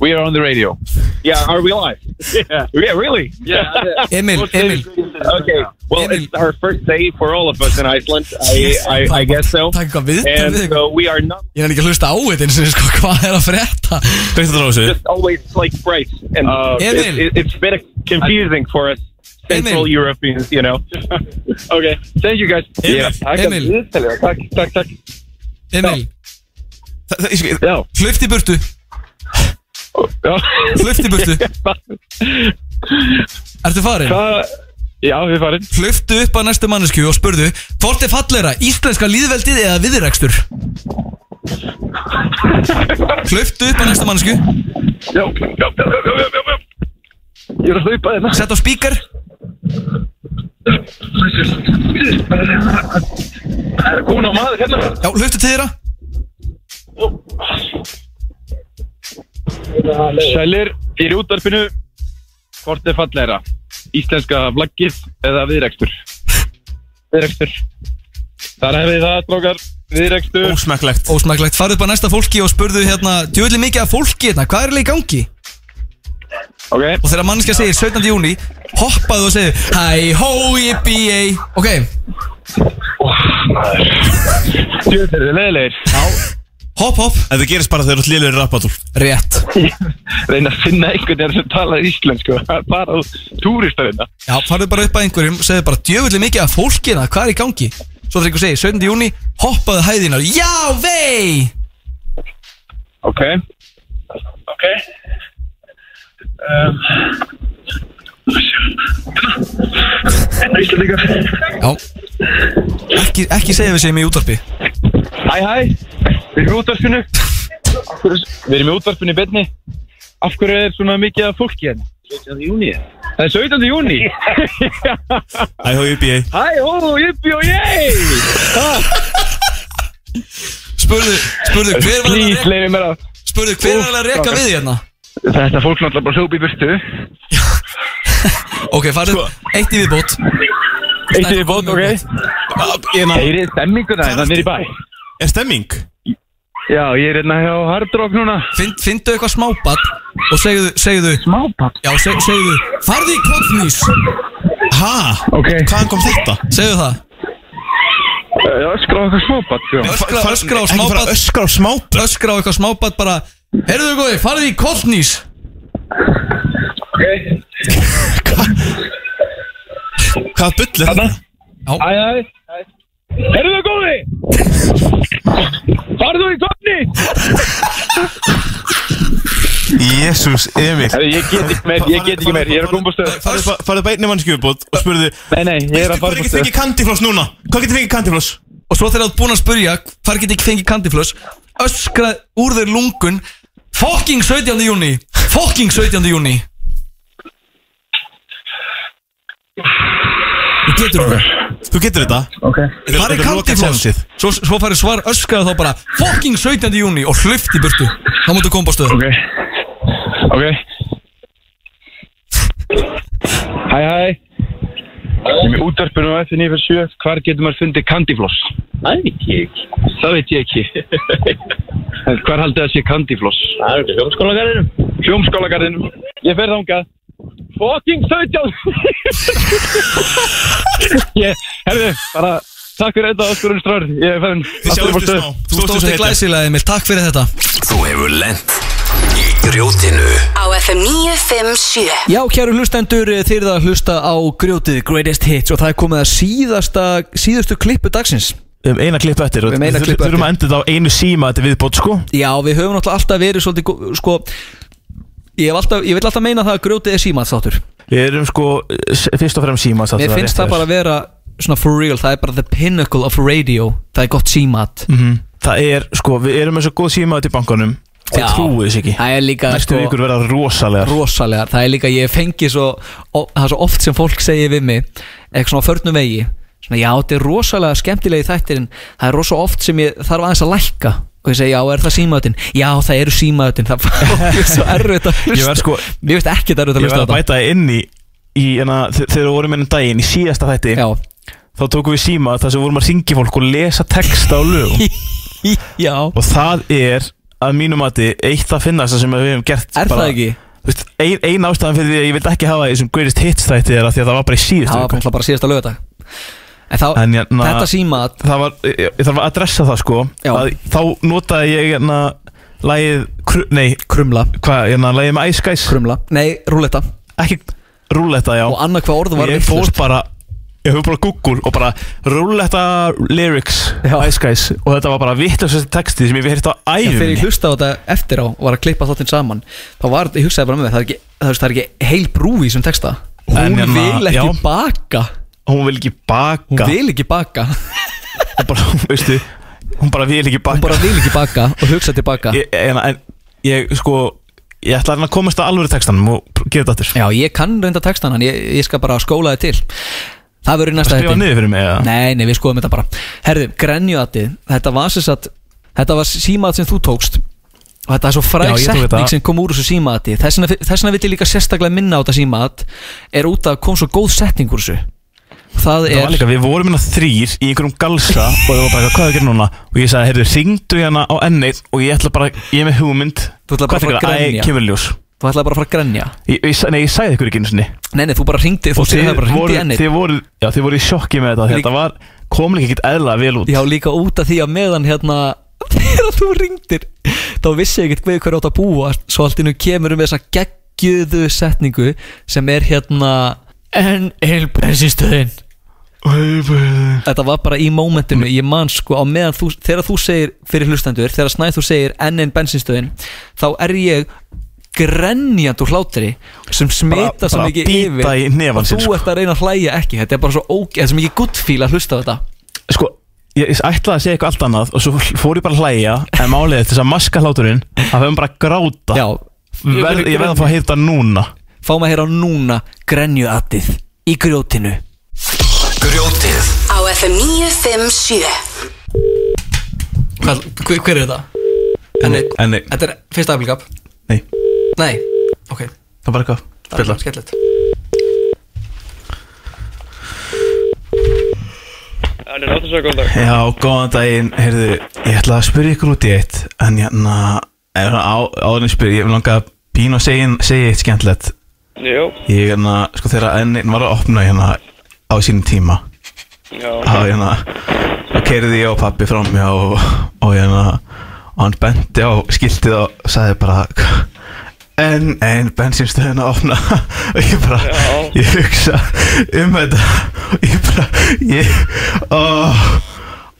Speaker 16: We are on the radio. Yeah, are we live? yeah. Yeah, really? Yeah.
Speaker 3: Emil, Emil.
Speaker 16: Okay. Well, it's our first day for all of us in Iceland. I, I, I guess so.
Speaker 3: Takk eitthvað viðtal
Speaker 16: And
Speaker 3: við
Speaker 16: so we are not
Speaker 3: Ég er ekki að hlusta á þetta eins og sko, hvað er að frétta
Speaker 16: just always like bright. And uh, it,
Speaker 3: Emil.
Speaker 16: it, it's been confusing for us Central Europeans, you know. okay. Thank you guys.
Speaker 3: Emil,
Speaker 16: Yeah. Takk.
Speaker 3: Emil.
Speaker 16: Takk, takk, takk.
Speaker 3: Emil
Speaker 16: Já.
Speaker 3: Hlifti burtu Hlifti burtu Ertu farin?
Speaker 16: Uh, Já, við farin
Speaker 3: Hliftu upp að næstu mannesku og spurðu Hvort er fallera, íslenska líðveldið eða viðrekstur? Hliftu upp að næstu mannesku
Speaker 16: Já, já, já, já, já, já, já. Ég er að hlaupa hérna. þeirna
Speaker 3: Sett á spíkar
Speaker 16: Það er komin á maður hérna
Speaker 3: Já, hliftu til þeirra
Speaker 16: Sælir, ég er í útvarpinu Hvort er fallegra? Íslenska flaggið eða viðrekstur? Viðrekstur Þar hefði það, drókar Viðrekstur
Speaker 3: Ósmæklegt Ósmæklegt, farðu upp að næsta fólki og spurðu hérna Djúvillig mikið af fólki hérna, hvað er eiginlega í gangi?
Speaker 16: Ok
Speaker 3: Og þegar mannskja segir 17. júni Hoppaðu og segir Hæ, hó, jippi, ei Ok,
Speaker 16: Þetta er leðilegir Já
Speaker 3: Hopp, hopp
Speaker 4: Þetta gerist bara þegar þú lillur rappatul
Speaker 3: Rétt
Speaker 16: Reyna að finna einhvern veginn sem talar íslensku Það er Bara túristar hérna
Speaker 3: já, farðu bara upp að einhverjum og segir bara Djúvillig mikið af fólki hérna, hvað er í gangi? Svo þegar einhver segir 17. júni Hoppaðu hæðina Já, vei
Speaker 16: Ok Ok um, Hérna Íslandingar
Speaker 3: Já Ekki, ekki segja við segjum í útvarpi
Speaker 16: Hæ hæ Við erum í útvarpinu Af hverju- Við erum í útvarpinu í betni Af hverju er svona mikið af fólki hérna? 17. júni Það er 17. júni
Speaker 4: Æ, hó, yppi, ei
Speaker 16: Hæ hó, jippi og jej
Speaker 3: Spurðu, spurðu, hver var
Speaker 16: Please, leiði mér að
Speaker 3: Spurðu, hver var alveg að reka við hérna?
Speaker 16: Þetta fólk náttúrulega bara hljópi í burtu
Speaker 3: Ok, farðu Eitt í viðbót
Speaker 16: Sko. Eitt í bótt, ok Heyrið stemminguna hérna nýri bæ
Speaker 4: Er stemming?
Speaker 16: Já, ég er hérna hjá Hard Rock núna
Speaker 3: Finn, Findu eitthvað smábatt og segðu, segðu
Speaker 16: Smábatt?
Speaker 3: Já, seg, segðu, farðu í kottnýs Ha?
Speaker 16: Ok
Speaker 3: Hvaðan kom þetta? Segðu það
Speaker 16: Já, öskra á Eh, eitthvað smábatt
Speaker 3: Öskra, öskra
Speaker 4: Far-
Speaker 3: á
Speaker 4: ekki fara
Speaker 3: smábatt
Speaker 4: að Öskra á smábatt
Speaker 3: Öskra á eitthvað smábatt bara Herðu góði, farðu í kottnýs
Speaker 4: Hvað bull er þetta?
Speaker 16: Æ, æ, æ Eru þau góði? Farðu í topni?
Speaker 4: Jésús, Emil
Speaker 16: Herri, ég get ekki meir, ég get ekki meir, ég er að koma á stöð
Speaker 4: Farðu farðu bara einni mannsku uppbót og spurðu
Speaker 16: Nei, nei, ég er að fara
Speaker 4: Hvað getur fengið kandifloss núna? Hvað getur fengið kandifloss?
Speaker 3: Og svo þegar þú ert búin að spurja Hvar get ég fengið kandiflöss Öskra úr þeir lungun Fucking 17. júni Fucking 17. júni Þú getur þetta
Speaker 4: Þú getur þetta
Speaker 16: Ok
Speaker 3: Hvar er kandiflöss Svo, svo farið svar öskrað þá bara Fucking 17. júni og hluft í burtu Þá máttu koma á stöð
Speaker 16: Ok Ok Hæ, hæ Ég er með útarpinu á FN yfir 7 Hvar getur maður fundið kandifloss? Það veit ég ekki Það veit ég ekki En Hvar haldið það sé kandifloss? Það er ekki hljómskólagarðinum Hljómskólagarðinum Ég fer þangað Fucking 17 Ég, herðu, bara Takk fyrir þetta, Öskurinn Ströður Ég er fenn
Speaker 3: Þú stóðst í glæsilega Emil, takk fyrir þetta
Speaker 13: Þú hefur lent í grjótinu
Speaker 2: Á FM 957
Speaker 21: Já, kæru hlustendur, eh, þið eruð að hlusta á grjótið Greatest Hits og það er komið að síðasta, síðustu klippu dagsins
Speaker 4: Við höfum eina klipp eftir og
Speaker 21: Við höfum eina
Speaker 4: þur-
Speaker 21: klipp eftir.
Speaker 4: Þurfum að enda þetta á einu síma Þetta er viðbót sko
Speaker 21: Já, við höfum náttúrulega alltaf verið svolítið, gó- sko Ég, hef alltaf, ég vil alltaf meina það að grjótið er símaðsáttur
Speaker 4: Við erum sko eh, s- fyrst og fremst síma
Speaker 21: Mér finnst það bara að vera svona for real Það er bara the pinnacle of radio Það er gott símat
Speaker 4: Mhm. Það er sko, við erum með svo góð síma Þetta í bankanum
Speaker 21: Já.
Speaker 4: Það trúið þess ekki
Speaker 21: Það er líka
Speaker 4: Næstu
Speaker 21: sko,
Speaker 4: vikur verða rosalegar
Speaker 21: rosalega Það er líka, ég fengi svo o, Það er svo oft sem fólk segir við mig Eitthvað svona á förnum vegi svona, Já, þetta er rosalega skemmtilegi þættir En það er rosa oft sem ég þarf aðeins að lækka Og ég segi, já, er það símaðutin? Já, það eru símaðutin Það er svo erfitt að
Speaker 4: Ég verð
Speaker 21: hlusta
Speaker 4: sko
Speaker 21: Mér finnst ekki þetta erfitt að
Speaker 4: Ég
Speaker 21: hlusta á
Speaker 4: verð að
Speaker 21: þetta
Speaker 4: bæta það inn í, í enna, Þegar við vorum ennum daginn í síðasta þætti
Speaker 21: Já.
Speaker 4: Þá tókum við síma þar sem við vorum að syngja fólk og lesa texta á lögum
Speaker 21: Já
Speaker 4: Og það er að mínum mati eitt að finnast sem við hefum gert
Speaker 3: Er það ekki?
Speaker 4: Veist, ein, ein ástæðan fyrir því að ég vildi ekki hafa þessum greatest hits þætti er að því að það var bara í síðustu
Speaker 3: Það var bara, bara síðasta lögadag En þá,
Speaker 4: en, hérna- jana,
Speaker 3: þetta símat
Speaker 4: Það var, ég, ég þarf að adressa það sko að, Þá notaði ég jana, Lægið, kru, nei
Speaker 3: Krumla
Speaker 4: Hvað, jana, lægið með Ice Guys
Speaker 3: Krumla, nei, rúletta
Speaker 4: Ekki rúletta, já
Speaker 3: Og annað hvað orðu var
Speaker 4: Ég fór
Speaker 3: vitlaust.
Speaker 4: bara, ég fór bara á Google og bara Rúletta lyrics Ice Guys Og þetta var bara vittlöfsast texti sem ég hef heyrt á
Speaker 3: Já,
Speaker 4: æfum
Speaker 3: Þegar ég hlusta á þetta eftir á og var að klippa þáttinn saman þá var, ég hugsaði bara með mig, það er ekki, það er, það er ekki heil brú í sem texta Hún
Speaker 4: En hérna,
Speaker 3: vil ekki
Speaker 4: já.
Speaker 3: baka
Speaker 4: Hún vil ekki baka
Speaker 3: Hún vil ekki baka
Speaker 4: Hún bara, veistu, hún bara vil ekki baka Hún
Speaker 3: bara vil ekki baka og hugsa tilbaka
Speaker 4: ég, en, en ég sko Ég ætla að reyna að komast að alvöru textanum og pr- gera þetta aftur
Speaker 3: Já, ég kann reynda textan hann, ég, ég skal bara skóla þið til Það verður í næsta
Speaker 4: Skrifa
Speaker 3: þætti.
Speaker 4: niður fyrir mig eða?
Speaker 3: Nei, nei, við skoðum þetta bara Herðu, grenjuatið, þetta var sem sagt Þetta var símat sem þú tókst Og þetta er svo
Speaker 4: Já,
Speaker 3: fræg
Speaker 4: ég tók þetta.
Speaker 3: setning sem kom úr þessu símati Þess vegna- þess vegna vil ég líka sérstaklega minna á þetta símat Er út að kom svo góð setning úr þessu Það
Speaker 4: Það var
Speaker 3: er
Speaker 4: líka, við vorum hérna þrýr í einhverjum galsa og það var bara eitthvað, hvað er að gera núna? Og ég sagði, heyrðu, ringdu hérna á ennið og ég ætla bara, ég er með hugmynd
Speaker 3: Þú ætla bara að fara að grenja.
Speaker 4: Æ, kemur ljós
Speaker 3: Þú ætlaði bara að fara að grenja
Speaker 4: ég, ég, sa- Nei, ég sagði ykkur ekki einu sinni
Speaker 3: Nei, nei, þú bara ringdi, þú
Speaker 4: Og
Speaker 3: segir það bara
Speaker 4: voruð-
Speaker 3: ringdi í ennið
Speaker 4: Þið voruð, já, þið voruð í sjokki með þetta því
Speaker 3: Lík-
Speaker 4: Þetta var, kom líka ekkert eðla vel út
Speaker 3: Já, líka út af því að meðan hérna þegar þú ringdir þá vissi ég ekkert við hverju átt að búa svo allt innum kemur um þessa geggjöðu setningu sem er hérna en heilbrensistöðin Þetta var bara í mómentinu, ég man sko á meðan þú, þegar þú segir fyrir hlustendur, þegar snæð þú segir enn einn bensinstöðin, þá er ég grenjand úr hlátri sem smita
Speaker 4: Bara-
Speaker 3: svo
Speaker 4: bara
Speaker 3: mikið
Speaker 4: bíta
Speaker 3: yfir
Speaker 4: í hnefann
Speaker 3: og
Speaker 4: sinn,
Speaker 3: þú
Speaker 4: sko.
Speaker 3: ert að reyna að hlæja ekki, þetta er bara svo ógeð, þetta er svo mikið guttfíl að hlusta á þetta
Speaker 4: Sko, ég, ég ætlaði að segja eitthvað allt annað og svo fór ég bara að hlæja en málið er til þess að maska hláturinn að við höfum bara að gráta
Speaker 3: Já,
Speaker 4: Verð, Ég verð að fá að heyrta núna
Speaker 3: Fá maður að heyra núna grenjuatið í grjótinu
Speaker 2: Grjótið Á FM 957
Speaker 3: Hvað, hver, hver er þetta? Enni,
Speaker 4: enni.
Speaker 3: Þetta er fyrsta aflíkap
Speaker 4: Nei.
Speaker 3: Nei, ok
Speaker 4: Það var eitthvað,
Speaker 3: Það er skellilegt
Speaker 5: Hann er náttúrulega góð dag
Speaker 4: Já, góðan daginn, heyrðu, ég ætla að spyrja ykkur út í eitt En hérna, er það á, áður en ég spyrja, ég vil langa að pínu að segja, segja eitt skemmtilegt
Speaker 5: Jú,
Speaker 4: Ég hérna, sko þegar ennin var að opna hérna á sínum tíma
Speaker 5: já
Speaker 4: Þá hérna, þá keiriði ég og pappi framhjá og, og hérna Og hann benti á skiltið og sagði bara En, en, bensinstöðin að opna Og ég bara, ég hugsa um þetta Og ég bara, ég, ó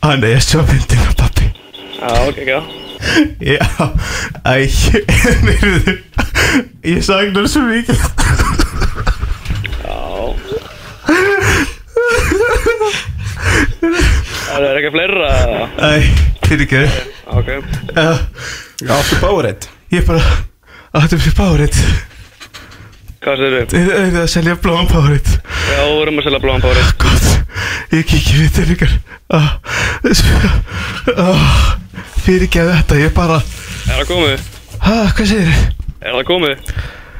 Speaker 4: Hann er svo myndin af pappi
Speaker 5: Já, ok, ekki það
Speaker 4: Já, æ, neyruðu, ég sagnar svo mikið
Speaker 5: Já Það er ekki fleira
Speaker 4: Æ, fyrir ekki
Speaker 5: Ok
Speaker 4: Já, áttu báreitt Ég bara, áttu fyrir báreitt
Speaker 5: Hvað segir þau?
Speaker 4: Þið auðvitað að selja blóðan báreitt
Speaker 5: Já, við vorum að selja bláan bári
Speaker 4: Gott, ég kikið við til ykkar Ah, s- ah, Fyrir ekki að þetta, ég bara
Speaker 5: Er það komið?
Speaker 4: Hæ, hvað segir þið?
Speaker 5: Er það komið?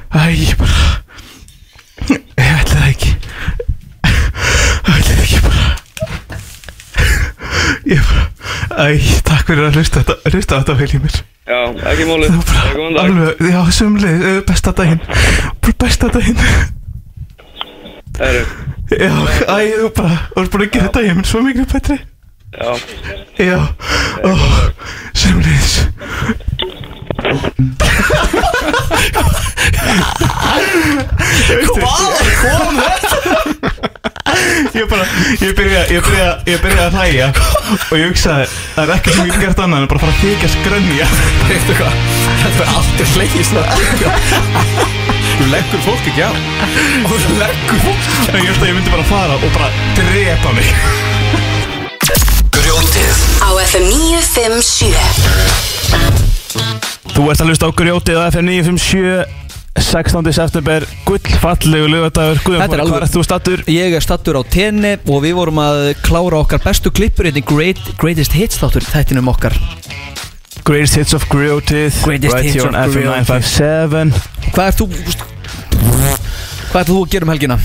Speaker 4: Æ, ég bara Ég ætla það ekki Ég ætla það ekki bara Ég bara Æ, takk fyrir að hlusta þetta Hlusta á þetta vel í mér
Speaker 5: Já, ekki málið Ekki góðan dag
Speaker 4: Alveg, já, sumlið, besta daginn Bara Besta daginn
Speaker 5: Herru,
Speaker 4: Já, æ, þú bara Þú ert búin að gera daginn minn svo miklu betri
Speaker 5: já
Speaker 4: Já, ó, sumliðis
Speaker 22: Hvað kom þetta?
Speaker 4: Ég bara, ég byrja, ég byrja, ég byrja að hlæja Og ég hugsaði, það er ekkert sem ég get gert annað En bara fara að þykja skrönja Veistu hvað, þetta er alltaf hlægist Þú leggur fólk ekki á Þú leggur fólk ekki á Ég held að ég myndi bara fara og bara drepa mig
Speaker 2: Grjótið Á FM 957
Speaker 4: Þú ert að hlusta á grjótið á FM 957 16. september Gullfallegu lögadagur Guðjón,
Speaker 3: Þetta er
Speaker 4: hvað
Speaker 3: alveg
Speaker 4: ert þú stattur?
Speaker 3: Ég er stattur á tenni og við vorum að klára okkar bestu klippur Þetta er great, greatest hits þáttur þættinum okkar
Speaker 4: Greatest hits of grjótið
Speaker 3: Greatest
Speaker 4: right
Speaker 3: hits
Speaker 4: here on
Speaker 3: of
Speaker 4: FM
Speaker 3: grjótið.
Speaker 4: 957
Speaker 3: Hvað ert þú Hvað ert þú að gera um helgina?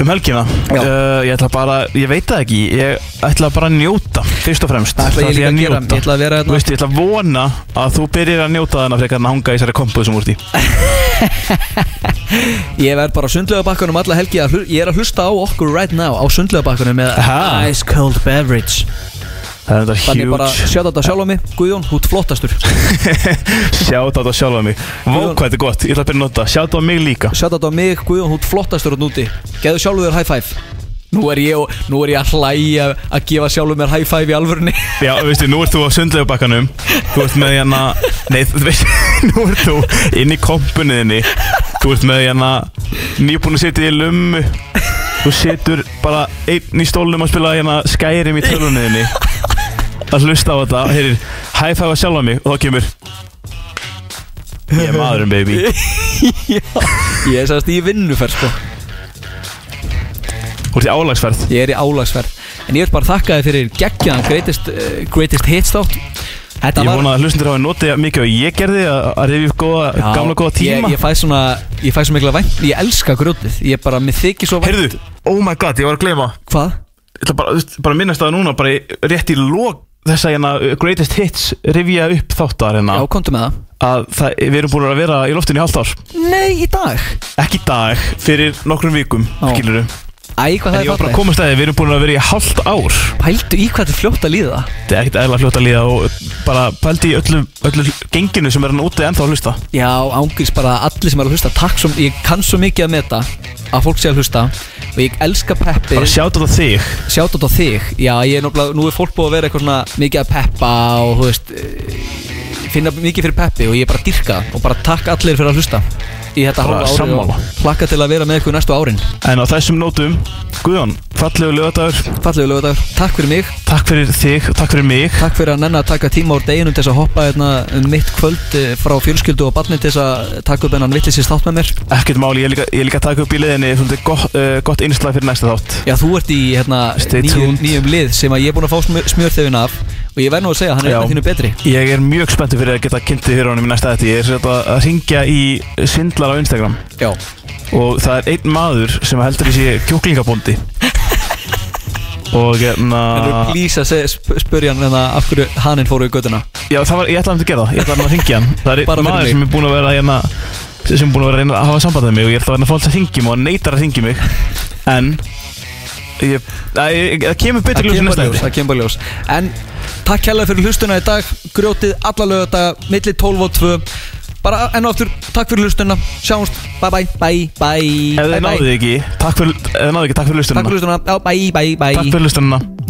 Speaker 4: Um helgina? Uh, ég ætla bara, ég veit það ekki Ég ætla bara að njóta fyrst og fremst
Speaker 3: Það ætla ég
Speaker 4: ætla
Speaker 3: líka að gera.
Speaker 4: njóta.
Speaker 3: Ég ætla að vera hérna. þarna.
Speaker 4: Þú veist, ég ætla að vona að þú byrjir að njóta þarna frekar en að hanga í þessari kompu sem þú ert í
Speaker 3: Ég verð bara á sundlaugabakkanum alla helgi að hlu- Ég er að hlusta á okkur right now Á sundlaugabakkanum með Ice Cold Beverage
Speaker 4: Það er þetta huge
Speaker 3: Þannig bara sjá þetta sjálf á mig Guðjón, hú ert flottastur
Speaker 4: Sjá þetta sjálf á mig Vá hvað þetta er gott, ég ætla að byrja að nota Sjá þetta á mig líka
Speaker 3: Sjá þetta á mig, Guðjón, hú ert flottastur og núti Geðu sjálfu þér high five Nú er ég, og- nú er ég að hlæja að gefa sjálfu mér high five í alvörni
Speaker 4: Já, veistu, nú ert þú á sundlegubakkanum Þú ert með hérna Nei, þú veist, nú ert þú inn í kompunniðinni Þú ert með hérna Nýbúin að setja í lummu Þú setur bara einn í stólnum að spila hérna Skyrim í tölunniðinni Að hlusta á þetta Heyrir, high five að sjálfa mig Og þá kemur Ég er maðurinn, baby
Speaker 3: Já, ég er sagðast í vinnuferð sko
Speaker 4: Þú ert í álagsferð
Speaker 3: Ég er í álagsferð En ég vil bara þakka þið fyrir geggjaðan greatest, uh, greatest hits þátt Þetta
Speaker 4: Ég
Speaker 3: var-
Speaker 4: vona að hlustundur hafi notið jafn mikið og ég gerði að að rifja upp góða,
Speaker 3: Já,
Speaker 4: gamla góða tíma
Speaker 3: Ég, ég fæ svona, ég fæ svo mikla vænt Ég elska grjótið, ég bara, mér þykir svo vænt
Speaker 4: Heyrðu, oh my god, ég var að gleyma
Speaker 3: Hvað?
Speaker 4: Ég ætla bara, þú veist, bara að minnast það núna bara í- rétt í lók þess að hérna uh, Greatest Hits rifja upp þáttar hérna Já,
Speaker 3: komdu með
Speaker 4: það Að það, við erum búin að vera í loftinu í hálft ár
Speaker 3: Nei, í dag
Speaker 4: Ekki í dag, fyrir nokkrum vikum, skilur
Speaker 3: Æ, hvað það
Speaker 4: En
Speaker 3: er
Speaker 4: ég var bara
Speaker 3: fallegt.
Speaker 4: að komast að þið, við erum búin að vera í hálft ár
Speaker 3: Pældu í hvað þetta er fljótt að líða
Speaker 4: Þetta er ekkert eðla fljótt að líða og bara pældi í öllu, öllu genginu sem er hann úti ennþá að hlusta
Speaker 3: Já, ángils bara að allir sem er að hlusta Takk svo, ég kann svo mikið að meta Að fólk sé að hlusta Og ég elska peppi
Speaker 4: Bara sjátt á þig
Speaker 3: Sjátt á þig, já, ég er náttúrulega Nú er fólk búið að vera eitthvað svona mikið að peppa Og, þú veist, eh, finna mikið fyrir peppi Og ég bara dyrka það Og bara takk allir fyrir að hlusta Í þetta
Speaker 4: Bara
Speaker 3: hálfa ári
Speaker 4: sammála.
Speaker 3: og Plakka til að vera með ykkur næstu árin
Speaker 4: En á þessum nótum, Guðjón, fallegu lögadagur
Speaker 3: Fallegu lögadagur, takk fyrir mig
Speaker 4: Takk fyrir þig og takk fyrir mig
Speaker 3: Takk fyrir að nenni að taka tíma úr deginum til þess að hoppa hérna um mitt kvöld eh, frá fjölskyldu og barni til þess að taka upp hennan vittlisins þátt með mér
Speaker 4: Ekkert máli, ég er líka, ég er líka að taka upp í liðinni svolítið gott, uh, gott innslag fyrir næsta þátt
Speaker 3: Já, þú ert í hérna
Speaker 4: Stay
Speaker 3: nýjum,
Speaker 4: tuned.
Speaker 3: nýjum lið sem að ég er búin að fá smjör, smjörþefin af og ég verð nú að segja, hann er
Speaker 4: Já.
Speaker 3: hérna þínu betri
Speaker 4: Ég er mjög spenntur fyrir að geta kynntið fyrir honum í næsta þetta Ég er svolítið að- að ringja í svindlar á Instagram
Speaker 3: Já
Speaker 4: Og það er einn maður sem heldur í sé kjúklingabóndi Og hérna
Speaker 3: En þú plís að segja- sp- spyrja hann hérna af hverju hanninn fóru í göduna
Speaker 4: Já, það var, ég ætlaði að gera það, ég ætlaði að ringja hann Það er
Speaker 3: Bara
Speaker 4: einn
Speaker 3: fyrir mig.
Speaker 4: maður sem er búin að vera hérna sem er búin að vera að reyna að hafa samband með mig og ég ætla að vera að fólk að ringja mig og hann neytar að ringja mig en ég, að, ég, það kemur betur
Speaker 3: Það
Speaker 4: ljós í
Speaker 3: kemur
Speaker 4: næsta
Speaker 3: bara ljós,
Speaker 4: þætti.
Speaker 3: það kemur bara ljós En takk hérlega fyrir hlustuna í dag Grjótið alla lögadaga, milli 12 og 2 Bara enn og aftur, takk fyrir hlustuna Sjáumst, bye bye, bye bye
Speaker 4: Ef
Speaker 3: Bye,
Speaker 4: þið
Speaker 3: bye.
Speaker 4: náðuð ekki, takk fyrir, ef þið náðuð ekki, takk fyrir lustununa
Speaker 3: Takk fyrir hlustuna, já, bye bye, bye
Speaker 4: Takk fyrir lustununa